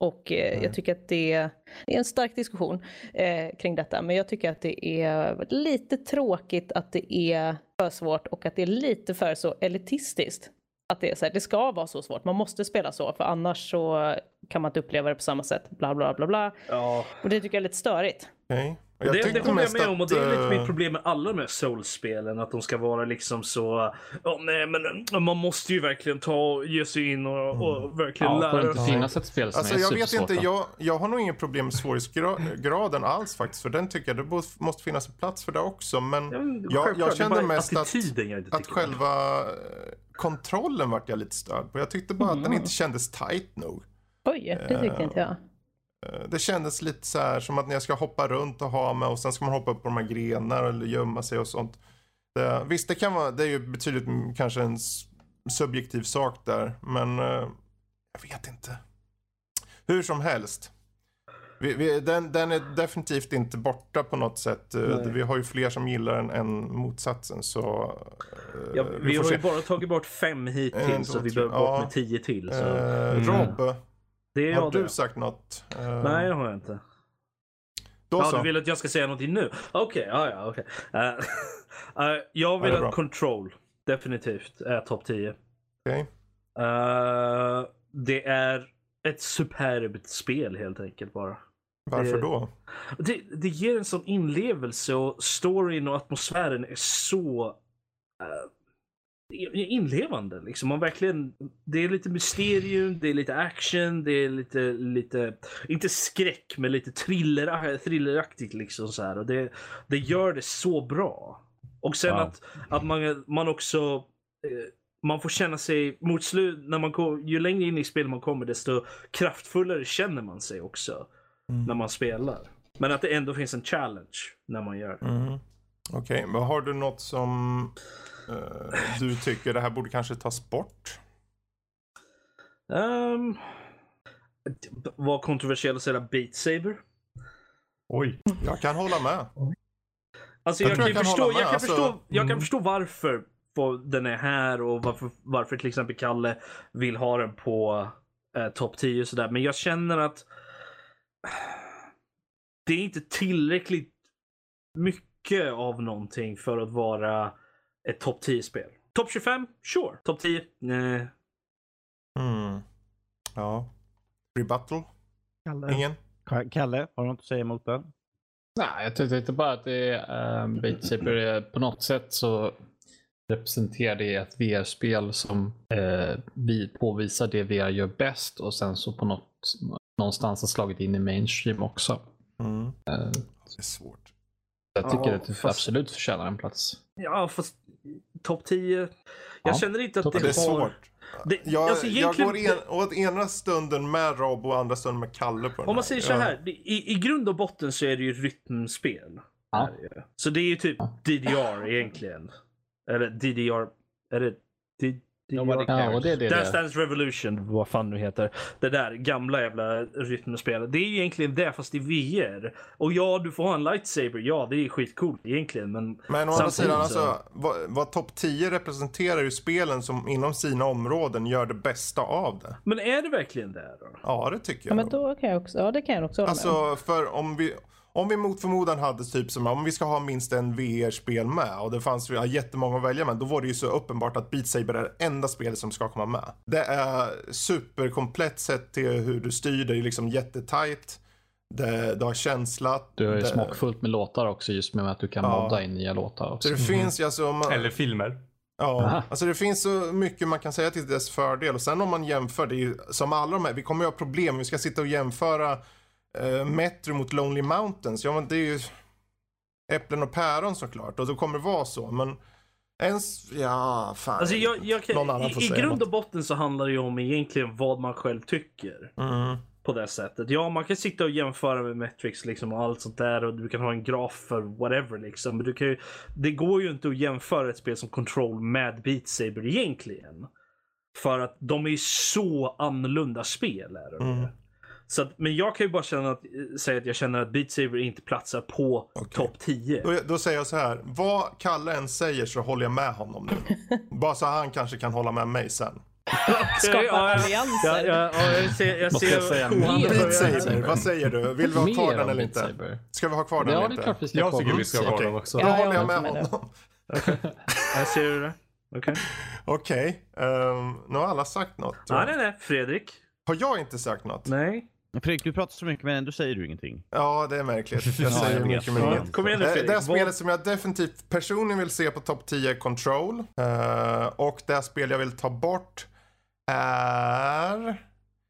Och eh, jag tycker att det är, det är en stark diskussion eh, kring detta. Men jag tycker att det är lite tråkigt att det är för svårt och att det är lite för så elitistiskt. Att det, är så här, det ska vara så svårt, man måste spela så för annars så kan man inte uppleva det på samma sätt. Bla bla bla bla.
ja.
Och det tycker jag är lite störigt.
Okej. Och
Det, det
tyckte
håller
mest
jag med om och det är lite
eh,
mitt problem med alla de här Souls-spelen. Att de ska vara liksom så... Ja, nej, men eh, man måste ju verkligen ta och ge sig in och, och verkligen
Ja, får det
lära
inte
sig.
finnas ett spel som
Mm. Alltså
är
jag vet
supersvårt
inte,
då?
jag, jag har nog inget problem med svårighetsgraden alls faktiskt. För den tycker jag, det bo- måste finnas en plats för det också. Men
Ja, men
jag,
självklart, det
jag
är
kände
bara
mest att,
attityden jag inte
att
tycker om.
själva eh, kontrollen vart jag lite störd på. Jag tyckte bara att den
Mm.
inte kändes tight nog.
Oj, det tyckte inte jag.
Eh, Det kändes lite så här som att när jag ska hoppa runt och ha mig och sen ska man hoppa upp på de här grenarna eller gömma sig och sånt. Det, visst, det kan vara, det är ju betydligt mm, kanske en s- subjektiv sak där, men eh, jag vet inte. Hur som helst. Vi, vi, den, den är definitivt inte borta på något sätt. Eh, Vi har ju fler som gillar den än motsatsen. Så eh,
Ja,
vi
vi
får
har ju
se.
bara tagit bort fem
En,
hittills
två,
så vi
tre.
behöver bort
Ja.
med tio till. Så.
Eh,
Mm.
Rob,
det är
har
jag
du
det.
sagt något? Eh,
Nej, det har jag inte.
Då
Ja,
så.
du vill att jag ska säga någonting nu? Okej, ja, ja, okej. Eh, eh, jag vill
Ja, det är bra.
att Control definitivt är topp 10.
Okej.
Eh, det är ett superbt spel helt enkelt bara.
Varför
det-
då?
Det, det ger en sån inlevelse och storyn och atmosfären är så eh, inlevande. Liksom. Man verkligen, det är lite mysterium, det är lite action, det är lite, lite inte skräck, men lite thriller, thrilleraktigt. Liksom, så här. Och det, det gör det så bra. Och sen
Wow.
att, att man, man också eh, man får känna sig mot slut, när man kom, ju längre in i spelet man kommer desto kraftfullare känner man sig också
Mm.
när man spelar. Men att det ändå finns en challenge när man gör det.
Mhm. Okej, men har du något som eh, du tycker det här borde kanske tas bort?
Ehm, d- var kontroversiell att säga Beat Saber.
Oj.
Jag kan hålla med.
Alltså
Jag
jag,
tror jag
kan,
kan
förstå,
hålla med,
jag, kan
alltså.
förstå, jag
Mm.
kan förstå varför på- den är här och varför, varför till exempel Kalle vill ha den på eh, topp 10 och sådär. Men jag känner att det är inte tillräckligt mycket av någonting för att vara ett topp 10-spel. Topp 25? Sure. Topp 10? Nej.
Mm. Ja. Rebuttal?
Kalle.
Ingen?
Kalle, har du något att säga emot den?
Nej, jag tyckte inte bara att det är um, Beat Saber är- på något sätt så representerar det ett VR-spel som eh, vi påvisar det VR gör bäst och sen så på något någonstans har slagit in i mainstream också.
Mm.
Eh,
Det är svårt.
så jag tycker
Ja,
att det
fast-
absolut förtjänar en plats.
Ja, fast topp 10. Jag
Ja,
känner inte att
topp
det,
10.
Det är
har...
svårt.
Det,
Jag,
alltså,
jag
egentligen-
går en, åt ena stunden med Rob och andra stunden med Kalle på den
Om
här.
man säger så här, det- i, i grund och botten så är det ju ett rytmspel.
Ja.
Är det ju. Så det är ju typ DDR egentligen. Eller DDR... Är det D- DDR?
Ja, och det är det.
Dance
det.
Dance Revolution, vad fan nu heter. Det där gamla jävla rytmspelet. Det är ju egentligen det fast i VR. Och ja, du får ha en lightsaber. Ja, det är skitcoolt egentligen. Men
Men å andra
Samtidigt
sidan,
så-
alltså, vad, vad topp 10 representerar ju spelen som inom sina områden gör det bästa av det.
Men är det verkligen det då?
Ja, det tycker jag.
Ja, men
nog.
då kan jag också, ja det kan jag också hålla med om.
Alltså, för om vi, om vi mot förmodan hade typ som om vi ska ha minst en VR-spel med och det fanns ju ja, jättemånga att välja med, då var det ju så uppenbart att Beat Saber är det enda spelet som ska komma med. Det är superkomplett sett till hur du styr, det är liksom jättetajt. Det, det har känsla.
Du har ju
det,
smockfullt med låtar också just med att du kan
Ja.
modda in nya låtar
Så
också. Mm.
det finns ju alltså... om Man,
Mm. Eller filmer.
Ja,
Aha.
alltså det finns så mycket man kan säga till dess fördel. Och sen om man jämför, det är ju som alla de här, vi kommer ju ha problem. Vi ska sitta och jämföra eh, Metro mot Lonely Mountains. Ja, men det är ju äpplen och päron såklart. Och då kommer det vara så. Men ens, ja, fan.
Alltså jag, jag
Någon
kan,
annan får
i, I
säga
grund
något.
och botten så handlar det ju om egentligen vad man själv tycker.
Mm.
på det sättet. Ja, man kan sitta och jämföra med Metrics liksom och allt sånt där och du kan ha en graf för whatever liksom. Men du kan ju, det går ju inte att jämföra ett spel som Control med Beat Saber egentligen. För att de är ju så annorlunda spel. Är de ju.
Mm.
Så att, men jag kan ju bara känna att, säga att jag känner att Beat Saber inte platsar på
Okej.
topp 10.
Då, då säger jag så här, vad Kalle än säger så håller jag med honom nu. Bara så han kanske kan hålla med mig sen.
Skapa
ja, ja, ja,
allianser.
ja, ja, jag ser, jag
Måste
ser
jag säga
kohandeln
mer?
börjar
Beat
Beat
här.
Saber, vad säger du? Vill vi ha kvar den eller inte?
Saber.
Ska vi ha kvar den
Ja,
eller
det är
inte?
klart vi ska ha
Jag
kvar
tycker vi
Beat
ska ha
Saber.
dem också.
Då
Ja, jag
håller jag
håller
med
med dig.
honom.
Ja, ser du det? Okej.
Okej, ehm, nu har alla sagt något. tror
Nej,
jag.
nej, nej. Fredrik?
Har jag inte sagt något?
Nej.
Fredrik, du pratar så mycket men ändå säger du ingenting.
Ja, det är märkligt. Jag säger
jag
mycket
vet.
men
Ja.
inget.
Kom igen nu
Eh,
Fredrik.
Det här
Vad-
spelet som jag definitivt personligen vill se på topp 10 är Control. Eh, och det här spel jag vill ta bort är...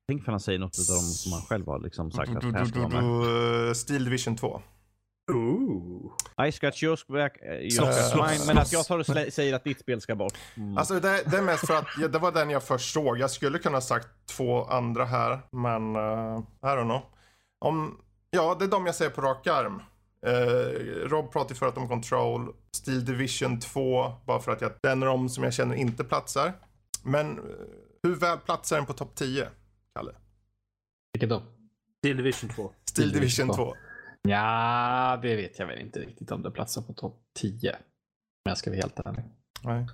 Tänk för han säger något av dem som han själv har liksom sagt att här ska vara med.
Eh, Steel Division 2.
Ooh.
I scratch your back, eh, your
Slåss, slåss,
mine, men att
slåss.
jag tar och slä- säger att ditt spel ska bort. Mm.
Alltså det, det är mest för att jag, det var den jag först såg. Jag skulle kunna ha sagt två andra här, men eh, I don't know. Om, ja, det är de jag säger på rak arm. Eh, Rob pratade ju förut om Control, Steel Division 2, bara för att jag, den är de som jag känner inte platsar. Men eh, hur väl platsar den på topp 10, Kalle?
Vilket då?
Steel Division 2.
Steel Division 2.
Ja, det vet jag väl inte riktigt om det platsar på topp 10. Om jag ska vara helt ärlig.
Nej.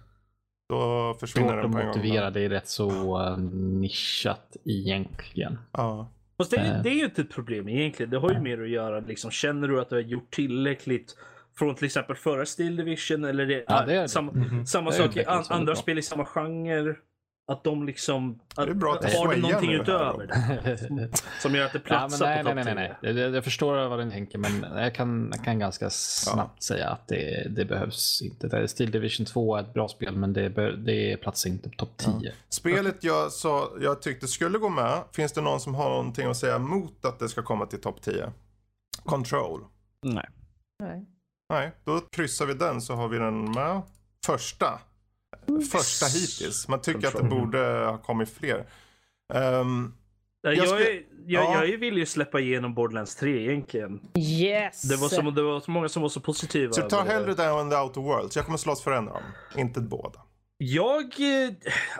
Då försvinner
Svårt att
den på en gång.
motivera, det är rätt så eh, nischat egentligen. Eh,
Ja.
Fast det, är- det är ju inte ett problem egentligen. Det har ju mer att göra liksom, känner du att du har gjort tillräckligt från till exempel förra Steel Division eller det,
Ja, det är det.
samma,
Mm-hmm.
Mhm.
samma
Det är
sak i an,
utvecklingsbart
andra
bra.
spel i samma genre. Att de liksom... Att,
Det är bra att du
har
swajar
du någonting
nu här,
utöver
Rob.
det? Som gör att det platsar
nej,
på topp
nej, nej, nej,
10?
nej. Jag- Jag, jag förstår vad du tänker, men jag kan, jag kan ganska snabbt säga att det, det behövs inte. Det- Steel Division 2 är ett bra spel, men det, be- det platsar inte på topp 10.
Spelet jag sa jag tyckte skulle gå med. Finns det någon som har någonting att säga emot att det ska komma till topp 10? Control.
Nej.
Nej.
Nej, då kryssar vi den så har vi den med. Första. Första hittills. Man tycker att det borde ha kommit fler. Ehm,
Jag,
Jag
jag,
skulle-
är- jag,
Ja.
jag är villig att släppa igenom Borderlands 3 egentligen.
Yes!
Det var, så, det var så många som var så positiva.
så ta
över det.
hellre den än The Outer Worlds. Jag kommer slåss för en av dem. Inte båda.
Jag, eh,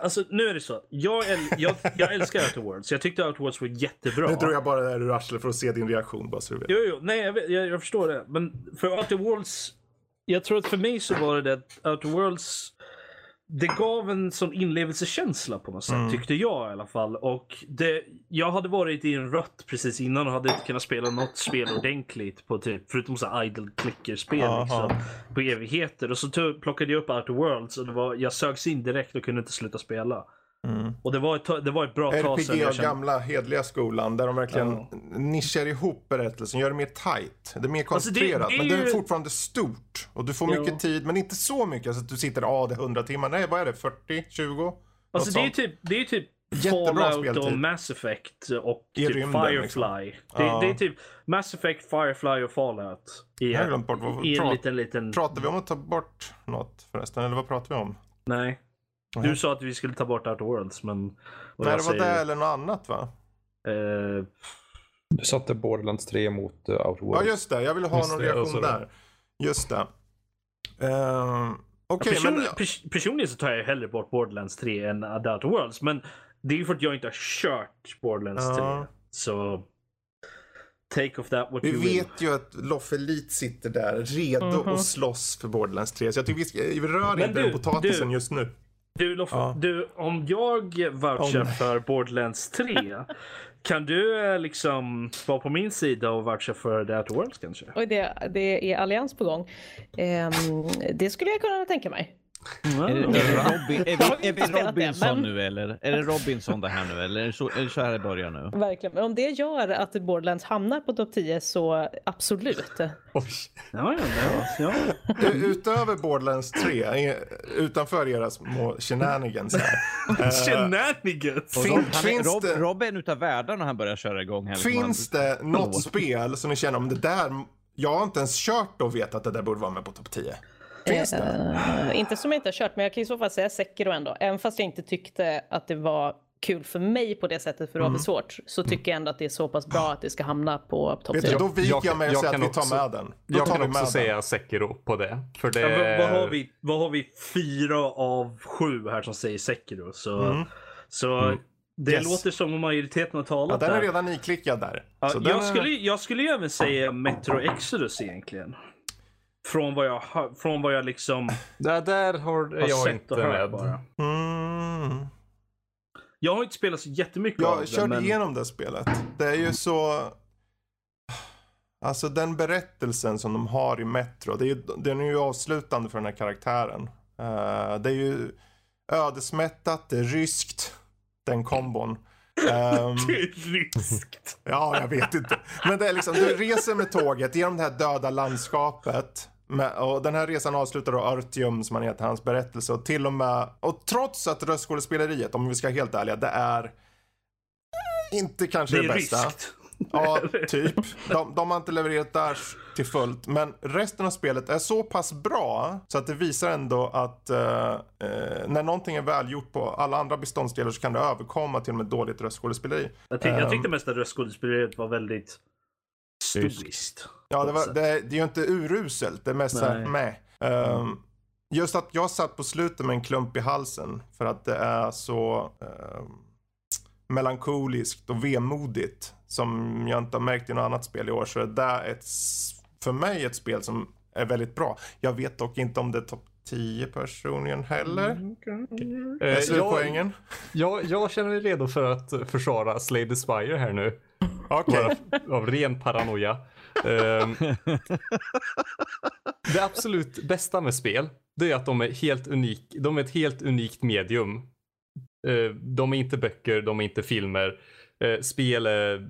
alltså nu är det så. Jag, äl, jag, jag älskar Outer Worlds. Jag tyckte Outer Worlds var jättebra.
Nu drog jag bara det här ur arslet för att se din reaktion bara så Alltså, du vet.
Jo, jo, nej, jag, vet- jag, jag förstår det. Men för Outer Worlds, jag tror att för mig så var det det att Outer Worlds, det gav en sån inlevelsekänsla på något sätt,
Mm.
tyckte jag i alla fall. Och det, jag hade varit i en rött precis innan och hade inte kunnat spela något spel ordentligt, på typ, förutom så här idle clicker-spel liksom, på evigheter. Och så tog, plockade jag upp Outer Worlds och det var, jag sögs in direkt och kunde inte sluta spela.
Mm.
Och det var, ett, ta- det var ett bra tag sedan
RPG
jag
av
kände
gamla hedliga skolan där de verkligen
Ja.
nischar ihop berättelsen, gör det mer tight. Det är mer
Alltså, det- det är
koncentrerat, men det
ju-
är fortfarande stort. Och du får
Ja.
mycket tid, men inte så mycket. Alltså att du sitter, ja ah, det är 100 timmar. Nej, vad är det? 40? 20? Något
Alltså det är ju
sånt.
typ, det är ju typ
Jättebra
Fallout
speltid.
och Mass Effect och
I
typ
rymden,
Firefly.
liksom.
Det,
Ja.
det är typ Mass Effect, Firefly och Fallout. I,
Jag har glömt bort vad-
i en
prat-
liten, liten...
Pratar vi om att ta bort något förresten? Eller vad pratar vi om?
Nej.
Nej.
Du sa att vi skulle ta bort Outer Worlds, men... vad
Nej,
jag
det var det
säger-
eller något annat va?
eh,
Du satte Borderlands 3 mot uh, Outer
Ja,
Worlds.
just det. Jag ville ha
Just
någon
det, jag sa
reaktion
det.
där. Just det. Ehm, Okej,
person,
men...
pers, personligen så tar jag hellre bort Borderlands 3 än The Outer Worlds, men det är ju för att jag inte har kört Borderlands
Ja.
3. Så... Take of that what
Vi
you will. Mhm.
vet ju att Loffe Elit sitter där redo att slåss för Borderlands 3. Så jag tycker vi, ska, vi rör
Men
inte
du,
den potatisen
du.
just nu.
Du, Loffe,
Ja.
du, om jag vouchar
Om-
för Borderlands 3, kan du eh, liksom vara på min sida och voucha för The Outer Worlds kanske?
Oj, det, det är allians på gång. Ehm, det skulle jag kunna tänka mig.
Är det, är det Robin, är
Jag har
vi, är
inte
vi
spelat det,
Robinson
men-
nu eller? Är det Robinson det här nu eller? Är det så, är det så här det börjar nu?
Verkligen. Men om det gör att Borderlands hamnar på topp 10 så absolut.
Ja, ja, ja, ja.
U- Utöver Borderlands 3, eh, utanför era små shenanigans här. eh,
Shenanigans!
Och
Fin-
Rob, han är,
finns
Rob,
det-
Rob är en utav världarna när han börjar köra igång här. liksom.
Finns det något spel som ni känner om det där, jag har inte ens kört och vet att det där borde vara med på topp 10? Finns det?
Eh, inte som jag inte har kört, men jag kan i så fall säga Sekiro ändå. Även fast jag inte tyckte att det var kul för mig på det sättet för det var
Mm.
för svårt, så tycker jag ändå att det är så pass bra att det ska hamna på topp
Vet du,
10.
då viker jag,
jag-
mig och
jag
säger
kan
att vi tar
också-
med den. Då
Jag
tar
kan
vi med
också
den.
säga Sekiro på det. För det
Ja, vad, vad, har
är...
vi, vad har vi? Fyra av sju här som säger Sekiro. Så, så
Mm.
det
Yes.
låter som om majoriteten har
Ja,
talat
den är
där.
redan iklickad där.
Ja,
Så den
jag,
är-
skulle, jag skulle ju även säga Metro Exodus egentligen. Från vad jag, hör- från vad jag liksom
Där, där har
har
jag
sett
inte
och hört bara.
med.
Mm.
Jag har inte spelat så jättemycket av
Jag
det.
körde
men...
igenom det spelet. Det är ju så... Alltså den berättelsen som de har i Metro. Det är ju, den är ju avslutande för den här karaktären. Eh, det är ju ödesmättat, det är ryskt. Den kombon. Ehm,
Ryskt.
ja, jag vet inte. Men det är liksom, du reser med tåget genom det här döda landskapet. Med, och den här resan avslutar då Artium som han heter, hans berättelse. Och till och med, och trots att röstskådespeleriet, om vi ska vara helt ärliga, det är inte kanske
Det
det,
är
bästa.
ryskt.
Ja, typ. De, de har inte levererat där till fullt. Men resten av spelet är så pass bra så att det visar ändå att eh, eh, när någonting är välgjort på alla andra beståndsdelar så kan det överkomma till och med dåligt röstskådespeleri.
Jag, tyck, jag
Ehm.
tyckte mest att röstskådespeleriet var väldigt stoiskt.
Ja,
på
det,
ett
var,
sätt.
det, är- det är ju inte uruselt. Det är mest såhär,
Nej.
meh. Ehm, just att jag satt på slutet med en klump i halsen för att det är så... ehm, melankoliskt och vemodigt som jag inte har märkt i något annat spel i år så det där är ett, s- för mig ett spel som är väldigt bra. Jag vet dock inte om det är topp 10 personligen heller.
Mm,
Eh,
Är
jag,
slutpoängen?
jag, jag känner mig redo för att försvara Slay the Spire här nu.
Okej.
Bara av ren paranoia. Ehm, det absolut bästa med spel, det är att de är helt unik. De är ett helt unikt medium. Eh, de är inte böcker, de är inte filmer. Eh, spel är,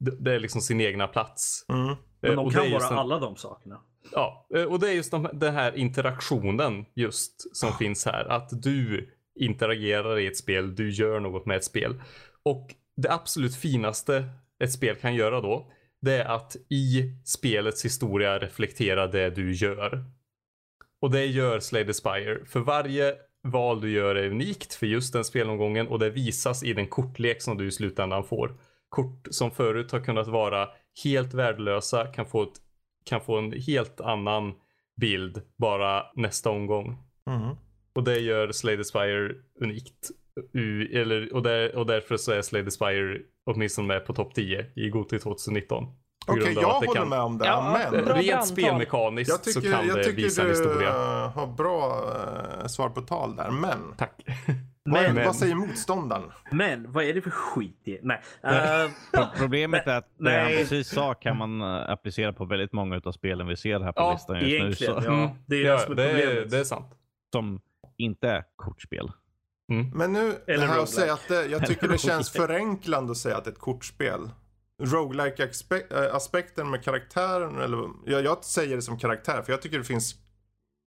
det- det är liksom sin egna plats.
Mm.
Men
Eh,
de
och det
kan
är
vara
just en-
alla de sakerna.
Ja, eh, och det är just de, den här interaktionen just som finns här. Att du interagerar i ett spel, du gör något med ett spel. Och det absolut finaste ett spel kan göra då, det är att i spelets historia reflektera det du gör. Och det gör Slay the Spire. För varje val du gör är unikt för just den spelomgången och det visas i den kortlek som du i slutändan får. Kort som förut har kunnat vara helt värdelösa kan få, ett, kan få en helt annan bild bara nästa omgång.
Mm.
Och det gör Slay the Spire unikt. U, eller, och, där, och därför så är Slay the Spire åtminstone med på topp 10 i Goti 2019. På
Okej,
grund av
jag
att det
håller
kan-
med om det.
Ja,
men
Bra brandtal.
Rent spelmekaniskt
jag tycker,
så kan
jag
det
tycker
visa en
du
historia.
eh, har bra eh, svar på tal där. Men,
Tack.
vad,
Men-
vad säger motståndaren?
Men vad är det för skit det Nej.
Nej.
eh,
Pro- Problemet är att det han
Nej.
precis sa kan man eh, applicera på väldigt många av spelen vi ser här på
Ja,
listan just nu.
egentligen.
Så,
Mm.
Ja, det är det
Ja,
som är
det, är,
problemet.
det är sant.
Som inte är kortspel.
Men nu,
Eller
det här att
roguelike.
säga att det, jag tycker
Eller
det känns förenklande att säga att det är ett kortspel. Roguelike aspe- eh, aspekten med karaktären, eller jag, jag säger det som karaktär för jag tycker det finns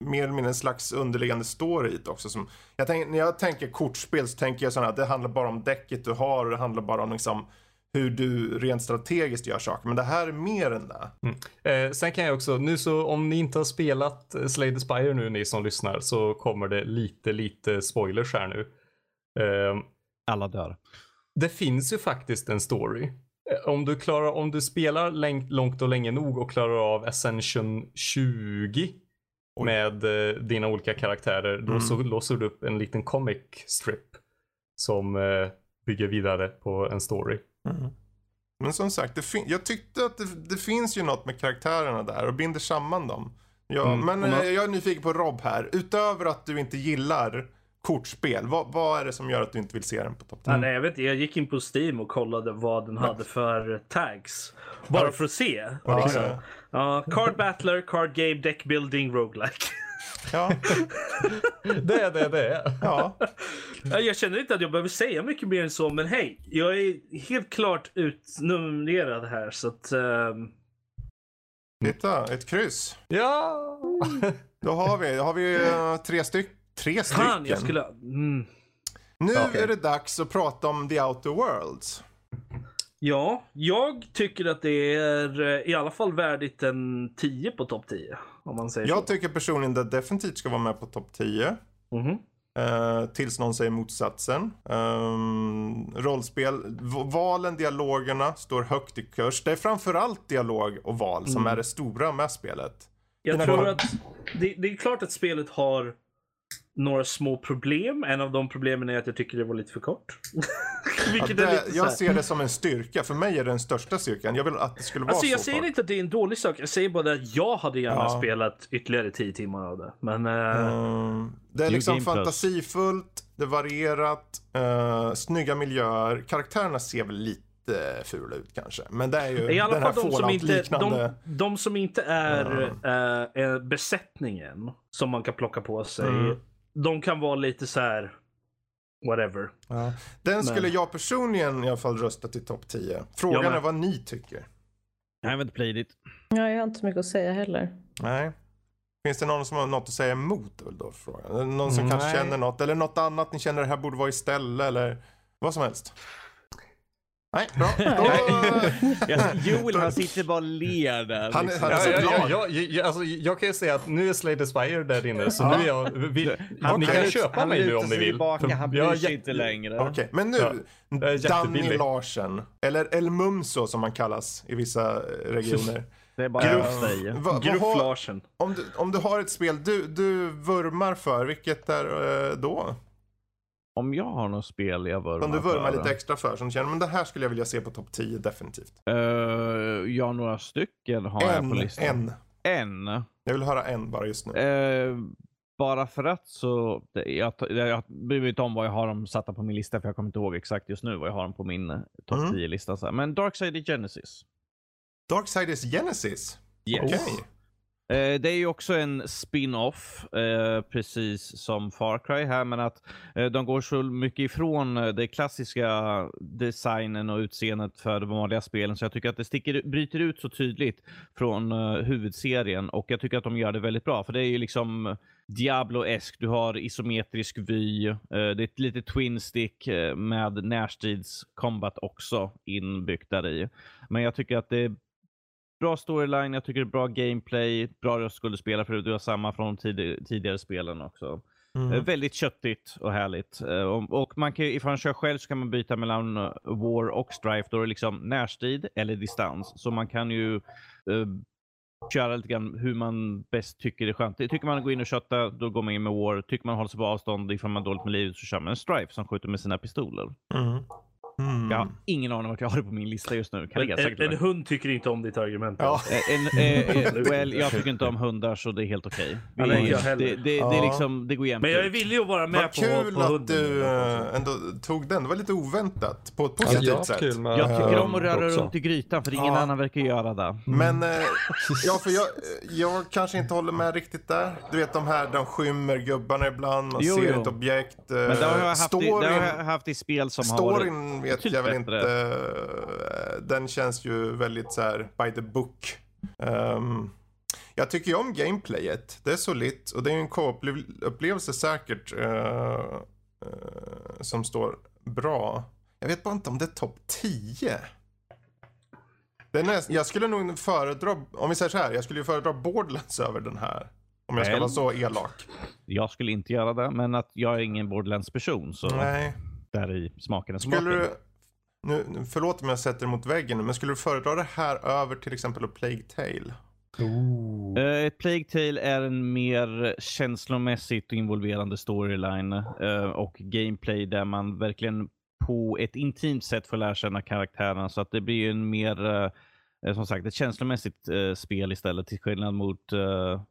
mer eller mindre en slags underliggande story hit också. Som, jag tänker- när jag tänker kortspel så tänker jag sådana här, det handlar bara om däcket du har och det handlar bara om liksom hur du rent strategiskt gör saker. Men det här är mer än det.
Eh, sen kan jag också, nu så om ni inte har spelat eh, Slay the Spire nu ni som lyssnar så kommer det lite, lite spoilers här nu. Eh,
Alla dör.
det finns ju faktiskt en story. Eh, Om du, klarar, om du spelar längt, långt och länge nog och klarar av Ascension 20 med eh, dina olika karaktärer,
Mm.
då så låser du upp en liten comic strip som eh, bygger vidare på en story.
Mm.
Men som sagt, det fin- jag tyckte att det, det finns ju något med karaktärerna där och binder samman dem. Ja,
Mm.
Men eh, jag är nyfiken på Rob här. Utöver att du inte gillar kortspel, vad, vad är det som gör att du inte vill se den på topp 10?
Ja, nej, jag, vet, inte. jag gick in på Steam och kollade vad den hade för tags. Bara för att se.
Ja,
liksom.
ja.
Ja, card Battler, Card Game, Deck Building, Roguelike.
ja,
Det är det det är.
ja.
Ja, Jag känner inte att jag behöver säga mycket mer än så, men hej. Jag är helt klart utnumrerad här så att... ehm,
Titta, ett kryss.
Ja!
Då har vi, då har vi eh, tre, styck, tre stycken.
fan, jag skulle... Mm,
Nu
Ja, okej.
är det dags att prata om The Outer Worlds.
ja, jag tycker att det är eh, i alla fall värdigt en 10 på topp 10. Om man säger
Jag
så.
tycker personligen det definitivt ska vara med på topp 10.
Mhm.
Eh, tills någon säger motsatsen. Ehm, rollspel, v- valen, dialogerna står högt i kurs. Det är framförallt dialog och val som
Mm.
är det stora med spelet.
Jag
Dina
tror
kvar-
att det, det är klart att spelet har några små problem. En av de problemen är att jag tycker det var lite för kort.
Att
Vilket är
det,
lite så här.
jag ser det som en styrka. För mig är det den största styrkan. Jag vill att det skulle vara
Alltså jag
så.
säger
kort.
inte att det är en dålig sak. Jag säger bara att jag hade gärna
Ja.
spelat ytterligare 10 timmar av det. Men eh,
Ehm, det är
New
liksom
Game Plus.
fantasifullt, det är varierat, uh, snygga miljöer. Karaktärerna ser väl lite fula ut kanske. Men det är ju
i alla
den här
fall de som, inte,
Fallout-liknande.
de, de som inte är eh, eh, besättningen som man kan plocka på sig.
Mm.
De kan vara lite så här. Whatever.
Ja. Den skulle
Men-
jag personligen i alla fall rösta till topp 10. Frågan
Jag
är
med.
vad ni tycker.
I haven't played it.
Ja, jag har inte så mycket att säga heller.
Nej. Finns det någon som har något att säga emot Uldof? Frågan? Eller Någon som kanske
Nej.
känner något? Eller något annat ni känner det här borde vara istället? Eller vad som helst? Nej, bra. Då...
Joel han sitter bara och ler där.
Han är-
liksom.
han är
Ja,
så
ja,
glad.
ja, ja, ja, alltså, jag kan ju säga att nu är Slay the Spire där inne så nu är jag... Vill,
Han
ni kan
lutar-
köpa
han
mig nu
lutar
om ni
sig
vill.
Tillbaka. Han
För jag
bryr
är
sig
jätte-
inte längre.
Okej, men nu.
Ja, är
Danny
jättebillig.
Larsen. Eller El Mumso som han kallas i vissa eh, regioner.
Det är bara det
Gruff.
han säger.
Va- vad
Gruff
har-
Larsen.
om, du, om du har ett spel du, du vurmar för, vilket är eh, då?
Om jag har något spel jag vurmar
Som du vurmar
för,
lite extra för. Som du känner, men det här skulle jag vilja se på topp 10 definitivt.
eh, ja, några stycken har jag på
en,
listan.
en.
En.
Jag vill höra en bara just nu.
Eh, bara för att så... det- Jag, jag, jag bryr mig inte om vad jag har dem satta på min lista för jag kommer inte ihåg exakt just nu vad jag har dem på min eh, topp
Mm.
10-lista. så här. Men Darksided Genesis.
Darksiders Genesis?
Yes.
Okej.
Eh, Det är ju också en spin-off, eh, precis som Far Cry här, men att eh, de går så mycket ifrån eh, det klassiska designen och utseendet för de vanliga spelen, så jag tycker att det sticker, bryter ut så tydligt från eh, huvudserien och jag tycker att de gör det väldigt bra, för det är ju liksom Diablo-esk, du har isometrisk vy, eh, det är ett litet twin stick eh, med närstridskombat också inbyggt där i. Men jag tycker att det är bra storyline, jag tycker det är bra gameplay, bra röstskådespelare för du har samma från de tidig- tidigare spelen också.
Mm.
Eh, Väldigt köttigt och härligt. Eh, Och, och man kan, ju- ifall man kör själv så kan man byta mellan eh, War och Strife. Då är det liksom närstrid eller distans. Så man kan ju eh, köra lite grann hur man bäst tycker det är skönt. Tycker man gå in och kötta, då går man in med War. Tycker man håller sig på avstånd, ifall man har dåligt med livet, så kör man Strife som skjuter med sina pistoler.
Mm. Mm.
Jag har ingen aning om vart jag har det på min lista just nu. Kan
En,
ligga säkert
en, en hund tycker inte om ditt argument.
Ja.
alltså.
Eh, En, eh, eh, well, jag tycker inte om hundar så det är helt okej. Vi-
Ja, nej, inte jag heller.
Det, det, det,
Ja.
är liksom, det går jämnt
Men jag är
ut.
villig att vara med
Vad
på,
kul
på
att
hunden.
du eh, ändå tog den. Det var lite oväntat på ett
Alltså,
positivt
jag har
sätt. Eh,
kul med
Jag tycker om att
hund
röra
också. Mm.
runt i grytan för ingen
Ja.
annan verkar göra det.
Men eh, ja, för jag, jag kanske inte håller med riktigt där. Du vet de här, de skymmer gubbarna ibland, man
Jo,
ser
jo.
ett objekt. eh,
Men det har jag haft, i, det har jag
storyn,
haft i spel som har varit...
storyn vet
betydligt
jag väl
bättre.
inte. eh, Den känns ju väldigt så här by the book. Ehm, jag tycker ju om gameplayet. Det är solitt och det är ju en co-upplevelse säkert eh, eh, som står bra. Jag vet bara inte om det är topp 10. Det är näst, jag skulle nog föredra, om vi säger så här, jag skulle ju föredra Borderlands över den här. Om jag ska
Väl.
vara så elak.
Jag skulle inte göra det, men att jag är ingen Borderlands-person så
Nej.
där i smaken är smaken.
Skulle du, nu, nu- förlåt om jag sätter dig mot väggen nu, men skulle du föredra det här över till exempel A Plague Tale?
Eh, Plague Tale är en mer känslomässigt och involverande storyline eh, och gameplay där man verkligen på ett intimt sätt får lära känna karaktärerna så att det blir ju en mer, eh, som sagt, ett känslomässigt eh, spel istället till skillnad mot eh,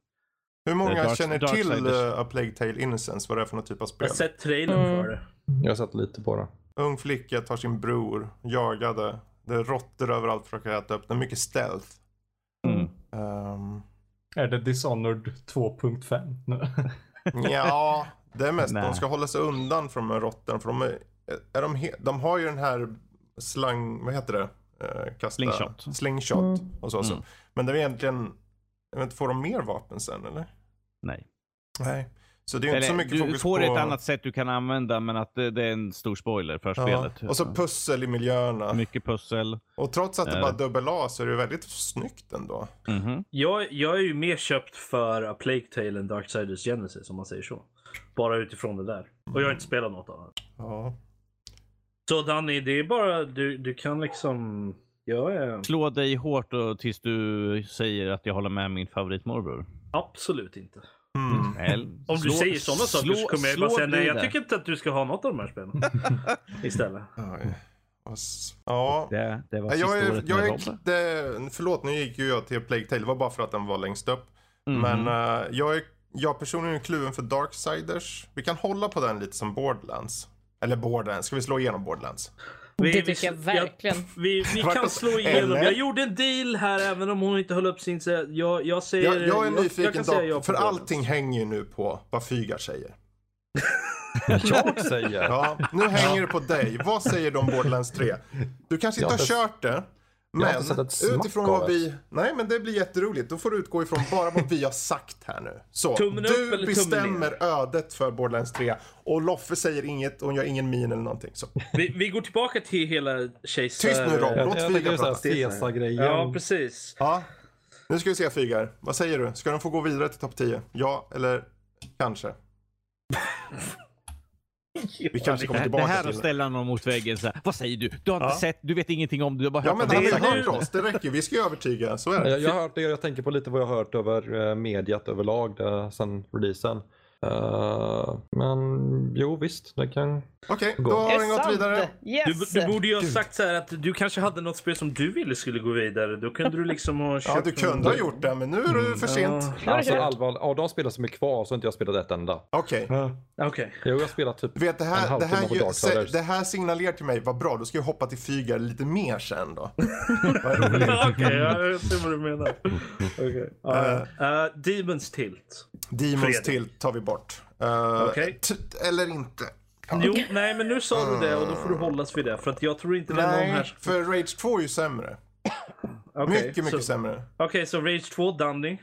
Hur många
Eh, Dark-
känner till
Darksiders.
eh, A Plague Tale Innocence? Vad det är för någon typ av
Jag
spel?
har sett trailern för det.
Jag har sett lite på det.
Ung flicka tar sin bror, jagade. Det är råttor överallt för att äta upp den. Mycket stealth.
Mm.
Ehm,
Är det Dishonored 2.5 nu?
ja, det är mest de
Nej.
ska hålla sig undan från de här råttorna. För de, är, är de, he- de har ju den här slang... Vad heter det? Eh, kasta,
Slingshot.
Slingshot och så. så.
Mm.
Men det är egentligen... Jag vet inte, får de mer vapen sen eller?
Nej.
Nej. Så det är ju inte så
Eller,
mycket
du
fokus
får
på...
ett annat sätt du kan använda men att det, det är en stor spoiler för spelet.
Och så pussel i miljöerna.
Mycket pussel.
Och trots att det
Eh.
bara är dubbel A så är det ju väldigt snyggt ändå.
Mhm.
Jag, jag är ju mer köpt för A Plague Tale än Darksiders Genesis om man säger så. Bara utifrån det där. Och jag har inte spelat något annat.
Ja.
Så Danny, det är bara du, du kan liksom... Jag är
Slå dig hårt och, tills du säger att jag håller med min favoritmorbror.
absolut inte.
Mm.
Eller,
Om du
slå-
säger sådana saker så
slå-
kommer jag
slå
bara säga nej.
dig
Jag
där.
tycker inte att du ska ha något av de här spelen. Istället.
Oj. Och s- Ja.
Det, det var
Nej,
sista
Jag är,
året
jag
med
är,
Robbe.
det, förlåt, nu gick ju jag till Plague Tale. Det var bara för att den var längst upp.
Mhm.
Men eh, jag, är, jag personligen är kluven för Darksiders. Vi kan hålla på den lite som Borderlands. Eller Borderlands. Ska vi slå igenom Borderlands?
Det tycker jag verkligen.
vi vi
Vart
kan
då?
slå igenom.
Eller?
Jag gjorde en deal här även om hon inte höll upp sin... så Jag, jag säger...
Jag, jag är nyfiken,
jag kan säga
dock,
ja på
för
båda.
allting hänger ju nu på vad Fygar säger.
Jag säger.
Ja, nu hänger det på dig. Vad säger de om Borderlands 3? Du kanske
Jag
inte
har
har
inte-
kört det.
har
Men
inte sett ett smack
utifrån
av
vad
det.
vi... Nej, men det blir jätteroligt. Då får du utgå ifrån bara vad vi har sagt här nu. Så,
Tummen upp eller
du
tummen
bestämmer ödet för Borderlands 3. Och Loffe säger inget och hon gör ingen min eller någonting. Så.
Vi, vi går tillbaka till hela kejsar...
Tyst nu, Rob.
Jag,
Låt
jag
Fyga
tycker såhär
prata.
Cesa-grejen.
Ja, precis.
Ja. Nu ska vi se Fygar. Vad säger du? Ska de få gå vidare till topp 10? Ja, eller kanske. Vi kanske kommer
Det,
tillbaka
det här att
till det.
ställa någon mot väggen så här. Vad säger du? Du har inte
Ja.
sett, du vet ingenting om det. Du har bara
Ja,
hört
men
om
han
det.
har hört oss. Det räcker. Vi ska ju övertyga. Så är det.
Jag, jag har hört det och jag tänker på lite vad jag har hört över eh, mediet överlag där, eh, sen releasen. Eh, men jo, visst. Det kan...
Okej,
Gå.
då har den gått
sant!
vidare.
Du,
Yes!
du borde ju ha sagt så här att du kanske hade något spel som du ville skulle gå vidare. Då kunde du liksom ha köpt...
Ja, du kunde ha gjort det, men nu är
Mm,
du för sent.
har
Alltså
kört.
allvarligt, av de spelare som är kvar så har inte jag spelat ett enda.
Okej.
Okej.
Jo, jag spelar typ
Du vet, det
en
här, det,
halvtimme
här
på
ju,
Dark
se,
Siders.
det här signalerar till mig, vad bra, då ska jag hoppa till Fygar lite mer sen då.
Ja, Okej, ja, jag ser vad du menar. Okej. Ja, ja. Eh, Demons Tilt.
Demons
Fredag.
till tar vi bort. Eh,
Okej.
t- eller inte. Ah.
Jo, nej men nu sa du det och då får du hållas vid det. För att jag tror inte det är någon
Nej,
här som...
för Rage 2 är ju sämre.
Okej,
mycket, mycket
så,
sämre.
Okej, så Rage 2, Danny.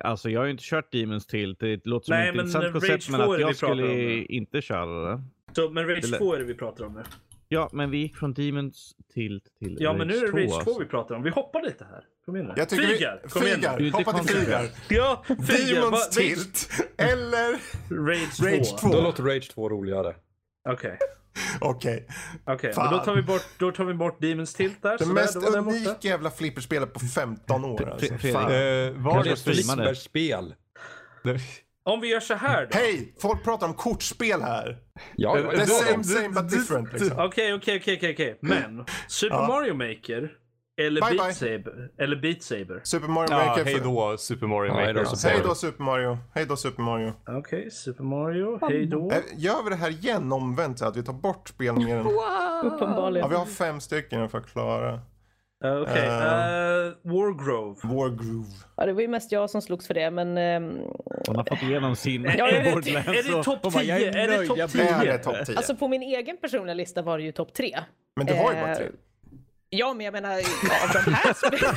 Alltså jag har ju inte kört Demons till. Det låter som
Nej,
ett
men
intressant
Rage
koncept
2
men
är det
att
vi
jag
pratar om
skulle
nu.
inte köra det.
Så, men Rage
Eller-
2 är det vi pratar om nu.
Ja, men vi gick från Demons till till
Ja, men nu är det Rage 2
alltså.
vi pratar om. Vi hoppar lite här. Kom igen nu.
Jag tycker
Fygar!
vi,
Kom igen nu.
Fygar,
Det är
hoppa till
konstigt.
Fygar.
Ja, Fygar! va-
Demons
Rage-
Tilt eller
Rage 2.
Rage 2.
Då låter Rage 2 roligare.
Okej.
Okej.
Okej, men
Fan.
då tar vi bort, då tar vi bort Demons Tilt Alltså, där.
Det
så
mest
där, då var det borta.
unika jävla flipperspelet på 15 år alltså.
Fredrik.
Fan.
Eh,
Kan
var
jag
det
streama det?
Frisbergs
Spel.
Om vi gör så här då.
Hej! Folk pratar om kortspel här.
Ja,
Eh,
jag
The
är
då-
glad
same,
om.
same but different liksom. Mm.
Okej, okej, okej, okej, okej. Men Super
Ja.
Mario Maker eller
Bye, bye.
Beat Saber. Eller Beat Saber.
Super Mario
Ja,
Maker.
hej
för-
då Super Mario
Ja, hej då,
Maker.
Super
Hej då Super Mario. Hej då Super Mario.
Okej, Super Mario. Hej då.
Eh, Gör vi det här igen omvänt? så Att vi tar bort spel mer än... Ja,
Uppenbarligen.
vi har fem stycken för att klara.
Okej, okay.
Eh.
Wargrove.
Wargroove.
Ja, det var ju mest jag som slogs för det, men... ehm,
Hon har fått igenom sin
Ja, är det-
Borderlands
är det
och-
topp
och bara, jag
10? Är det
nöjd,
topp
jag
10?
Det här är topp 10.
Alltså på min egen personliga lista var det ju topp tre.
Men du har ju
eh,
bara tre.
Ja, men jag menar av de här spelen.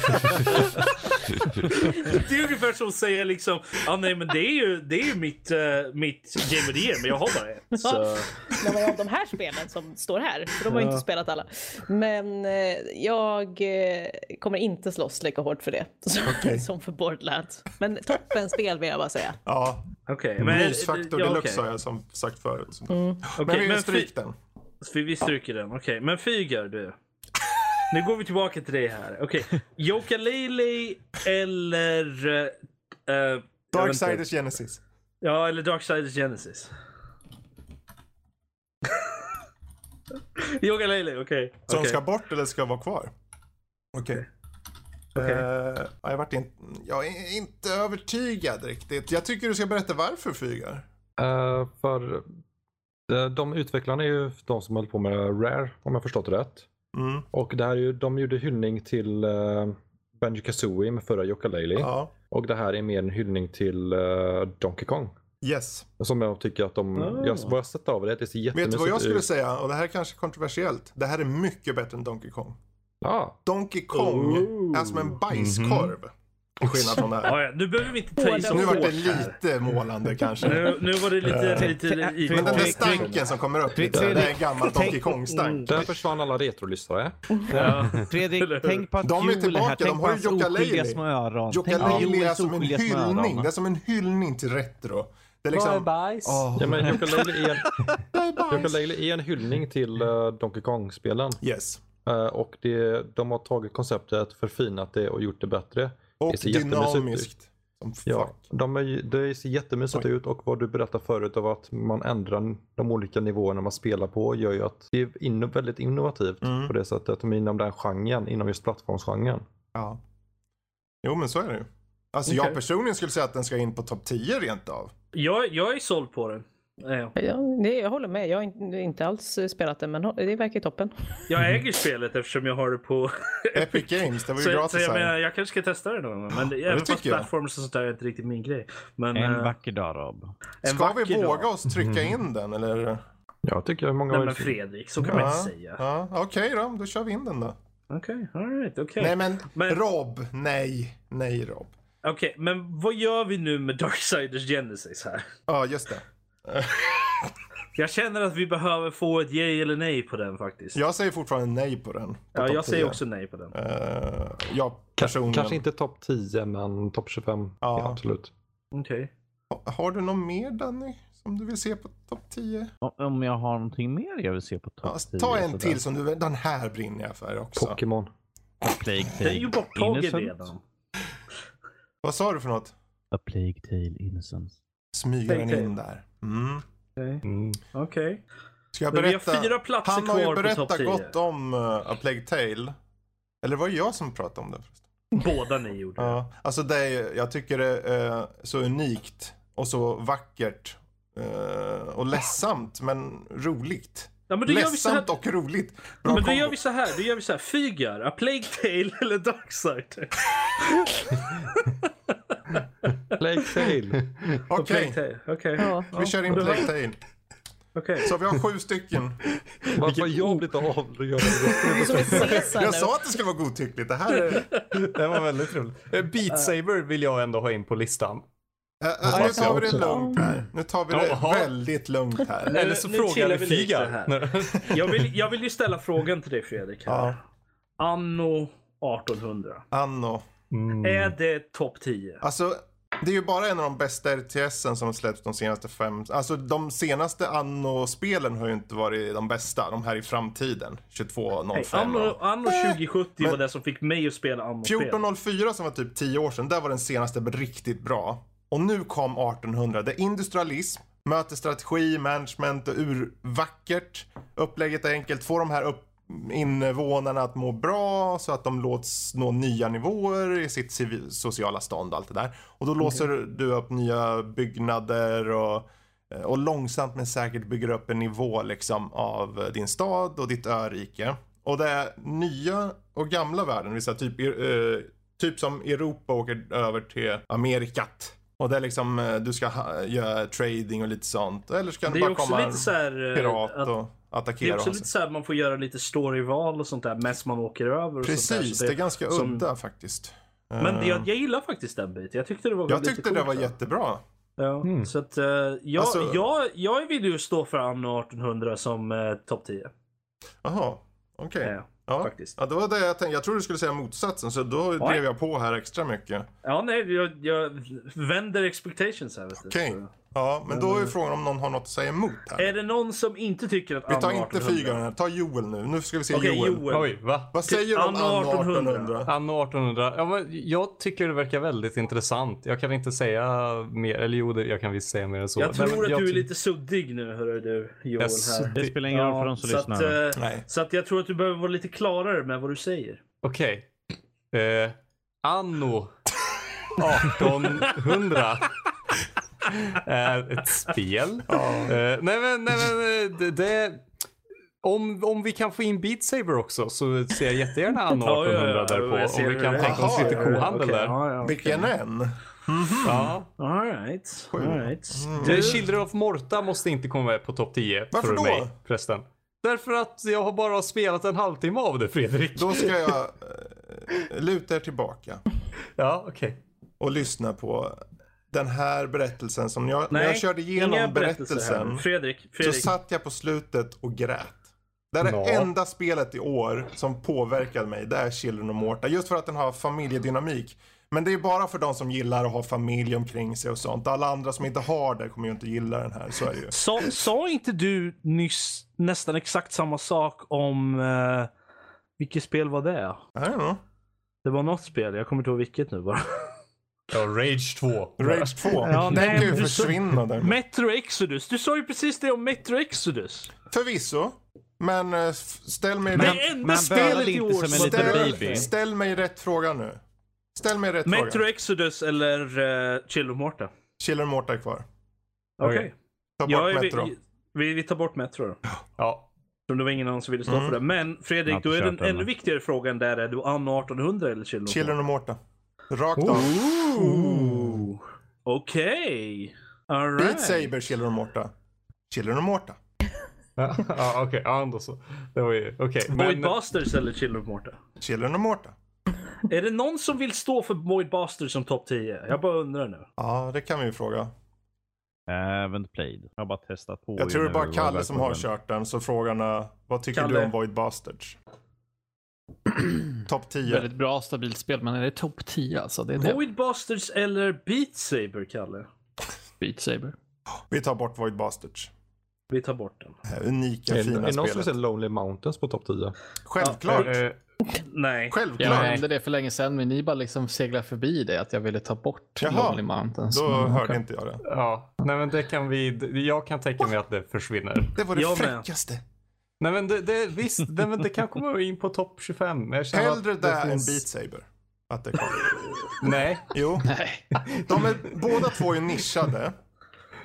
Det är ungefär som att säga liksom, ja nej men det är ju, det är ju mitt, eh, mitt Game of the Year, men jag har bara ett.
Mm.
Så.
Det var ju av de här spelen som står här, för de har ju inte spelat alla. Men eh, jag eh, kommer inte slåss lika hårt för det som, som för Borderlands. Men toppen spel vill jag bara säga.
Ja,
Okej,
mysfaktor
ja,
deluxe
okej.
har jag som sagt förut.
Mm. Okej,
men vi
men
stryk
fi-
den.
Vi, vi stryker den. Okej, men Fygar du. Nu går vi tillbaka till dig här. Okej, Yooka-Laylee eller... eh, eh, jag vet inte.
Darksiders Genesis.
Ja, eller Darksiders Genesis. Yooka-Laylee, okej.
Som
okej.
ska bort eller ska vara kvar? Okej.
Okej.
Eh, jag, har varit in, jag är inte övertygad riktigt. Jag tycker du ska berätta varför Fygar.
Eh, för de, de utvecklarna är ju de som höll på med Rare om jag förstått det rätt.
Mm.
Och det här är ju, de gjorde hyllning till uh, Banjo Kazooie med förra Yooka-Laylee.
Ja.
Och det här är mer en hyllning till eh, Donkey Kong.
Yes.
Som jag tycker att de, jag, vad jag har sett av det, det ser
Vet
jättemysigt
du vad jag skulle
ut.
säga? Och det här är kanske kontroversiellt. Det här är mycket bättre än Donkey Kong.
Ja, Oh.
Donkey Kong är som en bajskorv.
Mm-hmm.
Till skillnad från det här.
Ja, ja, nu behöver vi inte ta i så
Nu vart
hårt
det
här.
lite målande kanske.
Nu, nu var det lite... lite i-
Men den där stanken som kommer upp lite, det är en gammal Donkey Kong-stank.
Mm. där försvann alla retrolyssnare. Mm.
Ja.
Mm. Fredrik, tänk på att
De är
Jul är
tillbaka,
här. Tänk
de
på
har
hans
ju
oskyldiga
Yooka-Laylee.
små öron. Tänk på
Yooka-Laylee är
Joels
som en
oskyldiga små
hyllning.
öron.
Det är som en hyllning till retro. Det är liksom...
bajs?
Ja, men Yooka-Laylee är, Yooka-Laylee är en hyllning till eh, Donkey Kong-spelen.
Yes.
Eh, och det, de har tagit konceptet, förfinat det och gjort det bättre.
Och
Det ser jättemysigt ut.
dynamiskt. Som fuck.
Ja, de är, ju- det ser jättemysigt ut och vad du berättade förut av att man ändrar de olika nivåerna man spelar på gör ju att det är inno, väldigt innovativt
Mm.
på det sättet. De är inom den genren, inom just plattformsgenren.
Ja. Jo, men så är det ju. Alltså jag personligen skulle säga att den ska in på topp 10 rent av.
Jag, jag är såld på den. Eh,
Ja, det, jag håller med. Jag har inte, inte alls spelat det, men det verkar toppen.
Jag äger spelet eftersom jag har det på...
Mm. Epic Games, det var ju
Så,
gratis
så jag,
här.
menar, jag kanske ska testa det någon gång. Men det, även fast
tycker jag.
plattformar och sånt där är inte riktigt min grej. Men,
En
eh,
vacker dag Rob.
en
Ska vi
vacker
våga
dag. Mm.
oss trycka in den eller?
Jag tycker många
Nej
har
men
ju-
Fredrik, så kan man inte säga.
Ja, okej då, då kör vi in den då.
Okej, alright, okej.
Nej men,
Men-
Rob, nej, nej Rob.
Okej, men vad gör vi nu med Darksiders Genesis här?
Ja, just det.
Jag känner att vi behöver få ett yay eller nej på den faktiskt.
Jag säger fortfarande nej på den. På
Ja,
topp
jag
10.
säger också nej på den.
Eh, ja, personligen.
Kanske inte topp 10 men topp 25. Ja.
Ja.
absolut.
Okej.
Har du någon mer Danny? Som du vill se på topp 10?
Om- Om jag har någonting mer jag vill se på
Ja,
topp 10.
ta en
sådär.
till som du, den här brinner jag för också.
Pokémon.
Plague
Den är ju
Tale
borttagen
Innocent.
redan.
Vad sa du för något?
A Plague Tale Innocence.
Smyger den
Tänk
in där. Mm.
Okej.
Ska jag
Men vi har
berätta?
fyra platser
Han har ju
kvar på topp
berättat
10.
gott om eh, A Plague Tale. Eller var det jag som pratade om det? förresten?
Båda ni gjorde det.
Ja, alltså det är, ju- jag tycker det är eh, så unikt och så vackert eh, och ledsamt men roligt.
Ja, men då gör vi så här.
Ledsamt och roligt. Bra
Men då gör
kombo.
vi så här. Då gör vi så här. Fygar, A Plague Tale eller Darksider?
Plague Tale.
Okej,
Okej. Okej.
Ja.
vi kör in Plague Tale.
Okej.
Så vi har sju stycken.
Varför har jag blivit avgörd?
Du är som ett Caesar
Jag
nu.
sa att det skulle vara godtyckligt. Det här är...
Det var väldigt roligt. Eh, Beat Saber vill jag ändå ha in på listan.
Eh, alltså, nu
Hoppas
tar
jag
vi det
också.
lugnt här. Nu tar vi det
Jaha.
väldigt lugnt här.
Eller så
nu
frågar
chillar
vi
vi lite
Figar.
här.
Nej.
Jag vill, jag vill ju ställa frågan till dig Fredrik. Här.
Ja,
Anno 1800.
Anno. Mm.
Mm.
Är det topp 10?
Alltså, det är ju bara en av de bästa RTSen som släppts de senaste fem... Alltså de senaste Anno-spelen har ju inte varit de bästa. De här i framtiden. 22.05.
Nej, anno,
och-
anno 2070 var
Eh, men-
det som fick mig att spela Anno-spel.
14.04 som var typ 10 år sedan, där var den senaste riktigt bra. Och nu kom 1800. Det är industrialism, möter strategi, management och urvackert. Upplägget är enkelt. Få de här upp invånarna att må bra så att de låts nå nya nivåer i sitt civil- sociala stånd och allt det där. Och då låser du upp nya byggnader och, Eh, och långsamt men säkert bygger upp en nivå liksom av din stad och ditt örike. Och det är nya och gamla världen, vissa typ, eh, typ som Europa åker över till Amerikat. Och det är liksom, eh, du ska ha, göra trading och lite sånt. Eller ska
det
du
är
bara
också
komma
lite så här, eh,
pirat
att-
och
Det är
attackera.
också
och ha
lite
sig.
så här, man får göra lite storyval och sånt där mest man åker över. Och sånt där,
Precis,
så
det, är ganska
som-
udda faktiskt.
Men
Eh,
det, jag, jag gillar faktiskt den biten. Jag tyckte det var
jag
lite
tyckte det
coolt,
var
va?
jättebra.
Ja,
Mm.
så att eh, jag,
Alltså-
jag, jag vill ju stå för anno 1800 som eh, topp 10.
Jaha, okej.
Ja,
Ja.
faktiskt.
Ja, det var det jag tänkte. Jag trodde du skulle säga motsatsen, så då drev jag på här extra mycket.
Ja, nej, jag, jag vänder expectations här. Vet du.
Okej.
Så- eh,
Ja, men då är frågan om någon har något att säga emot här.
Är det någon som inte tycker att
Vi
anno
tar inte
1800?
Fygar här. Ta Joel nu. Nu ska vi se
Okej,
Joel.
Joel.
Oj, va?
Vad säger du om
Anno
anno 1800?
1800?
Anno 1800. Ja, men jag tycker det verkar väldigt intressant. Jag kan inte säga mer. Eller jo, det- jag kan visst säga mer än så.
Jag
Nej,
tror
men
att du är
ty-
lite suddig nu, hörru du, Joel.
Jag
Här.
suddig.
Det spelar ingen roll för de som
så
lyssnar.
Att, eh,
Nej.
Så att jag tror att du behöver vara lite klarare med vad du säger.
Okej. Eh, anno 1800. är ett spel. Eh, nej men, nej, men eh, det, det, om, om vi kan få in Beat Saber också så ser jag jättegärna anno 1800 där
jag
på.
ser
Om vi
hur
kan
det är.
tänka oss lite
Jaha,
kohandel
Okej,
där.
ja,
Mm-hmm.
ja, okej.
Vilken en?
Ja.
All right. All right.
Mm.
Du, Children of Morta måste inte komma med på topp 10
Varför
för
då?
mig förresten. Därför att jag har bara spelat en halvtimme av det Fredrik.
Då ska jag eh, luta er tillbaka
Ja, okej.
och lyssna på den här berättelsen som jag, när
Nej,
jag körde
inga
igenom
berättelser
berättelsen.
här. Fredrik,
Så
Fredrik.
satt jag på slutet och grät. Det är det
Ja.
enda spelet i år som påverkade mig. Det är Children of Morta. Just för att den har familjedynamik. Men det är bara för de som gillar att ha familj omkring sig och sånt. Alla andra som inte har det kommer ju inte gilla den här. Så är det ju.
Sa, sa inte du nyss nästan exakt samma sak om... Eh, vilket spel var det?
I don't know.
Det var något spel, jag kommer inte ihåg vilket nu bara.
Ja, Rage 2.
Rage 2. den
nej,
kan ju
du sa-
försvinna där.
Metro Exodus. Du sa ju precis det om Metro Exodus.
Förvisso. Men eh, f- ställ mig...
Det
Men-
är enda
men
spelet
bölade
i
inte
år
som en
som
liten
är-
baby.
ställ, ställ mig rätt fråga nu. Ställ mig rätt
Metro
fråga.
Exodus eller uh, Chill of Morta.
Children of Morta är kvar.
Okej.
Ta bort
Jag är-
Metro.
Vi, vi, vi tar bort Metro då.
Ja.
Som det var ingen annan som ville stå
Mm.
för det. Men
Jag har
Fredrik,
inte
då är
kört
den
den,
ännu
men-
viktigare frågan där. Är du anno 1800 eller Chill of Morta?
Children of Morta. Rakt av.
Ooh. Okej. All right.
Beat Saber, Children of Morta. Children of Morta.
Ja, ja, okej. Ja, ändå så. Det var ju... Okej.
Boyd
Men...
Basters eller Children of Morta?
Children of Morta.
Är det någon som vill stå för Boyd Basters som topp 10? Jag bara undrar nu.
Ja, det kan vi ju fråga.
Haven't played. Jag har bara testat på.
Jag tror det är
nu
bara
och
Kalle som har
verkligen-
kört den, så frågan är vad tycker
Kalle.
du om Void Bastards? Topp 10.
Väldigt bra, stabilt spel, men är det topp 10 alltså? Det är det.
Void Busters eller Beat Saber, Kalle?
Beat Saber.
Vi tar bort Void Bastards.
Vi tar bort den.
Det här unika
Är, är
fina
det någon som
spelet.
vill se Lonely Mountains på topp 10?
Självklart.
Eh,
Nej.
Jag
Självklart.
nämnde det för länge sedan, men ni bara liksom seglade förbi det. Att jag ville ta bort
Jaha,
Lonely Mountains.
Då
Men,
hörde
okej.
inte jag det.
Ja, nej men det kan vi. det- Jag kan tänka mig att det försvinner.
Det var det
Jag med.
fräckaste.
Nej men det, det visst, nej, men det kan komma in på topp 25. Jag känner att
Hellre det än
finns-
Beat Saber. Att det kommer.
Nej,
Jo. De är, båda två är nischade.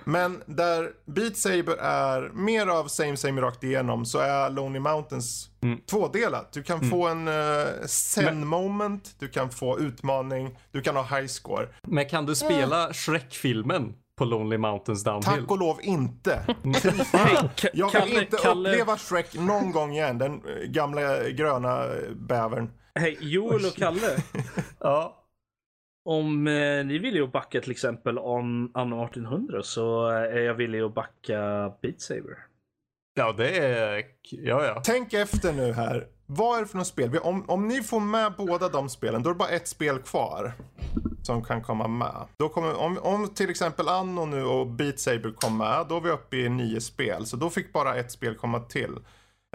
Men där Beat Saber är mer av same same rakt igenom så är Lonely Mountains
Mm.
tvådelat. Du kan få en uh, zen moment, du kan få utmaning, du kan ha high score. Eh,
men kan du spela Shrek-filmen på Lonely Mountains Downhill?
Tack och lov inte. Jag vill
Kalle-
inte
Kalle-
uppleva Shrek någon gång igen. Den eh, gamla eh, gröna eh, bävern.
Hej, Joel och Kalle.
Ja.
Om eh, ni vill ju backa till exempel om anno 1800 så eh, är jag villig att backa Beat Saber.
Ja, det är... Ja, ja.
Tänk efter nu här. Vad är det för något spel? Vi- Om, om ni får med båda de spelen, då är det bara ett spel kvar. Som kan komma med. Då kommer, om, om till exempel Anno nu och Beat Saber kom med, då är vi uppe i nio spel. Så då fick bara ett spel komma till.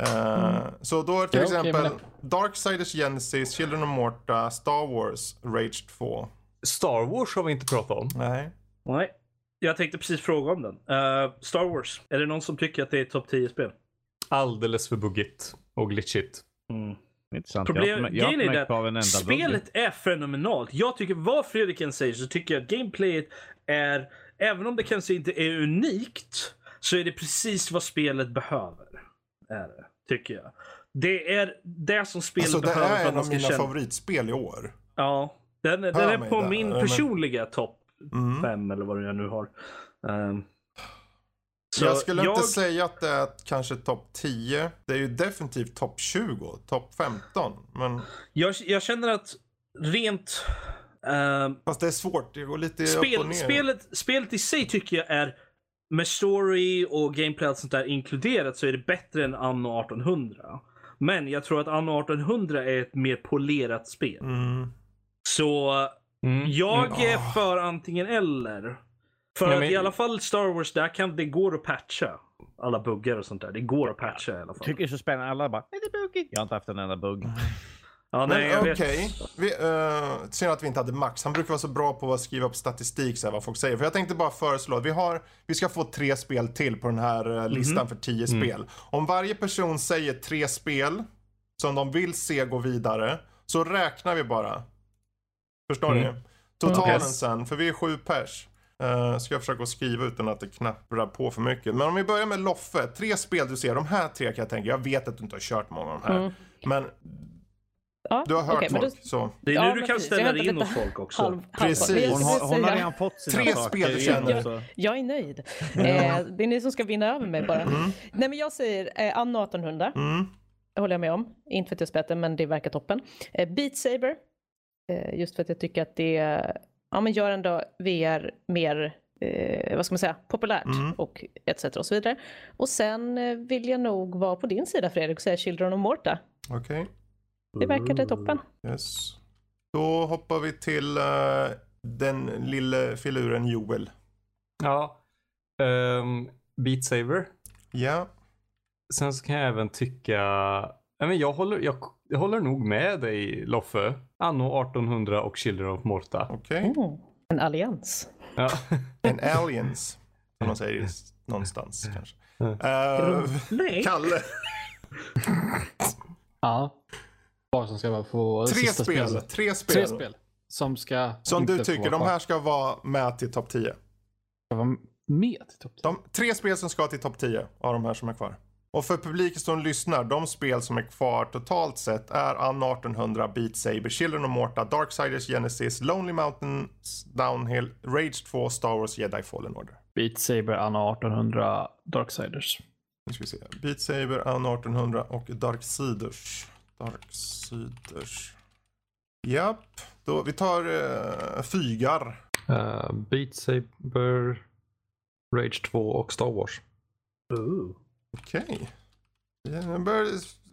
Eh,
Mm.
Så då är till
Ja, okej,
exempel
men
Darksiders Genesis, Children of Morta, Star Wars, Rage 2.
Star Wars har vi inte pratat om.
Nej.
Nej. Jag tänkte precis fråga om den. Eh, Star Wars. Är det någon som tycker att det är ett topp 10-spel?
Alldeles för buggigt och glitchigt.
Intressant. jag har
Problemet,
inte- jag har
Mm. grejen
inte
är
märkt av en
det
enda
att
bugg.
spelet är fenomenalt. Jag tycker vad Fredrik än säger så tycker jag att gameplayet är, även om det kanske inte är unikt, så är det precis vad spelet behöver. Är det, tycker jag. Det är det som spelet
Alltså det är
behöver för att
en
man
av
ska
mina
känna...
favoritspel i år.
Ja, den, den
Hör
är
mig
på
där,
min
men-
personliga topp
Mm.
fem eller vad jag nu har. Ehm, så
jag skulle inte
jag-
säga att det är kanske topp 10. Det är ju definitivt topp 20, topp 15. Men
Jag, jag känner att rent ehm,
fast det är svårt, det går lite upp och
spel,
ner.
spelet, spelet i sig tycker jag är med story och gameplay och allt sånt där inkluderat så är det bättre än anno 1800. Men jag tror att anno 1800 är ett mer polerat spel.
Mm.
Så
Mm.
jag är för antingen eller. För
Ja,
att
men-
i alla fall Star Wars, där kan, det går att patcha. Alla buggar och sånt där. Det går att patcha i alla fall.
Tycker det är så spännande. Alla bara, är det buggigt? Jag har inte haft en enda bugg.
Mm.
Ja, nej, jag
Men
vet.
okej, vi, eh, synd att vi inte hade Max. Han brukar vara så bra på att skriva upp statistik, så här, vad folk säger. För jag tänkte bara föreslå att vi, har, vi ska få tre spel till på den här eh, listan för 10 spel. Om varje person säger tre spel som de vill se gå vidare, så räknar vi bara. Förstår
Mm.
ni? Totalen
Yes.
sen, för vi är sju pers. Eh, ska jag försöka att skriva utan att det knapprar på för mycket. Men om vi börjar med Loffe. Tre spel du ser. De här tre kan jag tänka. Jag vet att du inte har kört många av de här.
Mm.
Men
Ja,
du har hört
okej, men
folk.
då-
Så.
Det är
Ja,
nu du
men
kan
precis. Jag
ställa
väntar
dig in
lite
hos folk också.
Halv, halv,
Precis.
Men jag
Hon
skulle
har, hon har
säga-
redan fått sina
Tre
saker
spel du
igenom,
känner.
så-
Jag är nöjd. Eh, det är ni som ska vinna över mig bara. Nej men jag säger eh, Anno 1800.
Mm.
Det håller jag med om. Inte för att jag spelat den men det verkar toppen. Eh, Beat Saber. Eh, just för att jag tycker att det ja, men gör ändå VR mer eh, vad ska man säga, populärt
Mm.
och etc. och så vidare. Och sen eh, vill jag nog vara på din sida Fredrik och säga Children of Morta.
Okej.
Det verkade toppen.
Yes. Då hoppar vi till eh, den lille filuren Joel.
Ja. Ehm, Beat Saber.
Ja.
Sen så kan jag även tycka... Nej, men jag, håller, jag, jag håller nog med dig Loffe. Anno 1800 och Children of Morta.
Okej.
Mm. En allians.
Ja.
En aliens. Som man säger s- någonstans kanske. Eh,
Nej.
Kalle.
Ja. Vad som ska vara på
Tre
sista
spel.
spelet.
Tre spel.
Tre spel. Som ska...
Som
inte
du
få
tycker,
vara
de
kvar.
här ska vara med till topp 10.
Ska vara med till topp 10.
De, tre spel som ska till topp 10 av de här som är kvar. Och för publiken som lyssnar, de spel som är kvar totalt sett är Anno 1800, Beat Saber, Children of Morta, Darksiders Genesis, Lonely Mountains, Downhill, Rage 2, Star Wars, Jedi Fallen Order.
Beat Saber, Anno 1800, Darksiders.
Nu ska vi se. Beat Saber, Anno 1800 och Darksiders. Darksiders. Japp, då, vi tar eh, fygar.
Eh, Beat Saber, Rage 2 och Star Wars.
Okej. Den börjar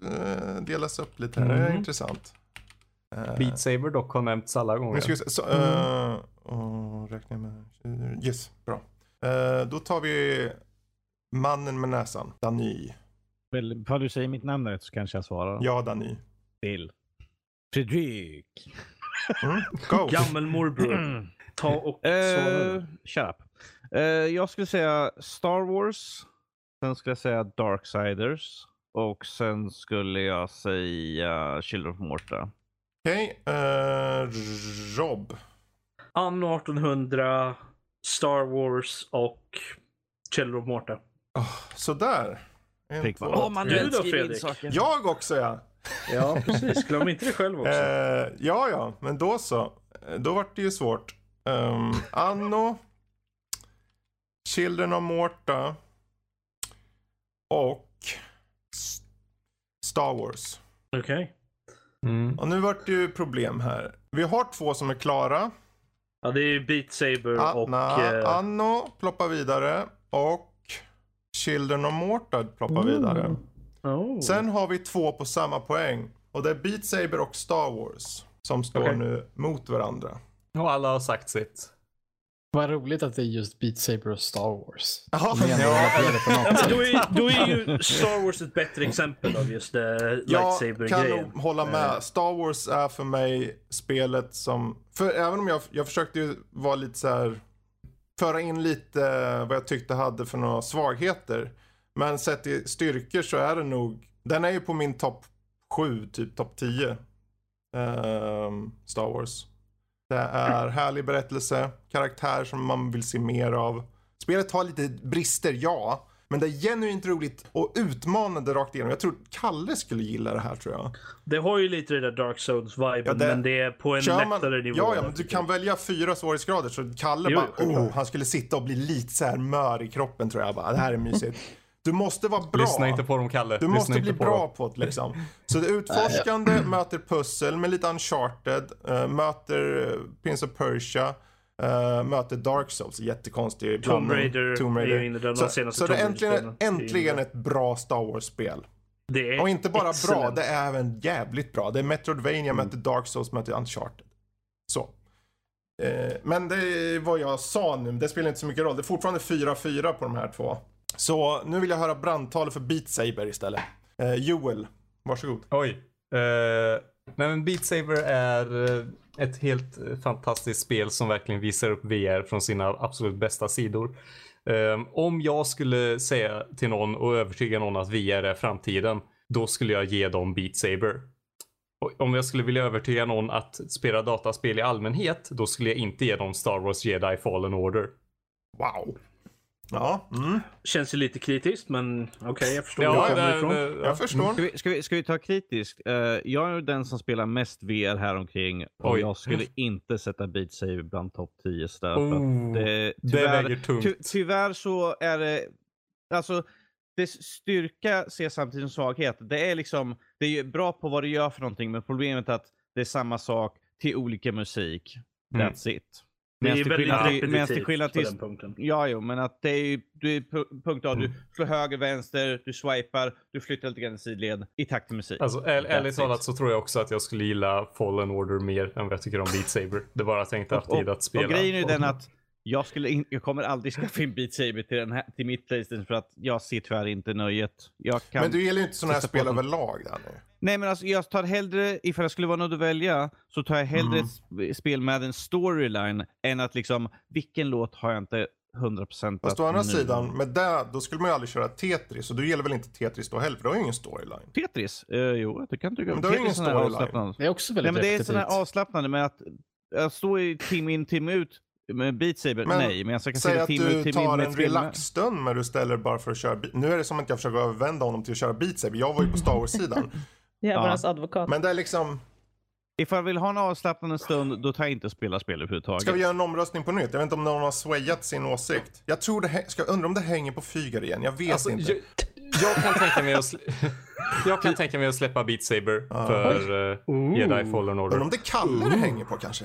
eh, delas upp lite här, det är
Mm.
intressant. Eh,
Beat Saber dock har nämnts alla
Nu
gånger.
ska vi se. Så,
Mm.
eh, och räkna med... Yes, bra. Eh, då tar vi mannen med näsan. Dany.
Väl, Ifall du säger mitt namn rätt så kanske jag svarar.
Ja, Dany.
Till.
Fredrik.
Mm, Go.
Gammelmorbror. Ta och svara.
Eh, shut up. Eh, jag skulle säga Star Wars. Sen skulle jag säga Darksiders. Och sen skulle jag säga Children of Morta.
Okej, eh, Rob.
Anno 1800, Star Wars och Children of Morta.
Ah, Sådär. En,
Fick
två,
man. Åh,
Du då Fredrik?
Jag också ja.
Ja, precis. Glöm inte det själv också.
Eh, ja, ja, men då så. Eh, Då vart det ju svårt. Ehm, Anno, Children of Morta och S- Star Wars.
Okej.
Och nu vart det ju problem här. Vi har två som är klara.
Ja, det är ju Beat Saber
Ah,
och...
Anna,
eh,
Anno ploppar vidare och Children of Morta ploppar vidare.
Mm. oh.
Sen har vi två på samma poäng. Och det är Beat Saber och Star Wars som står
Okej.
nu mot varandra.
Mm. Och alla har sagt sitt.
Vad roligt att det är just Beat Saber och Star Wars.
Ja,
De är ändå relaterade på något
Ja, men
sätt.
Alltså, då, är, då är ju Star Wars ett bättre exempel av just uh,
Jag kan
lightsaber-grejen.
nog hålla med. Star Wars är för mig spelet som... För även om jag, jag försökte ju vara lite så här... Föra in lite eh, vad jag tyckte hade för några svagheter. Men sett i styrkor så är det nog... Den är ju på min topp 7, typ topp 10. ehm, Star Wars. Det är härlig berättelse, karaktär som man vill se mer av. Spelet har lite brister, ja. Men det är genuint roligt och utmanande rakt igenom. Jag tror Kalle skulle gilla det här tror jag.
Det har ju lite det där Dark Souls-viben,
Ja, det-
men det är på en lättare nivå.
ja, ja, men du kan välja fyra svårighetsgrader. Så Kalle
Jo,
bara,
självklart.
oh, han skulle sitta och bli lite så här mör i kroppen tror jag. Bara, det här är mysigt. Du måste vara bra.
Lyssna inte på dem, Kalle.
Du
Lyssna
måste
inte
bli
på
bra
dem.
på det liksom. Så det är utforskande möter pussel med lite uncharted. eh, möter eh, Prince of Persia. eh, möter Dark Souls. Jättekonstig
Tomb
blandning.
Raider
Tomb
är ju
Raider.
inne där de
så
senaste
så det är
Tomb
äntligen,
Raider-spelen. Det är
äntligen
inne.
ett bra Star Wars-spel.
Det är
Och inte bara bra,
excellent.
det är även jävligt bra. Det är Metroidvania möter Dark Souls möter Uncharted. Så. Eh, men det är vad jag sa nu, det spelar inte så mycket roll. Det är fortfarande 4-4 på de här två. Så nu vill jag höra brandtalet för Beat Saber istället. Eh, Joel, varsågod.
Oj. Eh, nej, men Beat Saber är eh, ett helt eh, fantastiskt spel som verkligen visar upp VR från sina absolut bästa sidor. Eh, om jag skulle säga till någon och övertyga någon att VR är framtiden, då skulle jag ge dem Beat Saber. Och om jag skulle vilja övertyga någon att spela dataspel i allmänhet, då skulle jag inte ge dem Star Wars Jedi Fallen Order.
Wow. Ja, mm.
Känns ju lite kritiskt, men okej, jag förstår
Ja,
var du
det-
kommer ifrån.
det- ja.
jag förstår.
Mm. Ska vi, ska vi, ska vi ta kritiskt? Eh, jag är ju den som spelar mest VR här omkring och
Oj.
jag skulle inte sätta Beat Saber bland topp 10 sådär. för att
Oh,
det,
det
tyvärr,
väger tungt.
Ty, tyvärr så är det, alltså dess styrka ses samtidigt som svaghet. Det är liksom, det är ju bra på vad det gör för någonting men problemet är att det är samma sak till olika musik.
Mm.
That's it.
Det
Medans
är
till
väldigt
skillnad till- medans till
repetitivt
skillnad
på
till
den punkten.
Ja, jo, men att det är ju du är pu- punkt A.
Mm.
Du slår höger, vänster, du swipar, du flyttar lite grann i sidled i takt med musik.
Alltså äl- ärligt
it.
talat så tror jag också att jag skulle gilla Fallen Order mer än vad jag tycker om Beat Saber. Det var att jag inte haft tid att spela.
och grejen är ju den att jag, skulle in, jag kommer aldrig skaffa en Beat Saber till, den här, till mitt Playstation för att jag ser tyvärr inte nöjet. Jag kan...
Men du gillar ju inte sådana här
Sätta på
spel
den.
överlag där nu.
Nej men alltså jag tar hellre, ifall jag skulle vara något att välja, så tar jag hellre ett
Mm.
sp- spel med en storyline än att liksom, vilken låt har jag inte 100%
Fast å andra sidan, med det, då skulle man ju aldrig köra Tetris. Och du gillar väl inte Tetris då heller, för du har ju ingen storyline.
Tetris? Eh, jo, jag kan tycka
Men
om
det har ju
Tetris.
ingen
är
storyline.
avslappnande.
Det är också
Nej,
väldigt
men det är sån
repetitivt.
här avslappnande men att jag står i timme in timme ut med Beat Saber,
Men
nej. Men jag kan
Säg
sitta
att
timme ut
du
timme in
tar
med
en
ett spel med-
relaxstund när du ställer bara för att köra beat. Nu är det som att jag försöker övervända honom till att köra beat Saber. Jag var ju på Star Wars-sidan.
Djävulens advokat.
Men det är liksom,
Ifall jag vill ha en avslappnande stund, då tar jag inte och spelar spel överhuvudtaget.
ska vi göra en omröstning på nytt? Jag vet inte om någon har swayat sin åsikt. Jag tror det, hä- ska, jag undrar om det hänger på Fygar igen. Jag vet
Alltså,
inte.
jag, jag, kan tänka mig att sl- jag kan tänka mig att släppa Beat Saber
Ah.
för eh, Jedi Fallen
Undrar
Order.
om det är Kalle det hänger på kanske?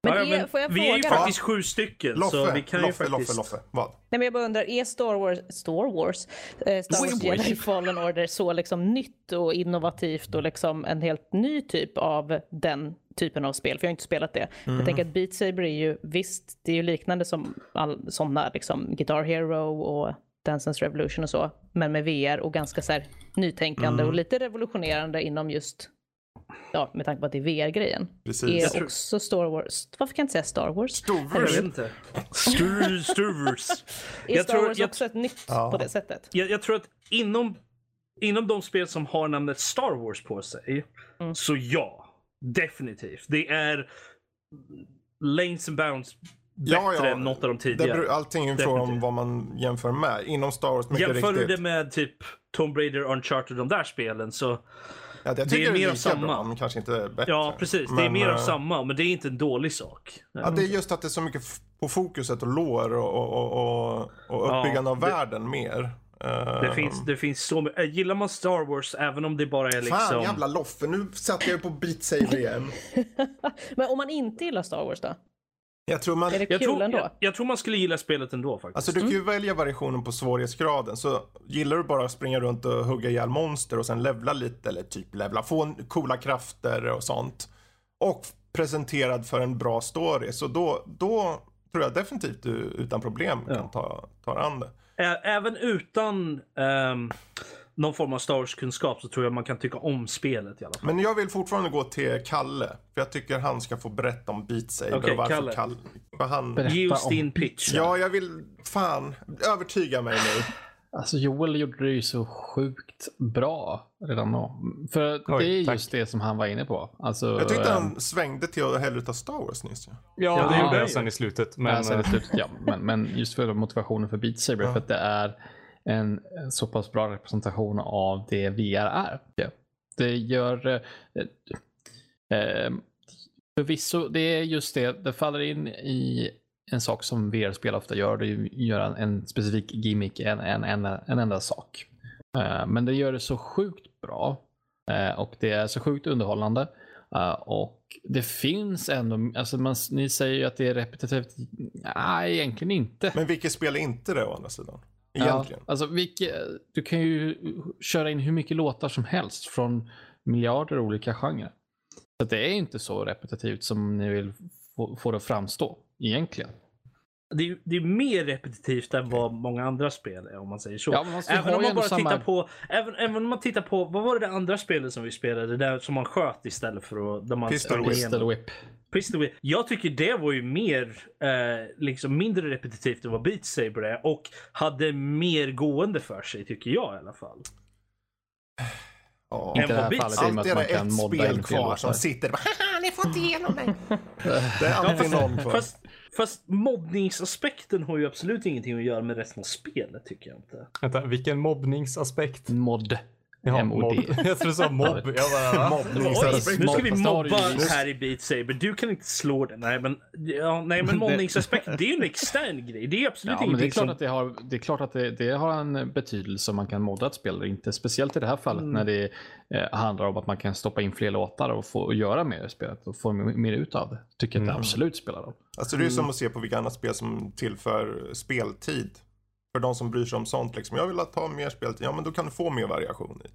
Ja,
Men,
ja,
är, får jag
vi är ju
fråga?
faktiskt sju stycken, så
Loffe,
vi kan ju
Loffe,
faktiskt...
Loffe, Loffe. Vad?
Nej, men jag bara undrar, är Star Wars, Star Wars, eh, Star Wars Jedi Fallen Order så liksom nytt och innovativt och liksom en helt ny typ av den typen av spel? För jag har inte spelat det.
Mm.
Jag tänker att Beat Saber är ju, visst, det är ju liknande som all, sådana, liksom Guitar Hero och Dance Dance Revolution och
Mm.
så, men med VR och ganska så här nytänkande och lite revolutionerande inom just ja, med tanke på att det är VR-grejen,
Precis. Jag
är
tror-
också Star Wars. Varför kan jag inte säga Star Wars?
Jag vet inte. Stur, sturvers.
Är
Jag
Star
tror-
Wars
jag-
också ett nytt
Ja.
på det sättet?
jag, jag tror att inom, inom de spel som har namnet Star Wars på sig,
Mm.
så ja. Definitivt. Det är lanes and bounds bättre än något av de
Det
tidigare.
beror- allting är en fråga om vad man jämför med. Inom Star Wars mycket
Jämför du
riktigt.
det med typ Tomb Raider, Uncharted, de där spelen så
ja, jag
det
tycker
är mer
lika
av samma.
Bra, men kanske inte bättre.
ja precis. det är
Men,
mer av
eh,
samma, men det är inte en dålig sak.
Ja, det är just att det är så mycket f- på fokuset och lår och, och, och, och
Ja,
uppbyggande av
det-
världen mer. Eh,
Det finns, det finns så mycket. äh, Gillar man Star Wars, även om det bara är liksom...
Fan jävla Loffe, nu satte jag ju på Beat Saber igen.
Men om man inte gillar Star Wars då?
Jag tror man...
Är det
jag,
kul
tror,
ändå?
jag, jag tror man skulle gilla spelet ändå faktiskt.
Alltså du
Mm.
kan ju välja variationen på svårighetsgraden. Så gillar du bara att springa runt och hugga ihjäl monster och sen levla lite eller typ levla, få en- coola krafter och sånt. Och presenterad för en bra story. Så då, då tror jag definitivt du utan problem kan ta, ta an det.
Ä- Även utan ehm, någon form av Star Wars-kunskap så tror jag man kan tycka om spelet i alla fall.
Men jag vill fortfarande gå till Kalle. För jag tycker han ska få berätta om Beat Saber
Okej,
och varför
Kalle.
Kalle. för han...
Berätta
Ge oss
om-
din pitch.
Ja, jag vill... Fan, övertyga mig nu.
Alltså Joel gjorde det ju så sjukt bra redan då. För
Oj,
det är
tack.
just det som han var inne på. Alltså,
Jag tyckte
ehm,
han svängde till att hellre ta Star Wars nyss. Ja.
Ja,
Ja,
det gjorde
ja.
jag sen i slutet. Men,
ja, sen i
eh,
slutet, ja. Men, men just för motivationen för Beat Saber,
Ja.
för att det är en så pass bra representation av det VR är. Det, det gör... Eh, eh, förvisso, det är just det, det faller in i en sak som VR-spel ofta gör, det är ju- gör en, en specifik gimmick, en, en, en, en enda sak. Eh, men det gör det så sjukt bra eh, och det är så sjukt underhållande. Eh, och det finns ändå, alltså man, ni säger ju att det är repetitivt. Nej, egentligen inte.
Men vilket spel är inte det å andra sidan? Egentligen.
Ja, alltså, vilke, du kan ju köra in hur mycket låtar som helst från miljarder olika genrer. Så att det är inte så repetitivt som ni vill få, få det att framstå egentligen.
Det, är, ju- det är mer repetitivt än vad många andra spel är om man säger så.
Ja, men alltså, vi
även
har
om
ju
man
ändå
bara
samma-
tittar på, även, även om man tittar på, vad var det, det andra spelet som vi spelade där som man sköt istället för att... Där man
Pistol Whip.
Pistol Whip.
Pistol Whip. Jag tycker det var ju mer, eh, liksom mindre repetitivt än vad Beat Saber är och hade mer gående för sig tycker jag i alla fall.
Ja.
Inte i det här
Beat
fallet i och
Allt
med
är
att
det
man kan
ett
modda in
spel
fel
kvar
låtar.
som sitter och bara, "Haha, ni får inte igenom mig. Det är alltid någon kvar.
Fast, fast moddningsaspekten har ju absolut ingenting att göra med resten av spelet tycker jag inte.
vänta, vilken mobbningsaspekt?
Mod.
Jaha,
MOD.
Jag tror du sa mobb. Jag bara, va?
Oj, liksom. nu ska vi
Fast då har du
mobba
ju just-
här i Beat Saber. Du kan inte slå den. Nej men, ja, nej, men mobbningsaspekt det är ju en extern grej. Det är absolut
Ja, men det är
ingenting
klart
som...
att det har, det är klart att det, det har en eh, betydelse om man kan modda ett spel eller inte. Speciellt i det här fallet när det eh, handlar om att man kan stoppa in fler låtar och få och göra mer i spelet och få m- mer ut av det. Tycker jag att det absolut spelar roll.
Alltså det är ju
Mm.
som att se på vilka andra spel som tillför speltid. För de som bryr sig om sånt liksom. Jag vill att ha mer speltid. Ja men då kan du få mer variation i.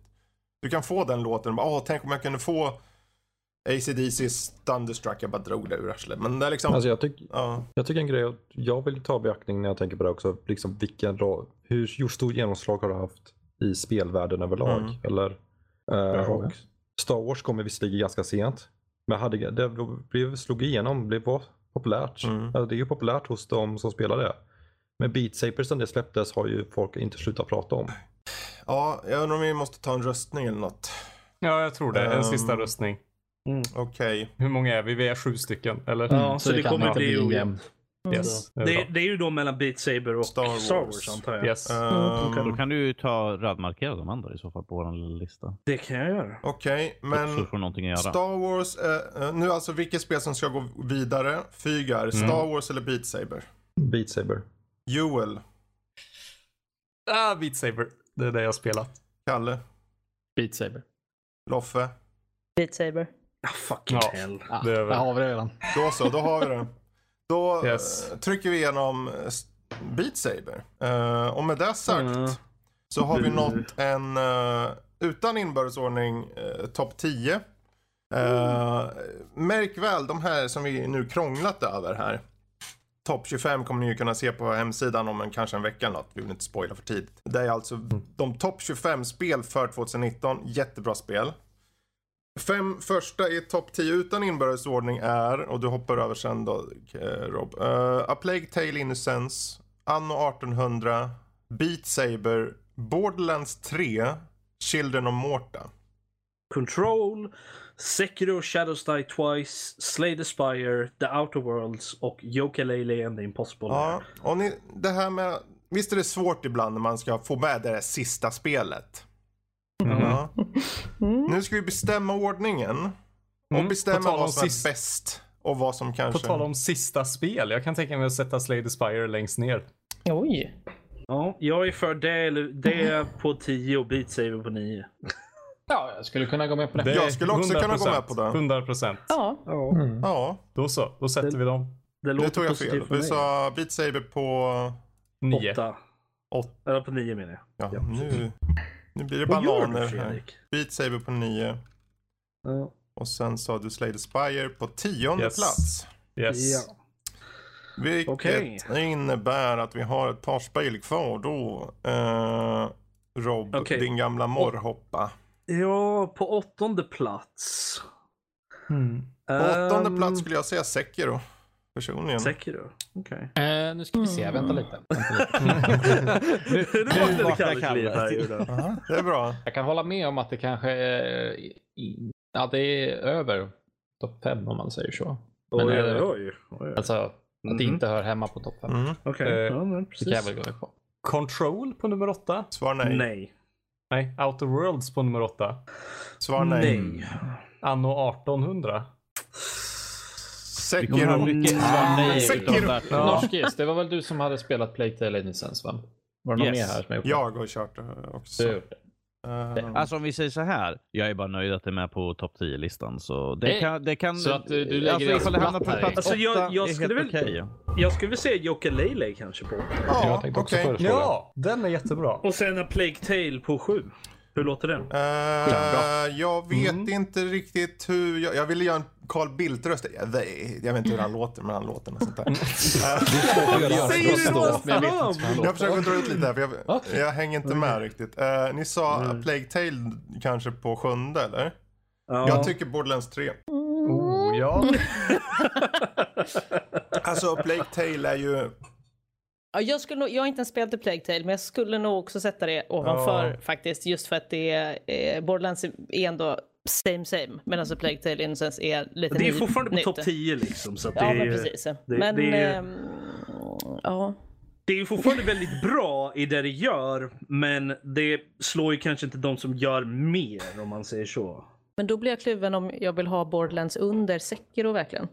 Du kan få den låten. Bara, Åh, tänk om jag kunde få ACDC's Thunderstruck. Jag bara drog det ur arslet. Men det är liksom.
Alltså jag, tyck,
ja.
jag tycker en grej att jag vill ta i beaktning när jag tänker på det också. Liksom vilken roll, hur, hur stor genomslag har det haft i spelvärlden överlag?
Mm.
Eller, eh,
fråga.
och Star Wars kom ju visserligen ganska sent. Men hade, det blev, slog igenom, blev var populärt.
Mm.
Alltså, det är ju populärt hos de som spelar det. Men Beat Saber sen det släpptes har ju folk inte slutat prata om.
ja, jag undrar om vi måste ta en röstning eller något.
Ja, jag tror det. En sista
Ehm.
röstning.
Okej.
Hur många är vi? Vi är sju stycken, eller?
Mm,
Ja, Mm, så, det, kommer
inte
bli
en
ojämnt.
jämn-
Yes. Det är
Det,
bra.
det är ju då mellan Beat Saber och
Star
Star
Wars.
Wars, antar jag. Eh, Mm,
Yes.
Mm,
Ehm,
Då kan du ju ta rödmarkera de andra i så fall på vår lilla lista.
Det kan jag göra.
Okej, men.
så får du någonting att göra.
Star Wars, eh, eh, nu alltså vilket spel som ska gå vidare. Fygar, Star Wars eller Beat Saber?
Beat Saber.
Joel,
Ah, Beat Saber. Det är det jag spelar.
Kalle,
Beat Saber.
Loffe.
Beat Saber.
Ah, fucking
Ja,
hell.
Ja,
det är
där
väl.
har vi det redan.
Då så, då har vi det. Då eh,
Yes.
trycker vi igenom eh, s- Beat Saber. Eh, och med det sagt så har vi nått en, eh, utan inbördesordning, uh, topp 10. Eh, Märk väl de här som vi nu krånglat över här. Topp 25 kommer ni ju kunna se på hemsidan om en, kanske en vecka eller något. Vi vill inte spoila för tidigt. Det är alltså de topp 25 spel för 2019. Jättebra spel. Fem första i topp 10 utan inbördes ordning är, och du hoppar över sen då eh, Rob. Eh, A Plague Tale Innocence, Anno 1800, Beat Saber, Borderlands 3, Children of Morta.
Control, Sekiro, Shadows Die Twice, Slay the Spire, The Outer Worlds och Yokalele and the Impossible.
Ja, och ni, det här med... Visst är det svårt ibland när man ska få med det där sista spelet?
Mm.
Ja. Nu ska vi bestämma ordningen. Och
Mm, på
bestämma
tal om
vad som
sist-
är bäst. Och vad som
På
kanske...
tal om sista spel, jag kan tänka mig att sätta Slay the Spire längst ner.
Oj.
Ja, jag är för det, eller det på 10 och Beat Saber på 9.
Ja, jag skulle kunna gå med på det.
Det är
Jag skulle också kunna gå
100%,
med på det.
100%.
Ja.
Ja,
Då så, då sätter vi dem.
Det
nu
låter
tog jag
positivt
fel.
för
Du
mig.
sa Beat Saber på...
Nio.
Åtta.
Åtta.
Eller på 9 menar jag.
Ja, nu, nu blir det
Vad gör du
bananer här.
Fredrik?
Beat Saber på nio.
Ja.
Och sen sa du Slay the Spire på tionde
Yes.
plats.
Yes.
Vilket
Okej.
innebär att vi har ett par spel kvar då. Eh, Rob,
Okej.
din gamla morrhoppa.
Ja, på åttonde plats.
På åttonde
Ehm,
plats skulle jag säga Sekiro. Personligen.
Sekiro? Okej.
Eh, nu ska vi se,
Mm.
vänta lite. Vänta lite.
nu vaknade Kalle
vaknar
till liv här.
Kalle.
gjorde han.
Aha, det är bra.
Jag kan hålla med om att det kanske är, ja, det är över topp 5 om man säger så. Men
Oj,
är det-
oj, oj. Oj, oj.
Alltså att det inte hör hemma på topp 5.
Mm.
Okej,
eh,
ja, men
Det kan jag
precis.
väl gå med på.
Control på nummer åtta.
Svar nej.
Nej.
Nej, Outer Worlds på nummer åtta.
Svar nej.
Nej.
Anno 1800.
kommer
Sekiro.
Mm.
Mm.
ha mycket
Ah,
svar nej
Sekiro.
utav det här.
Norskis, det var väl du som hade spelat Playtale Innocence va? Var det någon
Yes.
mer här som gjort
Jag har kört det också.
det? Du har gjort det.
Eh,
Alltså om vi säger så här. Jag är bara nöjd att det är med på topp 10-listan. Så det
Nej.
kan... Det kan
eh,
Så att eh, du- du lägger
alltså,
dig
ifall det
platt
hamnar på
här.
plats
Alltså, jag-
åtta
jag
är
skulle
helt
väl-
okej.
Jag skulle vilja se Jokalele kanske på.
Jag
Ja,
tänkte också
okej.
föreslå det.
Ja, den är jättebra.
Och sen en Plague Tale på 7. Hur låter den?
Eh, jag vet
Mm.
inte riktigt hur... Jag, jag ville göra en Carl Bildt-röst. Jag, jag vet inte hur han låter, men han låter nästan
Mm.
sånt där.
Säger du vad
Men jag vet
fan?
inte vad han
Jag
låter. Mm.
försöker dra ut lite här, för jag, jag hänger inte med riktigt. Eh, ni sa A Plague Tale kanske på sjunde, eller? Jag tycker Borderlands 3.
Oh, ja.
Alltså, A Plague Tale är ju...
Ja, Jag, skulle, nog- jag har inte ens spelat The Plague Tale, men jag skulle nog också sätta det ovanför faktiskt. Just för att det är, eh, Borderlands är ändå same same, medan The Plague Tale Innocence är lite
Det är
ny-
fortfarande på
nytt.
topp 10 liksom. Så att det,
Ja,
är,
men
ju-
precis. men,
det
eh,
är-
ehm, ja.
det är ju fortfarande väldigt bra i det det gör. Men det slår ju kanske inte de som gör mer om man säger så.
men då blir jag kluven om jag vill ha Borderlands under Sekiro verkligen.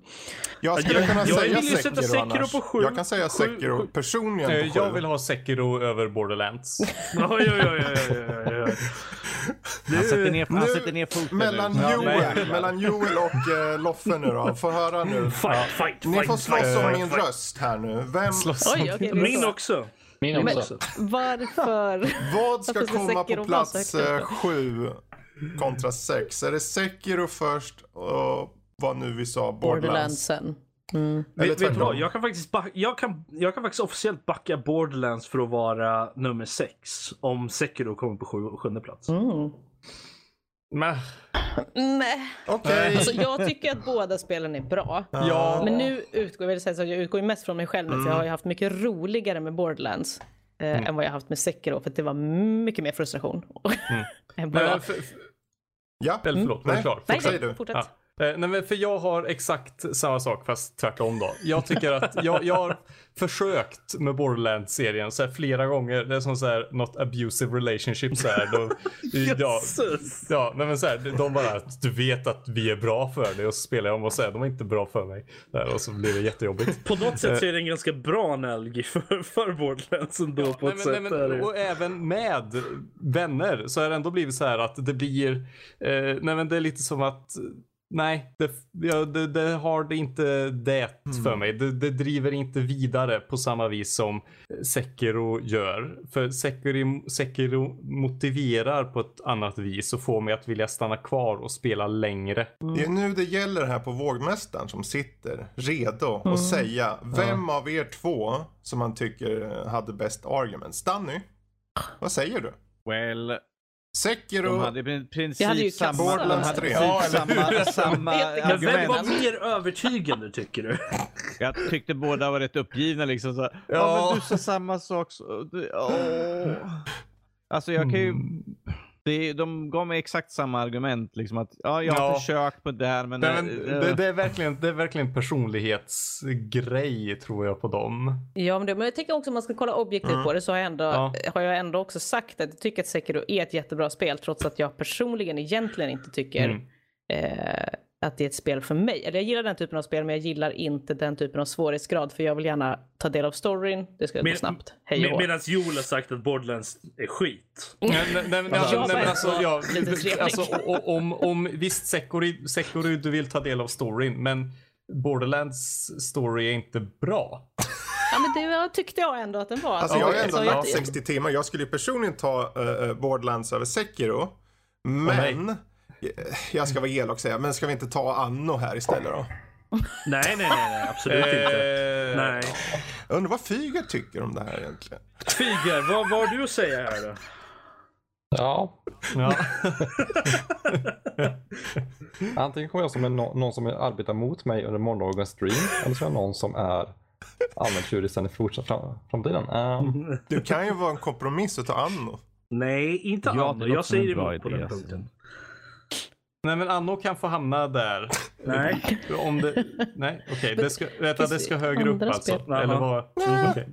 Jag skulle
Jag-
kunna
jag
säga
vill ju
Sekiro
sätta Sekiro
annars.
på sju.
Jag kan säga
Sju-
Sekiro personligen på
Eh,
sju.
Jag vill ha Sekiro över Borderlands.
Oj, oj, oj, oj, oj, oj, oj.
Han sätter ner, han
Nu-
sätter ner foten
Mellan
nu.
Joel, mellan Joel och eh, Loffe nu då. Få höra nu.
Fight, fight,
Ni
fight,
får
fight,
slåss om
fight,
min
fight.
röst här nu. Vem,
Oj, okay,
Min också.
Min
Men
också.
varför?
vad ska
Varför ska
komma
Sekiro
på
vara
plats
så högt
eh,
uppe?
sju kontra sex? Är det Sekiro först och vad nu vi sa, Borderlands?
Borderlands sen.
Eller
Mm.
Vet, vet du
tvärtom.
vad? Jag kan, faktiskt back, jag, kan, jag kan faktiskt officiellt backa Borderlands för att vara nummer sex. Om Sekiro kommer på sju, sjunde plats.
Mm.
Men,
Nej.
Okej.
Alltså, jag tycker att båda spelen är bra.
ja. Mm.
Men nu utgår jag, vill säga så, jag utgår ju mest från mig själv nu, för jag har ju haft mycket roligare med Borderlands eh, än vad jag haft med Sekiro för att det var mycket mer frustration.
eh,
Mm.
än vad
Men,
jag...
för, för,
Ja. Mm.
eller förlåt, jag är
Nej.
klar.
Nej,
säger
nej,
du?
fortsätt.
Ja. Eh, Nej, men för jag har exakt samma sak fast tvärtom då. Jag tycker att jag, jag har försökt med Borderlands-serien så här, flera gånger. Det är som så här, något abusive relationship så här. Då, i- ja, ja, nej, men så här, de bara, du vet att vi är bra för dig och så spelar jag om och säger de är inte bra för mig. Där, och så blir det jättejobbigt. Eh,
På något sätt så är det en ganska bra analogi för, för Borderlands ändå på
Nej,
ett
men, nej,
sätt. är det
men,
ju.
och även med vänner så har det ändå blivit så här att det blir, eh, nej men det är lite som att Nej, det, ja, det, det har det inte det
Mm.
för mig. Det, det driver inte vidare på samma vis som Sekiro gör. För Sekiro, Sekiro motiverar på ett annat vis och får mig att vilja stanna kvar och spela längre.
Mm.
Det är nu det gäller här på vågmästaren som sitter redo och
Mm.
säga vem av er två som man tycker hade bäst arguments. Danny, vad säger du?
Well,
Sekiro...
De hade i
Jag hade ju
princip
kastat.
samma, de hade
Borderlands
i
tre.
princip
Ja, eller
samma, samma
Jättekul.
Men vem
argument.
var mer övertygande tycker du?
Jag tyckte båda var rätt uppgivna liksom. Så, här, ja. men du sa samma sak. Så, du, åh." Alltså jag kan ju... Det, de gav mig exakt samma argument. Liksom att, ja, jag har
Ja.
försökt på det här men...
Nej, men
eh,
det, det, är verkligen, det är verkligen personlighetsgrej tror jag på dem.
Ja, men, det, men jag tänker också om man ska kolla objektivt på det så har jag, ändå,
Mm. Ja.
har jag ändå också sagt att jag tycker att Sekiro är ett jättebra spel trots att jag personligen egentligen inte tycker
Mm.
eh, att det är ett spel för mig. Eller jag gillar den typen av spel men jag gillar inte den typen av svårighetsgrad för jag vill gärna ta del av storyn. Det ska gå
Med-
snabbt. Hej och
Med,
hå.
medan Joel har sagt att Borderlands är skit.
Nej, nej, nej, men alltså-
Jag
nej, men
bara-
alltså, ja,
lite trevlig.
alltså, o- o- om, om, visst, Sekori, Sekori, du vill ta del av storyn, men Borderlands story är inte bra.
Ja, men det var- tyckte jag ändå att den var.
Alltså jag har ju ändå
Så
lagt
jag-
60 timmar. Jag skulle ju personligen ta eh, eh, Borderlands över Sekiro. Men, eh, jag ska vara elak och säga, men ska vi inte ta Anno här istället då?
Nej, nej, nej, nej absolut inte.
Eh.
Nej.
Jag undrar vad Fyger tycker om det här egentligen?
Fyger, vad, vad har du att säga här då?
Ja,
Ja.
Antingen kommer jag som en, nå- någon som arbetar mot mig under morgondagens stream eller så är jag någon som är allmänt tjurig sen i fortsatt fram, framtiden. Ehm,
Du kan ju vara en kompromiss och ta Anno.
Nej, inte
Ja,
Anno.
det låter
Jag
som en
säger
bra
emot på
idé,
den
alltså.
punkten.
Nej, men Anno kan få hamna där.
Nej.
Om det, nej, okej. Det ska, vänta, det ska högre upp
Andra
alltså.
spel.
Eller vad? Mm, okej.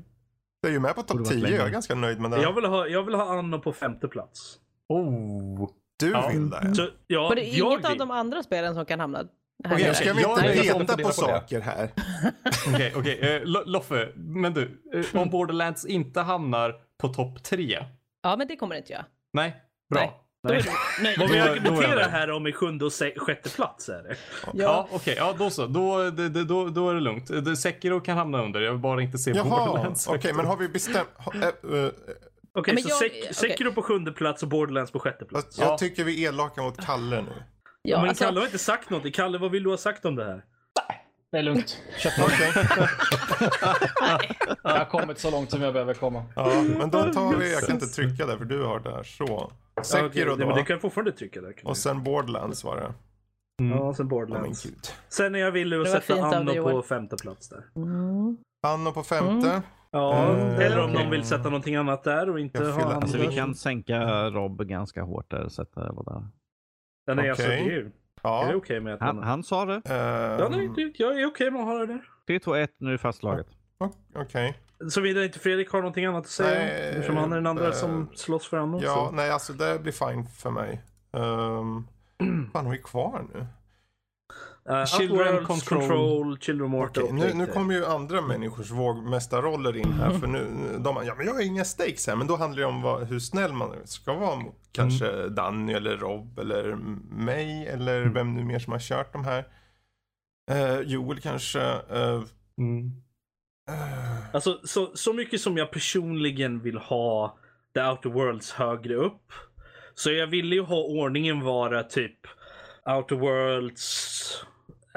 Jag är ju med på topp 10, jag är ganska nöjd med det.
Jag vill, ha, jag vill ha Anno på femte plats.
Oh.
Du
Ja.
vill det.
Så, ja,
Men det är
jag
inget av
vill.
de andra spelen som kan hamna här.
Okej, ska vi
jag-
inte
jag- jag
peta
omfördelar
på,
på det.
saker här?
Okej, okej. Eh, Lo- Loffe, men du. eh, om Borderlands inte hamnar på topp tre.
Ja, men det kommer det inte göra.
Nej, bra.
Nej. Då är du- Nej.
Vad vi
Då är- då är jag
argumenterar
med.
här om är sjunde och se- sjätte plats är det.
Ja, okej. Ja, då så. Då, det- det- då, då är det lugnt. Eh, Det- Sekiro kan hamna under. Jag vill bara inte se
Jaha,
Borderlands.
okej, men har vi bestämt... ha- eh, eh,
Okej,
Men
så
jag-
Sek-
okej.
Sekiro på sjunde plats och Borderlands på sjätte plats.
fast jag
Ja.
tycker vi är elaka mot Kalle nu.
Ja,
Men
alltså-
Kalle har inte sagt någonting. Kalle, vad vill du ha sagt om det här?
det är lugnt. Kör på.
Okej,
Jag har kommit så långt som jag behöver komma.
ja, men då tar vi... Jag kan inte trycka där för du har där. Så. Sekiro
Ja, men det
då.
kan jag fortfarande tycka. Där.
Och sen Borderlands var det.
Ja, sen
Ja, men
Borderlands.
gud.
Sen är jag villig att
Det var
sätta
fint av dig,
Anno på
Joel.
femte plats där.
Anno Mm. på femte.
Mm.
Ja,
Eh,
eller om någon vill sätta någonting annat där och inte
Jag
ha
fyller-
Anno.
Alltså vi kan sänka Rob ganska hårt där. Så att, det var där.
Den är alltså, det
Okej.
är ju-
Ja.
jag är okej med att
Han,
den...
han sa det.
ehm,
Ja, nej, det- jag är okej med att ha det där.
3, 2, 1. Nu är det fastslaget.
o- Okej.
Såvida inte Fredrik har någonting annat att säga.
Nej,
eftersom han är den andra
eh,
som slåss för Anno.
Ja,
Mm.
så.
nej alltså det blir fine för mig. Um, fan har vi kvar nu?
Eh,
Children
Outworlds,
Control.
Control, Children Mortal.
Okej, nu, nu
Take-Take.
kommer ju andra människors vågmästarroller in här. För nu, de bara, ja men jag har inga stakes här. Men då handlar det om vad, hur snäll man ska vara mot kanske
Mm.
Danny eller Rob eller mig eller vem nu mer som har kört de här. Eh, Joel kanske. eh,
Mm.
Alltså, så, så mycket som jag personligen vill ha The Outer Worlds högre upp. Så jag ville ju ha ordningen vara typ Outer Worlds,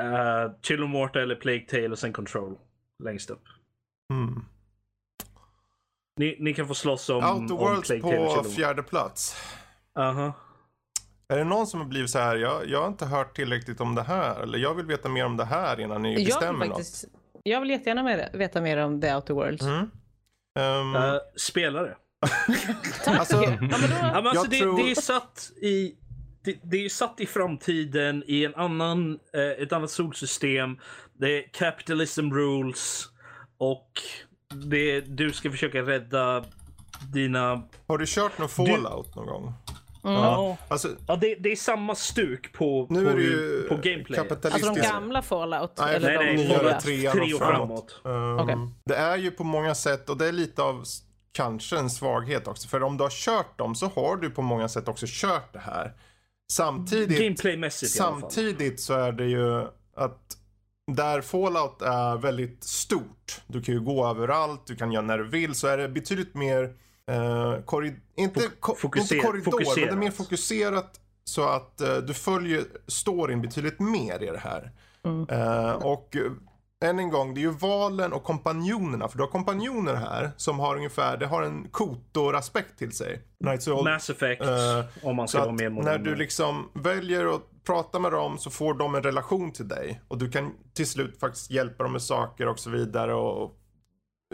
uh, Chill and Mortar eller Plague Tale och sen Control längst upp.
mm.
Ni, ni kan få slåss om,
Outer
om
Worlds
Plague Tale och
på
Chill and Mortar.
fjärde plats.
Aha.
Är det någon som har blivit så här, jag, jag har inte hört tillräckligt om det här. Eller jag vill veta mer om det här innan ni
jag
bestämmer
vill faktiskt... Jag vill jättegärna mer, veta mer om The Outer Worlds. Alltså,
något. Mm. Ehm,
Eh, spelare.
alltså,
Ja, men då...
Ja, men alltså,
Jag
det,
tror-
det är satt i det, det är satt i framtiden i en annan, eh, ett annat solsystem. Det är capitalism rules och det, du ska försöka rädda dina...
har du kört någon Fallout någon gång?
Mm.
Ja.
Alltså,
Ja, det, det är samma stuk på,
Nu
på,
är det
hur-
ju
på gameplay.
Alltså
kapitalistiskt.
de gamla Fallout?
Nej,
Nej,
eller
nej.
de
Fallout
nya?
Fallout 3 och
tre och
framåt.
framåt.
Ehm,
Okej.
Det är ju på många sätt, och det är lite av s- kanske en svaghet också. För om du har kört dem så har du på många sätt också kört det här. Samtidigt,
Gameplaymässigt i alla fall.
samtidigt så är det ju att där Fallout är väldigt stort, du kan ju gå överallt, du kan göra när du vill, så är det betydligt mer eh, korrid- inte, ko-
fokuser-
inte korridor, men det är
fokuserat.
mer fokuserat så
Mm.
att eh, du följer storyn betydligt mer i det här. Eh, och eh, än en gång, det är ju valen och kompanjonerna. För du har kompanjoner här som har ungefär, det har en kotor-aspekt till sig. Knights of Old
Mass Effect,
Eh,
om man ska
så
vara
att när
mer modern.
du liksom väljer att prata med dem så får de en relation till dig. Och du kan till slut faktiskt hjälpa dem med saker och så vidare och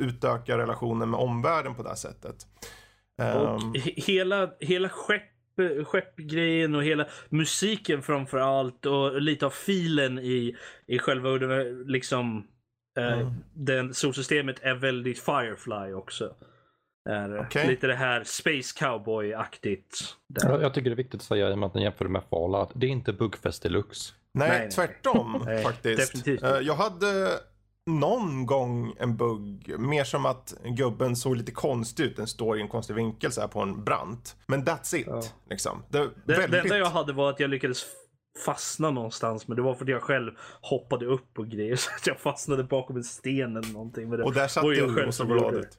utöka relationen med omvärlden på det här sättet.
Och
Ehm,
he- hela, hela skepp, skeppgrejen och hela musiken framför allt och lite av filen i, i själva hur det var, liksom eh, den solsystemet är väldigt Firefly också. Är
Okej.
Lite det här Space Cowboy-aktigt. där.
Jag, jag tycker det är viktigt att säga i och med att ni jämför det med Fala att det är inte Bugfest deluxe.
Nej,
Nej, nej.
tvärtom
Nej,
faktiskt.
definitivt
Eh, Jag hade någon gång en bugg, mer som att gubben såg lite konstig ut. Den står i en konstig vinkel så här på en brant. Men that's it. Liksom. Det, är
Det,
väldigt...
det enda jag hade var att jag lyckades f- fastna någonstans men det var för att jag själv hoppade upp på grejer så att jag fastnade bakom en sten eller någonting. Men det
Och där satt
var ju jag
du
själv
och såg
som gjorde
glad
det.
ut.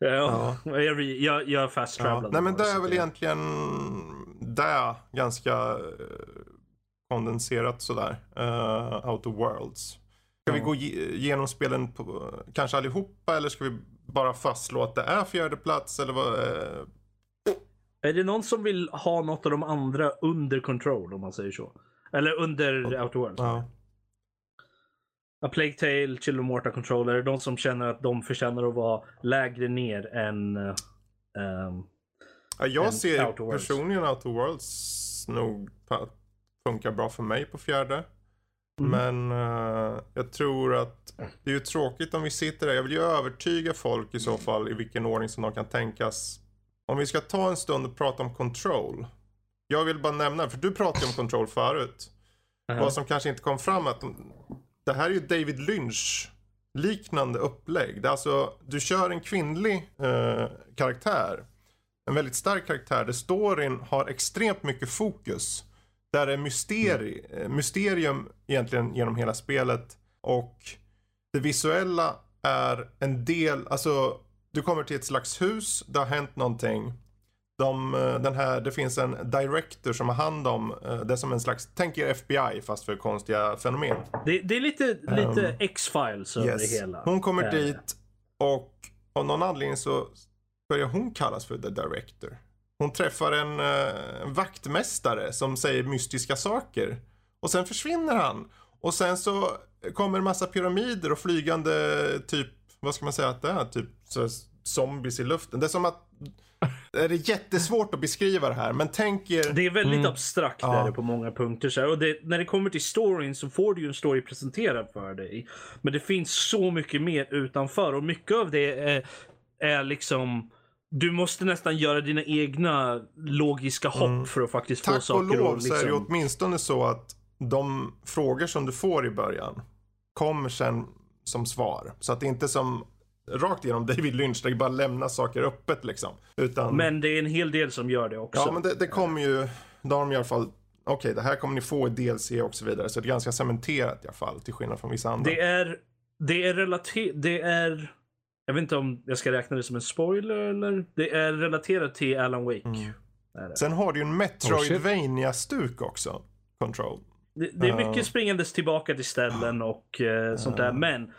Ja, jag, jag, jag fast
Ja.
travelade
Nej men
bara,
det
så
är
att
väl
jag-
egentligen det ganska eh, kondenserat sådär. Uh, out of worlds. Ska vi gå ge- igenom spelen på, kanske allihopa eller ska vi bara fastslå att det är fjärde plats eller vad? eh,
Är det någon som vill ha något av de andra under control om man säger så? Eller under Outer Worlds?
ja.
A Plague Tale, Children of Mortar Control. Är det de som känner att de förtjänar att vara lägre ner än... eh, ehm,
Ja, jag
än
ser
Outer Worlds.
personligen Outer Worlds nog pa- funkar bra för mig på fjärde.
Mhm.
Men eh, jag tror att det är ju tråkigt om vi sitter där. Jag vill ju övertyga folk i så fall i vilken ordning som de kan tänkas. Om vi ska ta en stund och prata om control. Jag vill bara nämna, för du pratade ju om control förut. Vad som kanske inte kom fram är att de, det här är ju David Lynch liknande upplägg. Det är alltså, du kör en kvinnlig eh, karaktär en väldigt stark karaktär där storyn har extremt mycket fokus. Där det är mysteri- eh, mysterium egentligen genom hela spelet. Och det visuella är en del, alltså du kommer till ett slags hus, det har hänt någonting. De, eh, den här, det finns en director som har hand om, eh, det är som en slags, tänk er FBI fast för konstiga fenomen. Ehm.
det, det är lite, lite X-Files över det
Yes.
hela.
Hon kommer
Eh,
dit och av någon anledning så börjar hon kallas för the director. Hon träffar en eh, en vaktmästare som säger mystiska saker. Och sen försvinner han. Och sen så kommer en massa pyramider och flygande typ, vad ska man säga att det är? Typ så här zombies i luften. Det är som att, det är jättesvårt att beskriva det här men tänk er.
Det är väldigt abstrakt
Mm. Ja.
är det på många punkter. Så här. Och det, när det kommer till storyn så får du ju en story presenterad för dig. Men det finns så mycket mer utanför och mycket av det är, är liksom... Du måste nästan göra dina egna logiska hopp för att faktiskt få
Mm. Tack
saker
och lov
att
så är det ju
liksom...
åtminstone så att de frågor som du får i början kommer sen som svar. Så att det inte är som rakt igenom David Lynch där det bara lämnar saker öppet liksom. Utan,
Men det är en hel del som gör det också.
ja men det, det kommer ju, då har de i alla fall, okej det här kommer ni få i DLC och så vidare. Så det är ganska cementerat i alla fall till skillnad från vissa andra.
Det är... Det är relaterat... Det är... Jag vet inte om jag ska räkna det som en spoiler eller? Det är relaterat till Alan Wake.
Mm. Sen har du ju en metroidvania stuk också. Control.
Det, det är mycket
Ja.
springandes tillbaka till ställen och eh, sånt där. Men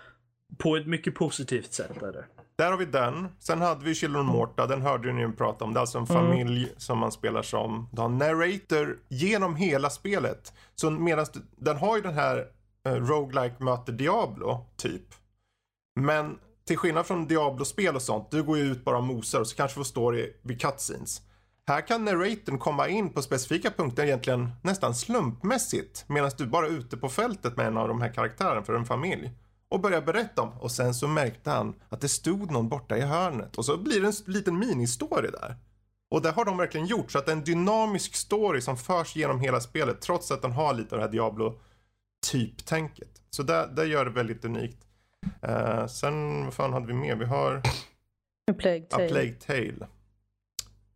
på ett mycket positivt sätt är det.
Där har vi den. Sen hade vi Children of Morta. Den hörde ju ni prata om. Det är alltså en familj som man spelar som. Du har en narrator genom hela spelet. Så medan den har ju den här eh, roguelike möter Diablo typ. Men till skillnad från Diablo-spel och sånt. Du går ju ut bara och mosar och så kanske får stå det vid cutscenes. Här kan narratorn komma in på specifika punkter egentligen nästan slumpmässigt. Medan du bara är ute på fältet med en av de här karaktärerna för en familj. Och börjar berätta om. Och sen så märkte han att det stod någon borta i hörnet. Och så blir det en s- liten mini-story där. Och det har de verkligen gjort. Så att det är en dynamisk story som förs genom hela spelet. Trots att den har lite av det här Diablo-typtänket. Så det, det gör det väldigt unikt. Eh, sen, vad fan hade vi mer? Vi har...
A Plague
A
Tale.
Plague Tale.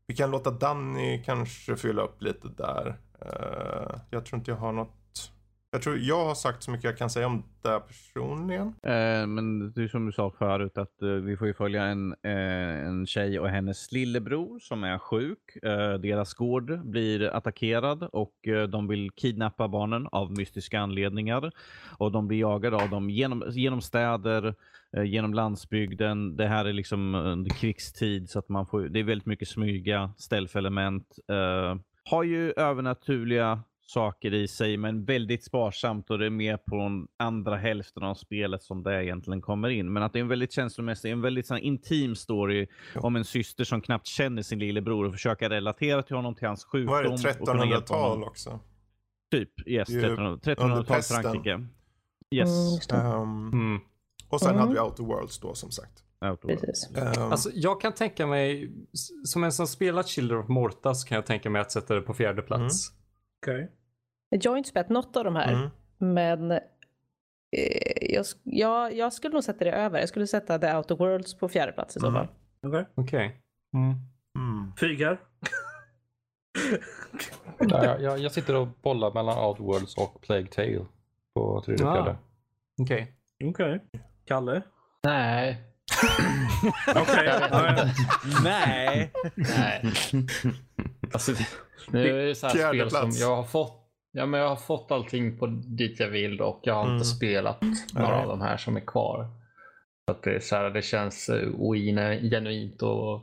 Vi kan låta Danny kanske fylla upp lite där. Eh, jag tror inte jag har något Jag tror jag har sagt så mycket jag kan säga om det här personligen.
Eh, men det är som du sa förut att eh, vi får ju följa en, eh, en tjej och hennes lillebror som är sjuk. Eh, deras gård blir attackerad och eh, de vill kidnappa barnen av mystiska anledningar. Och de blir jagade av dem genom, genom städer, eh, genom landsbygden. Det här är liksom under krigstid så att man får, det är väldigt mycket smyga, stealth-element. Eh, har ju övernaturliga saker i sig, men väldigt sparsamt och det är mer på den andra hälften av spelet som det egentligen kommer in. Men att det är en väldigt känslomässig, en väldigt sån här intim story om en syster som knappt känner sin lillebror och försöker relatera till honom, till hans sjukdom.
Vad är det?
och kunna hjälpa honom.
1300-tal också?
Typ, yes.
Det är ju
1300
under
1300-tal
pesten.
Frankrike. Yes.
Ehm,
Mm.
och sen
Mm.
hade vi Outer Worlds då som sagt.
Outdoor.
Precis.
Ehm,
Alltså, jag kan tänka mig, s- som en som spelat Children of Morta så kan jag tänka mig att sätta det på fjärde plats.
Okej.
Jag har inte spelat något av de här.
mm.
Men eh, jag, sk- jag, jag skulle nog sätta det över. Jag skulle sätta The Outer Worlds på fjärde plats i så
Mm.
fall.
Okej.
Mm.
Fygar?
Nej, jag, jag, jag sitter och bollar mellan Outworlds och Plague Tale på tredje och
Ah.
fjärde.
Okej.
Okej. Kalle?
Nej.
Okej. ja,
Nej!
Nej. Alltså, det- nu är det så här
Fjärde
spel som
plats.
jag har fått. Ja, men jag har fått allting på dit jag vill och jag har
Mm.
inte spelat några
Nej.
av de här som är kvar. Så att det, är så här, det känns eh, ogina- genuint och,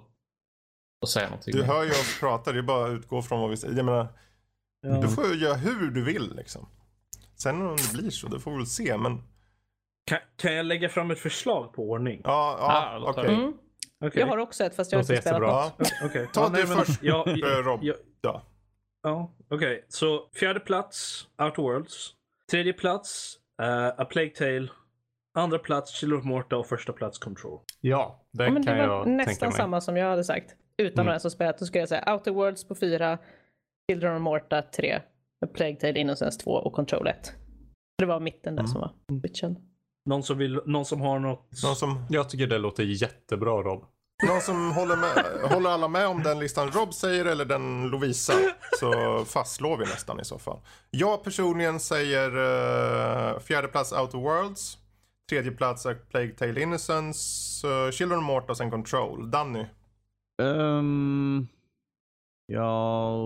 och säga någonting.
Du
mer.
hör ju oss prata, det är bara att utgå från vad vi säger. Jag menar, du får ju göra hur du vill liksom. Sen om det blir så, det får vi väl se. Men
Kan, kan jag lägga fram ett förslag på ordning?
ja,
Ah,
ja
låt
okej.
höra.
Mm.
Okej.
Jag har också ett fast jag har
Låter
inte spelat
jättebra.
något.
Ja,
Okej. okej.
Ta det
nej, men-
först,
Ja, ja,
eh, Rob.
ja,
Ja.
ja, okej. Så fjärde plats, Outer Worlds. Tredje plats, eh, A Plague Tale. Andra plats, Children of Morta och första plats, Control.
Ja, det
Ja, men
kan
det var
jag tänka
nästan
mig. Mm.
samma som jag hade sagt. Utan att ens ha spelat så skulle jag säga Outer Worlds på fyra, Children of Morta tre, A Plague Tale Innocence två och Control 1. Det var mitten
Mm.
där som var switchen.
Någon som, vill, någon som har något?
Någon som,
Jag tycker det låter jättebra Rob.
någon som håller, med, håller alla med om den listan Rob säger eller den Lovisa så fastslår vi nästan i så fall. Jag personligen säger eh, fjärde plats Outer Worlds. Tredje plats är Plague Tale Innocence. Uh, Children of Morta och sen Control. Danny.
Ehm, ja...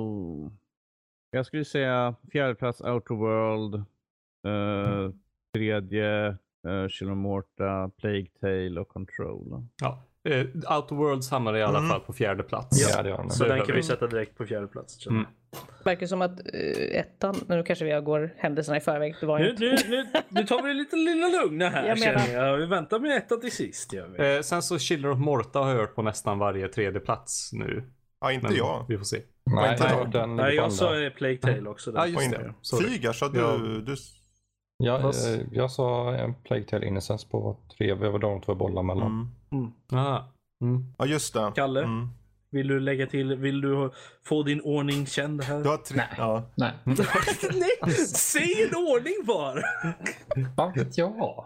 Jag skulle säga fjärde plats Outer World. eh, tredje uh, Children of Morta, Plague Tale och Control.
Ja. Uh, Out of Worlds hamnar i alla
Mm.
fall på fjärde plats.
Ja, det gör den.
Så den
det behöver
kan
vi.
vi sätta direkt på fjärde plats. känner jag.
Verkar som att eh, ettan, nu kanske jag går händelserna i förväg. Det var ju
Nu,
inte.
nu, nu, nu tar vi det lite lilla lugna här
Jag menar-
känner jag. Vi väntar med ettan till sist. Gör vi.
Eh, sen så Children of Morta har jag hört på nästan varje tredje plats nu.
Ja, inte
Men
jag.
Vi får se.
Nej,
inte
nej,
jag.
den
Nej,
ligger på
jag sa
andra.
eh, Plague Tale också. Där.
Ja, just
inte.
det. Sorry.
Fygar, så du,
Ja.
du...
Jag,
Fast-
eh, jag sa en Plague Tale Innocence på tre. Vi var de två jag bollade mellan.
Mm.
Ah. Mm.
Ja, just det.
Kalle?
Mm.
Vill du lägga till? Vill du ha- få din ordning känd här?
Du har tre...
Nej.
Ja.
Nej.
Nej, säg en ordning var!
Vad vet jag?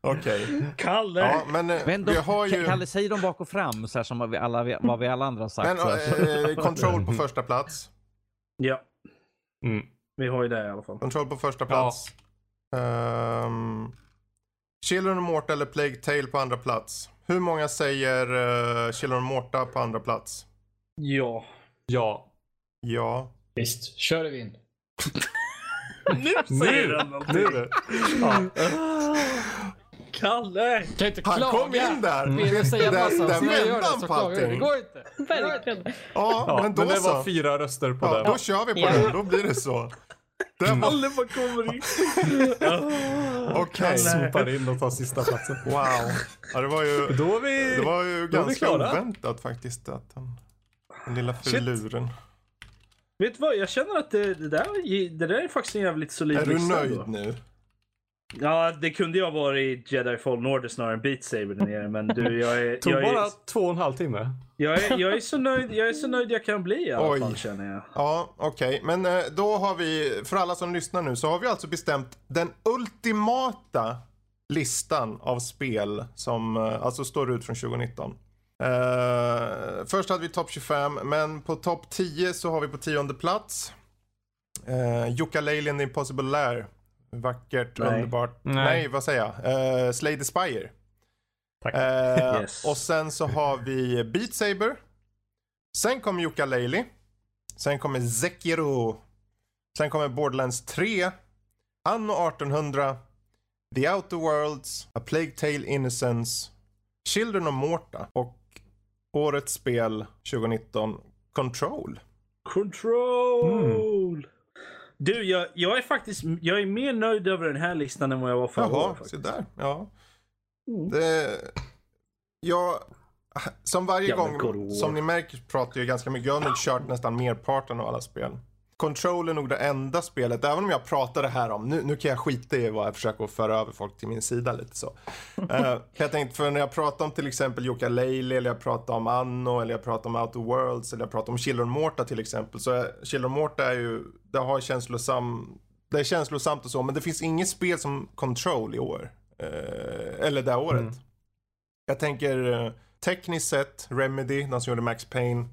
Okej.
Kalle!
Ja, men, eh,
Men
vi
de,
har ju...
Kalle, säg dem bak och fram så här som vad vi alla, vad vi alla andra har sagt.
Men
så här.
eh, eh, Control på första plats.
Ja,
Mm.
vi har ju det i alla fall.
Control på första plats. Ehm, Children of Morta eller Plague Tale på andra plats. Hur många säger uh, Children of Morta på andra plats?
Ja.
Ja.
Ja.
Visst, kör vi in.
Nu säger han någonting! Kalle!
Kan inte
Han
klaga. Mm.
kom in där!
Vill jag säga
Där-
massa
där
så jag gör
vände
det
han
så
på
klagar jag. Det
allting.
går inte.
Verkligen.
Ja,
ja
men då
det var
så.
fyra röster på
Ja,
den.
då kör vi på
Ja.
den. Då blir det så. Det var...
Kalle bara kommer in.
Okej.
Sopar in och tar sista platsen.
Wow. Ja, det var ju...
Då är vi...
Det var ju
Då är vi
ganska
klara.
oväntat faktiskt att han... Den lilla
Shit.
filuren.
Vet du vad, jag känner att det, det, där, det där är faktiskt en jävligt solid
Är du
lista
nöjd
ändå.
nu?
Ja, det kunde jag vara i Jedi Fallen Order snarare än Beat Saber där nere, men du, jag är,
Tog
jag,
bara
är,
två och en halv timme.
jag, är, jag är så nöjd jag är så nöjd jag kan bli i alla
Oj.
fall känner jag.
Ja, okej. Men eh, då har vi, för alla som lyssnar nu, så har vi alltså bestämt den ultimata listan av spel som eh, alltså står ut från 2019. Eh, först hade vi topp 25, men på topp 10 så har vi på tionde plats Eh, Jukka-Laylee and the Impossible Lair. Vackert,
Nej.
underbart. Nej.
Nej.
vad säger jag? Eh, Slay the Spire.
Tack.
Eh,
Yes.
Och sen så har vi Beat Saber. Sen kommer Jukka-Laylee. Sen kommer Zekiro. Sen kommer Borderlands 3. Anno 1800. The Outer Worlds. A Plague Tale Innocence. Children of Morta. Och årets spel 2019. Control.
Control! Du, jag, jag är faktiskt jag är mer nöjd över den här listan än vad jag var förra
Jaha,
året.
se
faktiskt.
där. Ja. Det, jag, som varje
Jävla God
gång,
of War.
som ni märker pratar jag ganska mycket. Jag har nog kört nästan merparten av alla spel. Control är nog det enda spelet, även om jag pratade här om, nu, nu kan jag skita i vad jag försöker föra över folk till min sida lite så. Eh, för jag tänkte, för när jag pratar om till exempel Jukka Leili eller jag pratar om Anno eller jag pratar om Outer Worlds eller jag pratar om Children of Morta till exempel. Så eh, Children of Morta är ju, det har känslosam, det är känslosamt och så, men det finns inget spel som Control i år. Eh, eller det här året. Jag tänker eh, tekniskt sett, Remedy, de som gjorde Max Payne,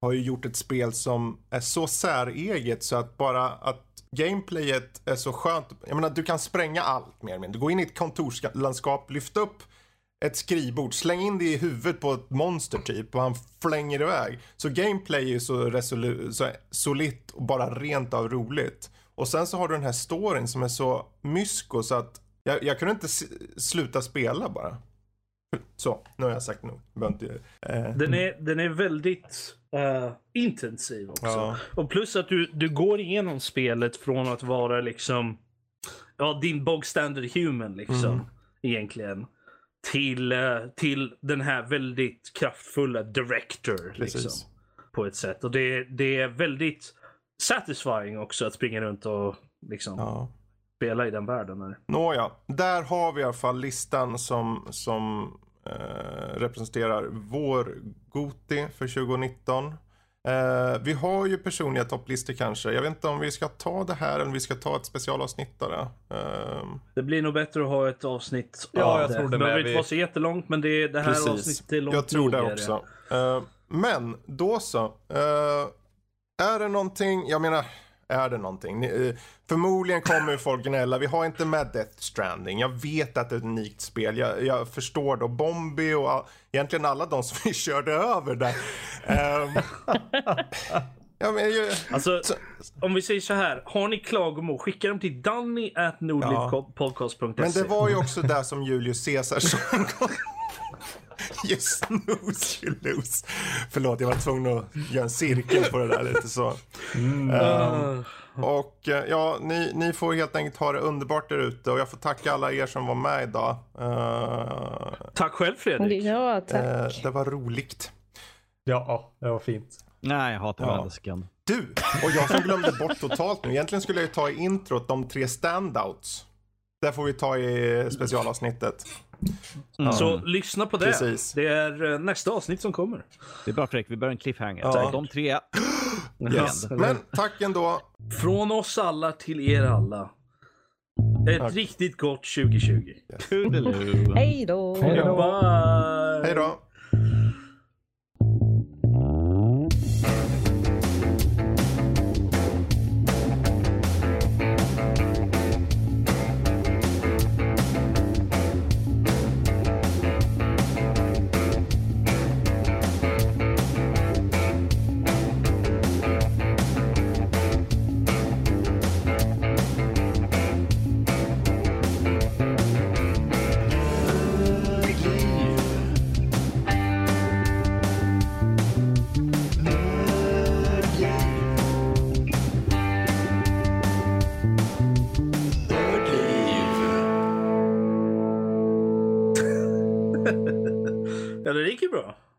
har ju gjort ett spel som är så säreget så att bara att gameplayet är så skönt. Jag menar, du kan spränga allt mer eller mindre. Du går in i ett kontorslandskap, lyft upp ett skrivbord, släng in det i huvudet på ett monster typ och han flänger iväg. Så gameplay är ju så, resolu- så solitt och bara rent av roligt. Och sen så har du den här storyn som är så mysko så att jag, jag kunde inte s- sluta spela bara. Så, nu har jag sagt nog. Behöver inte... Eh,
Den är, den är väldigt eh, intensiv också.
Ja.
Liksom. Och plus att du, du går igenom spelet från att vara liksom ja, din bog standard human liksom
Mm.
egentligen. Till, eh, till den här väldigt kraftfulla director.
Precis.
Liksom, på ett sätt. Och det, det är väldigt satisfying också att springa runt och liksom,
ja.
spela i den världen. Här.
Nåja, där har vi i alla fall listan som, som eh, representerar vår Goti för 2019. Eh, vi har ju personliga topplistor kanske. Jag vet inte om vi ska ta det här eller om vi ska ta ett specialavsnitt där. Eh,
Det blir nog bättre att ha ett avsnitt
Ja,
av
jag tror det
det behöver
med.
inte
Vi-
vara så jättelångt men det, det här
Precis.
avsnittet är långt
jag tror
nog,
det
är
också. Eh, men då så. Eh, är det någonting, jag menar, är det någonting? Ni, eh, förmodligen kommer ju folk gnälla. Vi har inte med Death Stranding. Jag vet att det är ett unikt spel. Jag, jag förstår då Bombi och all, egentligen alla de som vi körde över där. Eh, ja, men, jag,
Alltså, om vi säger så här. Har ni klagomål, skicka dem till danny at nordlivpodcast.se.
men det var ju också det som Julius Caesar sa en gång. You snooze, you lose. Förlåt, jag var tvungen att göra en cirkel på det där lite så. Ehm,
Ah.
Och eh, ja, ni, ni får helt enkelt ha det underbart där ute och jag får tacka alla er som var med idag. Eh,
Tack själv Fredrik.
Ja, tack.
eh, det var roligt.
Ja, det var fint.
Nej, jag hatar
Ja.
väderskan.
Du, och jag som glömde bort totalt nu. Egentligen skulle jag ju ta i introt de tre standouts. Det får vi ta i specialavsnittet.
Mm.
Mm. Så lyssna på det.
Precis.
Det är eh, nästa avsnitt som kommer.
Det är bra Fredrik, vi börjar en cliffhanger.
Ja.
De tre...
Yes. Men tack ändå.
Från oss alla till er alla. Ett riktigt gott 2020.
Toodaloo.
Hej då!
Bye!
Hej då.
Ja, det gick ju bra.